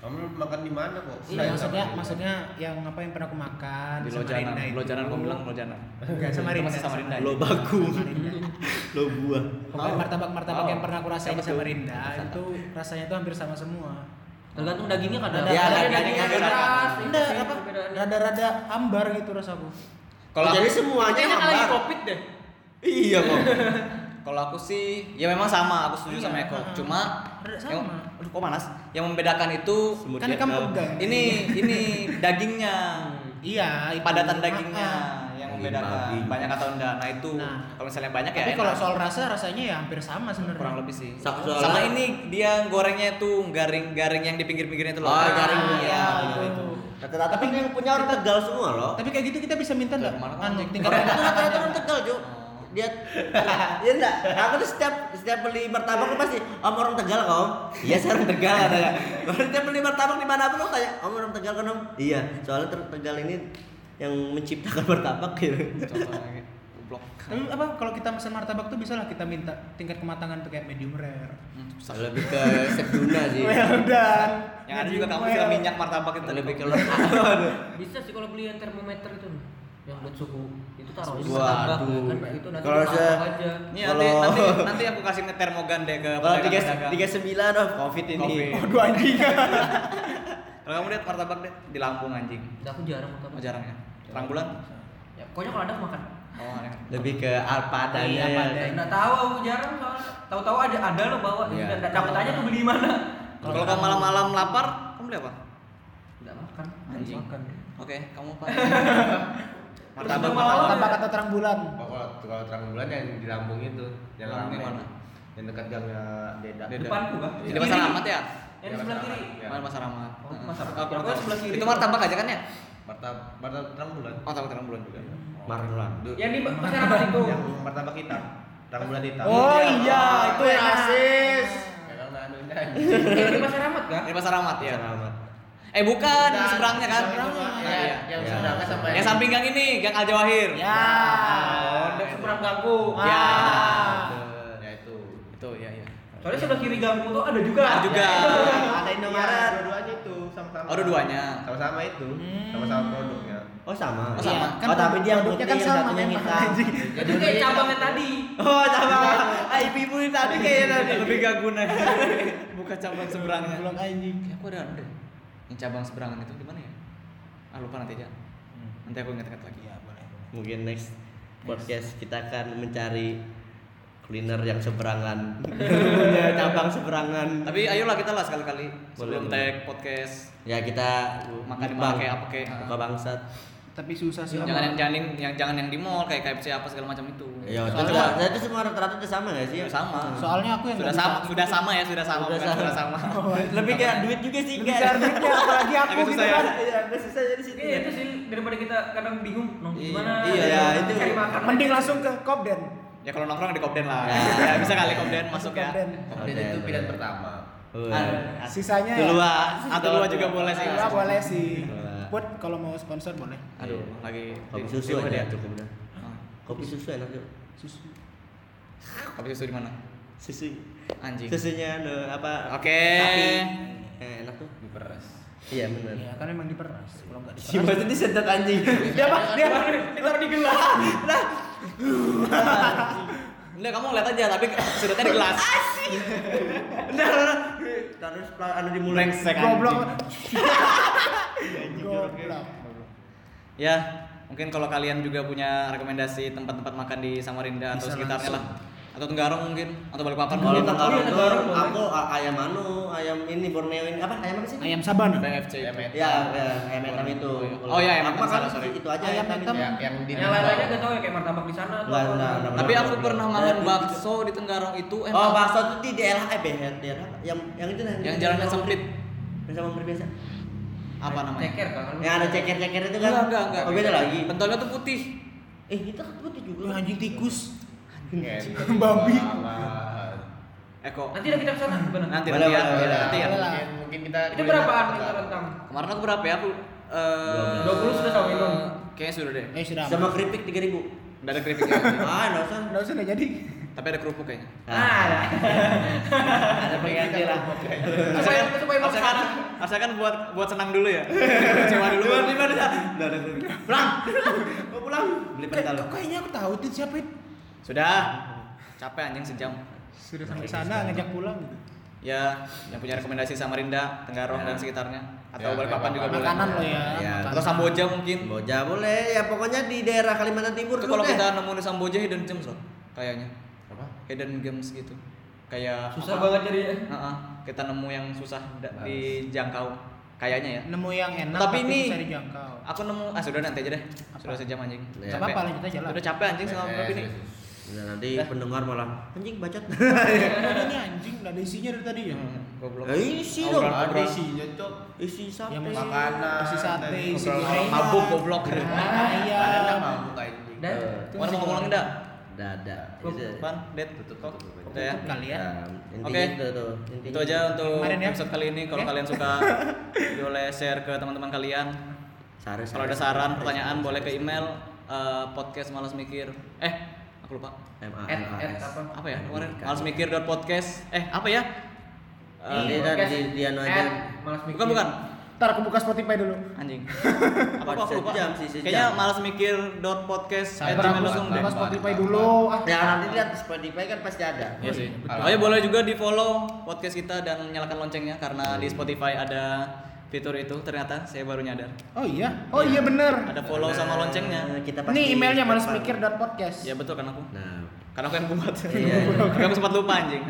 [SPEAKER 3] Kamu makan di mana kok?
[SPEAKER 2] Iya, maksudnya maksudnya yang apa yang pernah aku makan
[SPEAKER 5] di
[SPEAKER 2] Samarinda
[SPEAKER 5] Lojanan
[SPEAKER 2] itu.
[SPEAKER 5] Lojanan aku bilang Lojanan
[SPEAKER 2] Enggak, Samarinda.
[SPEAKER 5] Masih Samarinda.
[SPEAKER 1] lo baku
[SPEAKER 2] Samarinda.
[SPEAKER 1] lo buah
[SPEAKER 2] Pokoknya
[SPEAKER 3] Tahu.
[SPEAKER 2] martabak-martabak
[SPEAKER 5] Tahu.
[SPEAKER 2] yang pernah aku rasain di
[SPEAKER 5] Siapa tuh?
[SPEAKER 2] Samarinda itu rasanya tuh hampir sama semua.
[SPEAKER 6] Tergantung dagingnya kadang.
[SPEAKER 2] Ada-
[SPEAKER 6] Ada
[SPEAKER 5] Ya,
[SPEAKER 1] ada
[SPEAKER 6] daging
[SPEAKER 1] dagingnya
[SPEAKER 6] yang
[SPEAKER 1] ada.
[SPEAKER 6] keras, ini
[SPEAKER 2] Enggak,
[SPEAKER 6] sih
[SPEAKER 2] apa?
[SPEAKER 6] perbedaannya.
[SPEAKER 2] Rada-rada ambar gitu rasaku.
[SPEAKER 5] kalau
[SPEAKER 1] jadi
[SPEAKER 5] aku
[SPEAKER 1] semuanya
[SPEAKER 6] Kayaknya
[SPEAKER 1] hambar.
[SPEAKER 6] lagi covid deh.
[SPEAKER 5] iya kok kalau aku sih ya memang sama aku setuju
[SPEAKER 2] Iya,
[SPEAKER 5] sama Eko
[SPEAKER 2] ah.
[SPEAKER 5] cuma
[SPEAKER 2] Rada sama.
[SPEAKER 5] yang, aduh kok panas yang membedakan itu
[SPEAKER 1] Semut
[SPEAKER 2] Kan kamu
[SPEAKER 1] Vietnam.
[SPEAKER 2] pegang.
[SPEAKER 5] ini ini dagingnya
[SPEAKER 2] Iya, itu.
[SPEAKER 5] padatan dagingnya
[SPEAKER 1] Daging
[SPEAKER 5] yang
[SPEAKER 1] babi.
[SPEAKER 5] membedakan banyak atau enggak nah itu
[SPEAKER 2] Ah, Nah.
[SPEAKER 5] kalau misalnya banyak ya
[SPEAKER 2] Tapi
[SPEAKER 5] enak.
[SPEAKER 2] kalau soal rasa rasanya ya hampir sama sebenarnya.
[SPEAKER 5] kurang lebih sih
[SPEAKER 1] Sa- soalnya-
[SPEAKER 5] sama ini dia gorengnya tuh garing-garing yang di pinggir-pinggirnya itu loh
[SPEAKER 1] Oh,
[SPEAKER 5] Nah,
[SPEAKER 1] garing.
[SPEAKER 5] iya,
[SPEAKER 2] Iya,
[SPEAKER 5] benar
[SPEAKER 2] itu.
[SPEAKER 5] itu
[SPEAKER 1] rata-rata kan yang punya orang tegal semua loh
[SPEAKER 2] Tapi kayak gitu kita bisa minta enggak?
[SPEAKER 5] Dari mana kan
[SPEAKER 2] Anu,
[SPEAKER 5] anjing?
[SPEAKER 2] tingkat
[SPEAKER 1] Karena rata-rata orang tegal, Ju. Oh. dia dia enggak aku tuh setiap setiap beli martabak tuh pasti om orang tegal kau iya saya orang tegal kata dia. baru setiap beli martabak di mana pun aku tanya om orang tegal kan om iya soalnya ter- tegal ini yang menciptakan martabak gitu
[SPEAKER 5] Contoh lagi. Goblok.
[SPEAKER 2] Tapi apa kalau kita pesan martabak tuh bisa lah kita minta tingkat kematangan tuh kayak medium rare.
[SPEAKER 1] lebih ke sepduna sih
[SPEAKER 2] Well done.
[SPEAKER 5] Yang ada
[SPEAKER 2] Medium
[SPEAKER 5] juga kamu
[SPEAKER 2] well.
[SPEAKER 5] suka minyak martabak itu.
[SPEAKER 1] lebih ke
[SPEAKER 6] Bisa sih kalau beli yang termometer itu loh. yang buat suhu itu taruh di
[SPEAKER 1] Waduh.
[SPEAKER 6] martabak, kan kayak gitu nanti
[SPEAKER 1] Kalau
[SPEAKER 6] kalau
[SPEAKER 1] saya-
[SPEAKER 6] aja
[SPEAKER 5] Nih nanti,
[SPEAKER 1] Kalau-
[SPEAKER 5] nanti nanti aku kasih ngetermogan deh ke
[SPEAKER 1] kalau tiga
[SPEAKER 5] pedagang-pedagang.
[SPEAKER 1] tiga sembilan oh covid Iya,
[SPEAKER 5] Covid.
[SPEAKER 1] ini
[SPEAKER 2] Waduh anjing.
[SPEAKER 5] Kalau kamu lihat martabak deh di Lampung anjing.
[SPEAKER 6] Nah, aku jarang
[SPEAKER 5] Oh,
[SPEAKER 6] makan
[SPEAKER 5] jarang ya. Terang bulan.
[SPEAKER 6] ya pokoknya kalau ada aku makan
[SPEAKER 5] Oh, aneh.
[SPEAKER 1] lebih ke apa
[SPEAKER 6] Iya,
[SPEAKER 1] adanya ya.
[SPEAKER 6] pandai. nggak tahu aku jarang soalnya tahu-tahu ada ada lo bawa
[SPEAKER 1] Iya.
[SPEAKER 6] ya. dapat aja tuh beli di mana
[SPEAKER 5] Kalau kamu malam-malam lapar, kamu beli apa?
[SPEAKER 6] nggak makan harus
[SPEAKER 5] Anjing.
[SPEAKER 6] makan
[SPEAKER 5] Oke, kamu apa?
[SPEAKER 6] Terus
[SPEAKER 5] martabak
[SPEAKER 6] dia malam-
[SPEAKER 5] martabak.
[SPEAKER 2] Martabak Oh, atau terang bulan.
[SPEAKER 3] Oh, Kalau kalau terang bulan yang di Lampung itu, yang
[SPEAKER 5] Lampung
[SPEAKER 3] rame.
[SPEAKER 5] mana?
[SPEAKER 3] Yang dekat gangnya Deda.
[SPEAKER 5] Deda.
[SPEAKER 6] depanku kah
[SPEAKER 5] Di pasar
[SPEAKER 6] Kiri.
[SPEAKER 5] Ahmad ya?
[SPEAKER 6] yang di sebelah kiri
[SPEAKER 3] Ya.
[SPEAKER 5] Mana pasar Ahmad?
[SPEAKER 6] Oh,
[SPEAKER 5] Heeh.
[SPEAKER 6] pasar Ahmad.
[SPEAKER 5] Oh,
[SPEAKER 6] Ya, aku sebelah kiri.
[SPEAKER 5] Itu martabak aja kan ya?
[SPEAKER 3] Martabak martabak terang bulan.
[SPEAKER 5] Oh, tahu terang bulan juga.
[SPEAKER 6] Iya.
[SPEAKER 1] Marlan
[SPEAKER 6] yang di pasar apa itu
[SPEAKER 3] Yang martabak hitam. Terang bulan hitam. Ya,
[SPEAKER 2] Oh
[SPEAKER 5] Iya.
[SPEAKER 2] iya, itu yang rasis.
[SPEAKER 3] Kadang nanunya.
[SPEAKER 6] yang di pasar amat kan
[SPEAKER 5] Di pasar Ahmad ya.
[SPEAKER 1] selamat
[SPEAKER 5] Eh, bukan, di seberangnya kan? Iya, iya.
[SPEAKER 3] Yang
[SPEAKER 1] Ya.
[SPEAKER 3] seberangnya sama
[SPEAKER 5] Yang samping gang ini, gang Al Jawahir.
[SPEAKER 6] Iya.
[SPEAKER 2] Ya. Iya.
[SPEAKER 6] ada seberang ganggu
[SPEAKER 2] Oh,
[SPEAKER 5] Ya.
[SPEAKER 3] Ya itu.
[SPEAKER 5] Itu ya ya.
[SPEAKER 6] soalnya sebelah kiri ganggu tuh ada juga
[SPEAKER 5] Ada juga.
[SPEAKER 2] Iya,
[SPEAKER 3] Ada Indomaret. Dua-duanya itu sama-sama.
[SPEAKER 5] Oh, dua-duanya.
[SPEAKER 3] Sama-sama itu.
[SPEAKER 2] Hmm.
[SPEAKER 3] Sama-sama produknya.
[SPEAKER 1] oh sama
[SPEAKER 5] Oh, sama.
[SPEAKER 1] oh tapi dia yang putih
[SPEAKER 2] produknya kan
[SPEAKER 1] yang
[SPEAKER 2] sama
[SPEAKER 1] satunya
[SPEAKER 2] memang.
[SPEAKER 1] hitam
[SPEAKER 2] anjing.
[SPEAKER 6] itu kayak cabangnya tadi
[SPEAKER 1] oh sama ah, ibu-ibu ini tadi kayaknya tadi
[SPEAKER 5] Lebih gak guna. Buka cabang seberangnya.
[SPEAKER 2] Belum anjing.
[SPEAKER 5] Kayak aku ada anu deh. Yang cabang seberangan itu di mana ya? Ah lupa nanti aja.
[SPEAKER 1] Hmm.
[SPEAKER 5] Nanti aku ingat-ingat lagi.
[SPEAKER 2] Iya, boleh.
[SPEAKER 1] mungkin next podcast kita akan mencari kuliner yang seberangan punya cabang seberangan
[SPEAKER 5] Tapi ayolah kita lah sekali-kali sebelum
[SPEAKER 1] boleh.
[SPEAKER 5] tag podcast.
[SPEAKER 1] ya kita
[SPEAKER 5] Makan di
[SPEAKER 1] mukbang.
[SPEAKER 5] mana, kayak apa, kayak-
[SPEAKER 1] buka bangsat
[SPEAKER 2] Tapi susah sih.
[SPEAKER 5] Jangan yang
[SPEAKER 2] Om.
[SPEAKER 5] jangan yang, yang- jangan yang di mall kayak KFC apa segala macam itu.
[SPEAKER 1] ya itu
[SPEAKER 5] Soalnya-
[SPEAKER 1] juga saya itu semua rata-rata udah sama gak sih
[SPEAKER 5] Iya, sama.
[SPEAKER 2] Soalnya aku yang
[SPEAKER 5] sudah
[SPEAKER 2] nggak
[SPEAKER 5] sama
[SPEAKER 2] bisa- Oh,
[SPEAKER 5] sudah sama ya sudah sama
[SPEAKER 1] Sudah
[SPEAKER 5] bukan
[SPEAKER 1] sama.
[SPEAKER 5] sudah sama.
[SPEAKER 1] lebih kayak duit juga sih
[SPEAKER 2] Lebih
[SPEAKER 1] kayak
[SPEAKER 2] besar duitnya, apalagi aku
[SPEAKER 5] Agak
[SPEAKER 2] gitu
[SPEAKER 5] susah ya.
[SPEAKER 2] kan.
[SPEAKER 1] iya agak susah jadi situ
[SPEAKER 6] iya itu sih daripada kita kadang bingung nong
[SPEAKER 5] Iya.
[SPEAKER 6] gimana
[SPEAKER 1] Iya,
[SPEAKER 6] ya,
[SPEAKER 1] itu.
[SPEAKER 6] cari makan
[SPEAKER 2] Mending langsung ke Kopden.
[SPEAKER 5] Ya kalau nongkrong di Kopden lah.
[SPEAKER 1] Ya.
[SPEAKER 5] Ya, bisa kali Kopden masuk ya.
[SPEAKER 2] Kopden.
[SPEAKER 3] Dan itu pilihan pertama.
[SPEAKER 5] Ah,
[SPEAKER 2] Sisanya ya.
[SPEAKER 1] dua
[SPEAKER 5] Atau dua juga boleh sih.
[SPEAKER 2] Ya boleh sih.
[SPEAKER 1] Boleh.
[SPEAKER 2] Put kalau mau sponsor boleh.
[SPEAKER 5] Aduh, lagi
[SPEAKER 1] kopi
[SPEAKER 5] di-
[SPEAKER 1] susu
[SPEAKER 5] di-
[SPEAKER 1] aja
[SPEAKER 5] di-
[SPEAKER 1] cukup dah
[SPEAKER 5] Ah,
[SPEAKER 1] kopi susu enak yuk
[SPEAKER 2] Susu.
[SPEAKER 5] Kopi susu di mana?
[SPEAKER 1] susu
[SPEAKER 5] Anjing.
[SPEAKER 1] susunya anu, apa
[SPEAKER 5] Oke.
[SPEAKER 1] sapi. eh, enak tuh
[SPEAKER 3] Diperes.
[SPEAKER 1] iya benar
[SPEAKER 2] Ya kan emang diperas. Kalau nggak Iya,
[SPEAKER 1] si
[SPEAKER 2] diperas.
[SPEAKER 1] bos ini sedot anjing
[SPEAKER 2] Dia apa? Dia
[SPEAKER 5] Ntar di gelas. Nah. Enggak, kamu lihat aja tapi sudutnya di gelas.
[SPEAKER 1] Bentar, bentar. Terus pelan- anu dimulai.
[SPEAKER 5] Brengsek
[SPEAKER 2] Eh, goblok.
[SPEAKER 5] anjing.
[SPEAKER 2] Goblok.
[SPEAKER 5] Ya, mungkin kalau kalian juga punya rekomendasi tempat-tempat makan di Samarinda atau
[SPEAKER 2] Bisa
[SPEAKER 5] sekitarnya lah. Atau Tenggarong mungkin, atau Balikpapan
[SPEAKER 1] Kalau
[SPEAKER 5] mungkin.
[SPEAKER 1] tenggarong
[SPEAKER 6] Iya,
[SPEAKER 1] itu
[SPEAKER 6] tenggarong boleh.
[SPEAKER 1] aku a- ayam anu, ayam ini Borneo ini apa ayam apa sih?
[SPEAKER 2] Ayam Sabana.
[SPEAKER 5] BFC.
[SPEAKER 3] Emet.
[SPEAKER 1] Ya, ya, ayam hitam itu.
[SPEAKER 5] Oh, iya, ayam
[SPEAKER 1] Aku
[SPEAKER 5] hitam,
[SPEAKER 1] makan
[SPEAKER 5] salah, sorry.
[SPEAKER 1] Itu aja
[SPEAKER 2] Ayam
[SPEAKER 1] ayam hitam. Iya,
[SPEAKER 2] hitam.
[SPEAKER 3] Ya, yang di
[SPEAKER 6] yang lain-lainnya gak tau ya kayak martabak di sana
[SPEAKER 1] Enggak, enggak, enggak.
[SPEAKER 5] Tapi aku pernah makan
[SPEAKER 1] Berarti-
[SPEAKER 5] bakso di Tenggarong itu
[SPEAKER 1] Oh,
[SPEAKER 5] eh, enak.
[SPEAKER 1] bakso itu di daerah eh daerah daerah apa? yang yang itu nah.
[SPEAKER 5] Yang jalannya sempit.
[SPEAKER 1] Yang sama Mampir biasa.
[SPEAKER 5] Apa namanya?
[SPEAKER 6] ceker kan
[SPEAKER 1] Yang ada ceker-ceker itu Eh, kan.
[SPEAKER 5] Enggak, enggak, enggak.
[SPEAKER 1] Oh, beda lagi.
[SPEAKER 5] Pentolnya tuh putih.
[SPEAKER 1] Eh, itu kan putih
[SPEAKER 2] Lu
[SPEAKER 1] juga.
[SPEAKER 2] anjing tikus. Babi.
[SPEAKER 3] Babi.
[SPEAKER 5] Eko.
[SPEAKER 6] nanti lah kita kesana gimana
[SPEAKER 5] Eh, Nanti
[SPEAKER 1] Boleh,
[SPEAKER 5] nanti ya.
[SPEAKER 1] boleh, boleh.
[SPEAKER 5] Nanti ya.
[SPEAKER 2] Boleh lah.
[SPEAKER 3] Iya, Mungkin kita
[SPEAKER 6] itu berapaan kita rentang
[SPEAKER 5] Kemarin aku berapa ya? Aku eh
[SPEAKER 6] 20 sudah sama belum?
[SPEAKER 5] Kayaknya sudah deh.
[SPEAKER 2] Eh sudah.
[SPEAKER 1] Sama keripik 3000.
[SPEAKER 5] Enggak ada keripiknya. lagi.
[SPEAKER 1] Ah, enggak usah.
[SPEAKER 2] Enggak usah nggak jadi.
[SPEAKER 5] Tapi ada kerupuk kayaknya.
[SPEAKER 1] Ah,
[SPEAKER 6] ada
[SPEAKER 1] ada pengganti lah.
[SPEAKER 6] supaya supaya mau
[SPEAKER 5] Harusnya kan,
[SPEAKER 6] kesana
[SPEAKER 5] harusnya kan buat buat senang dulu ya. Kecewa dulu. baru-
[SPEAKER 1] Enggak ada keripik. Pulang. Mau pulang. Beli pental.
[SPEAKER 2] Kok kayaknya aku tahu itu siapa itu.
[SPEAKER 5] Sudah. Capek anjing sejam.
[SPEAKER 2] Sudah sampai sana ngajak pulang gitu.
[SPEAKER 5] Ya, yang punya rekomendasi Samarinda, Tenggarong dan sekitarnya atau
[SPEAKER 3] Ya,
[SPEAKER 5] Balikpapan juga boleh.
[SPEAKER 2] Makanan lo
[SPEAKER 5] Iya,
[SPEAKER 2] ya.
[SPEAKER 1] Ya.
[SPEAKER 5] Atau Samboja mungkin.
[SPEAKER 1] Boja boleh ya pokoknya di daerah Kalimantan Timur
[SPEAKER 5] Itu
[SPEAKER 1] tuh
[SPEAKER 5] kalau
[SPEAKER 1] deh.
[SPEAKER 5] kita nemu di Samboja hidden gems loh kayaknya.
[SPEAKER 3] Apa?
[SPEAKER 5] Hidden gems gitu. Kayak
[SPEAKER 6] susah banget jadi
[SPEAKER 5] Heeh, kita nemu yang susah da- dijangkau kayaknya ya.
[SPEAKER 2] Nemu yang enak
[SPEAKER 5] Tapi ini-
[SPEAKER 2] bisa dijangkau.
[SPEAKER 5] Aku nemu ah sudah nanti aja deh.
[SPEAKER 2] Apa?
[SPEAKER 5] Sudah sejam anjing.
[SPEAKER 1] Ya.
[SPEAKER 2] Gak apa-apa lanjut aja lah.
[SPEAKER 5] Udah capek anjing sama
[SPEAKER 3] Eh, Iya,
[SPEAKER 5] ngopi nih.
[SPEAKER 1] Nah, nanti pendengar malah anjing bacot.
[SPEAKER 2] Ini nih anjing nggak ada isinya dari tadi ya.
[SPEAKER 5] Hmm, Goblok.
[SPEAKER 1] Ya, isi dong.
[SPEAKER 5] Obrolan-
[SPEAKER 3] Ada
[SPEAKER 5] obrolan-
[SPEAKER 3] isinya, Cok.
[SPEAKER 1] Isi sate.
[SPEAKER 2] Ya, mesti-
[SPEAKER 3] Makanan.
[SPEAKER 2] Isi sate,
[SPEAKER 3] Tadi
[SPEAKER 2] isi
[SPEAKER 3] obrolan
[SPEAKER 2] gorengan.
[SPEAKER 5] mabuk, goblok.
[SPEAKER 2] Ah, Iya.
[SPEAKER 1] Eh.
[SPEAKER 3] Ada mabuk anjing.
[SPEAKER 6] dan
[SPEAKER 5] Mana mau ngomong enggak?
[SPEAKER 1] dada.
[SPEAKER 5] Lu
[SPEAKER 1] Itu-
[SPEAKER 5] pan, det
[SPEAKER 4] Tutup,
[SPEAKER 5] kok.
[SPEAKER 4] tutup aja.
[SPEAKER 5] Udah ya.
[SPEAKER 3] Tutup kali ya.
[SPEAKER 1] Ya, intinya
[SPEAKER 5] Oke.
[SPEAKER 1] itu tuh. Intinya
[SPEAKER 5] Itu aja untuk
[SPEAKER 2] Kemarin ya.
[SPEAKER 5] episode kali ini. Kalau kalian suka, boleh share ke teman-teman kalian.
[SPEAKER 1] Saran-
[SPEAKER 5] Kalau ada saran, pertanyaan, boleh ke email eh, podcast malas mikir. Eh, aku lupa.
[SPEAKER 1] M A
[SPEAKER 4] At-
[SPEAKER 1] N A
[SPEAKER 4] at
[SPEAKER 1] S.
[SPEAKER 4] apa?
[SPEAKER 5] Apa ya kemarin? Malas mikir podcast. Eh, apa ya? Eh,
[SPEAKER 6] Iya.
[SPEAKER 1] Ini kan di Diano aja.
[SPEAKER 4] At malas mikir.
[SPEAKER 5] bukan bukan.
[SPEAKER 2] Ntar aku buka Spotify dulu.
[SPEAKER 5] Anjing. Apa kok aku lupa?
[SPEAKER 1] Sejam sih, sejam.
[SPEAKER 5] Kayaknya malas mikir dot podcast.
[SPEAKER 2] Sabar, aku
[SPEAKER 4] langsung
[SPEAKER 2] buka
[SPEAKER 4] deh.
[SPEAKER 2] Spotify
[SPEAKER 4] Sabar.
[SPEAKER 2] dulu. Ah,
[SPEAKER 1] Ya nanti lihat Spotify kan pasti ada.
[SPEAKER 5] Iya sih.
[SPEAKER 4] Kalau-
[SPEAKER 5] Oh ya boleh juga di follow podcast kita dan nyalakan loncengnya
[SPEAKER 1] Hmm.
[SPEAKER 5] karena di Spotify ada fitur itu ternyata saya baru nyadar.
[SPEAKER 2] Oh iya. Oh iya bener.
[SPEAKER 5] Ada follow sama
[SPEAKER 1] Nah,
[SPEAKER 5] loncengnya.
[SPEAKER 1] Kita pasti
[SPEAKER 2] Ini emailnya
[SPEAKER 1] depan.
[SPEAKER 2] malasmikir.podcast.
[SPEAKER 5] Ya betul kan aku.
[SPEAKER 1] Nah,
[SPEAKER 5] Karena aku yang buat.
[SPEAKER 1] Iya, iya.
[SPEAKER 5] Karena aku sempat lupa anjing.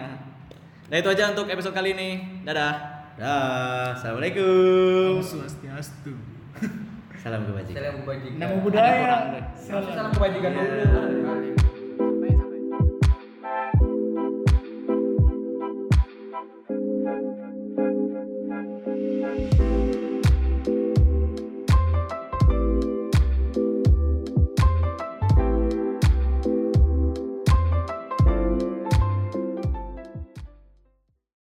[SPEAKER 5] Nah itu aja untuk episode kali ini. Dadah.
[SPEAKER 1] dah. Assalamualaikum.
[SPEAKER 2] Swastiastu.
[SPEAKER 1] Salam kebajikan.
[SPEAKER 4] Salam kebajikan.
[SPEAKER 2] Nama budaya.
[SPEAKER 4] Salam kebajikan dulu.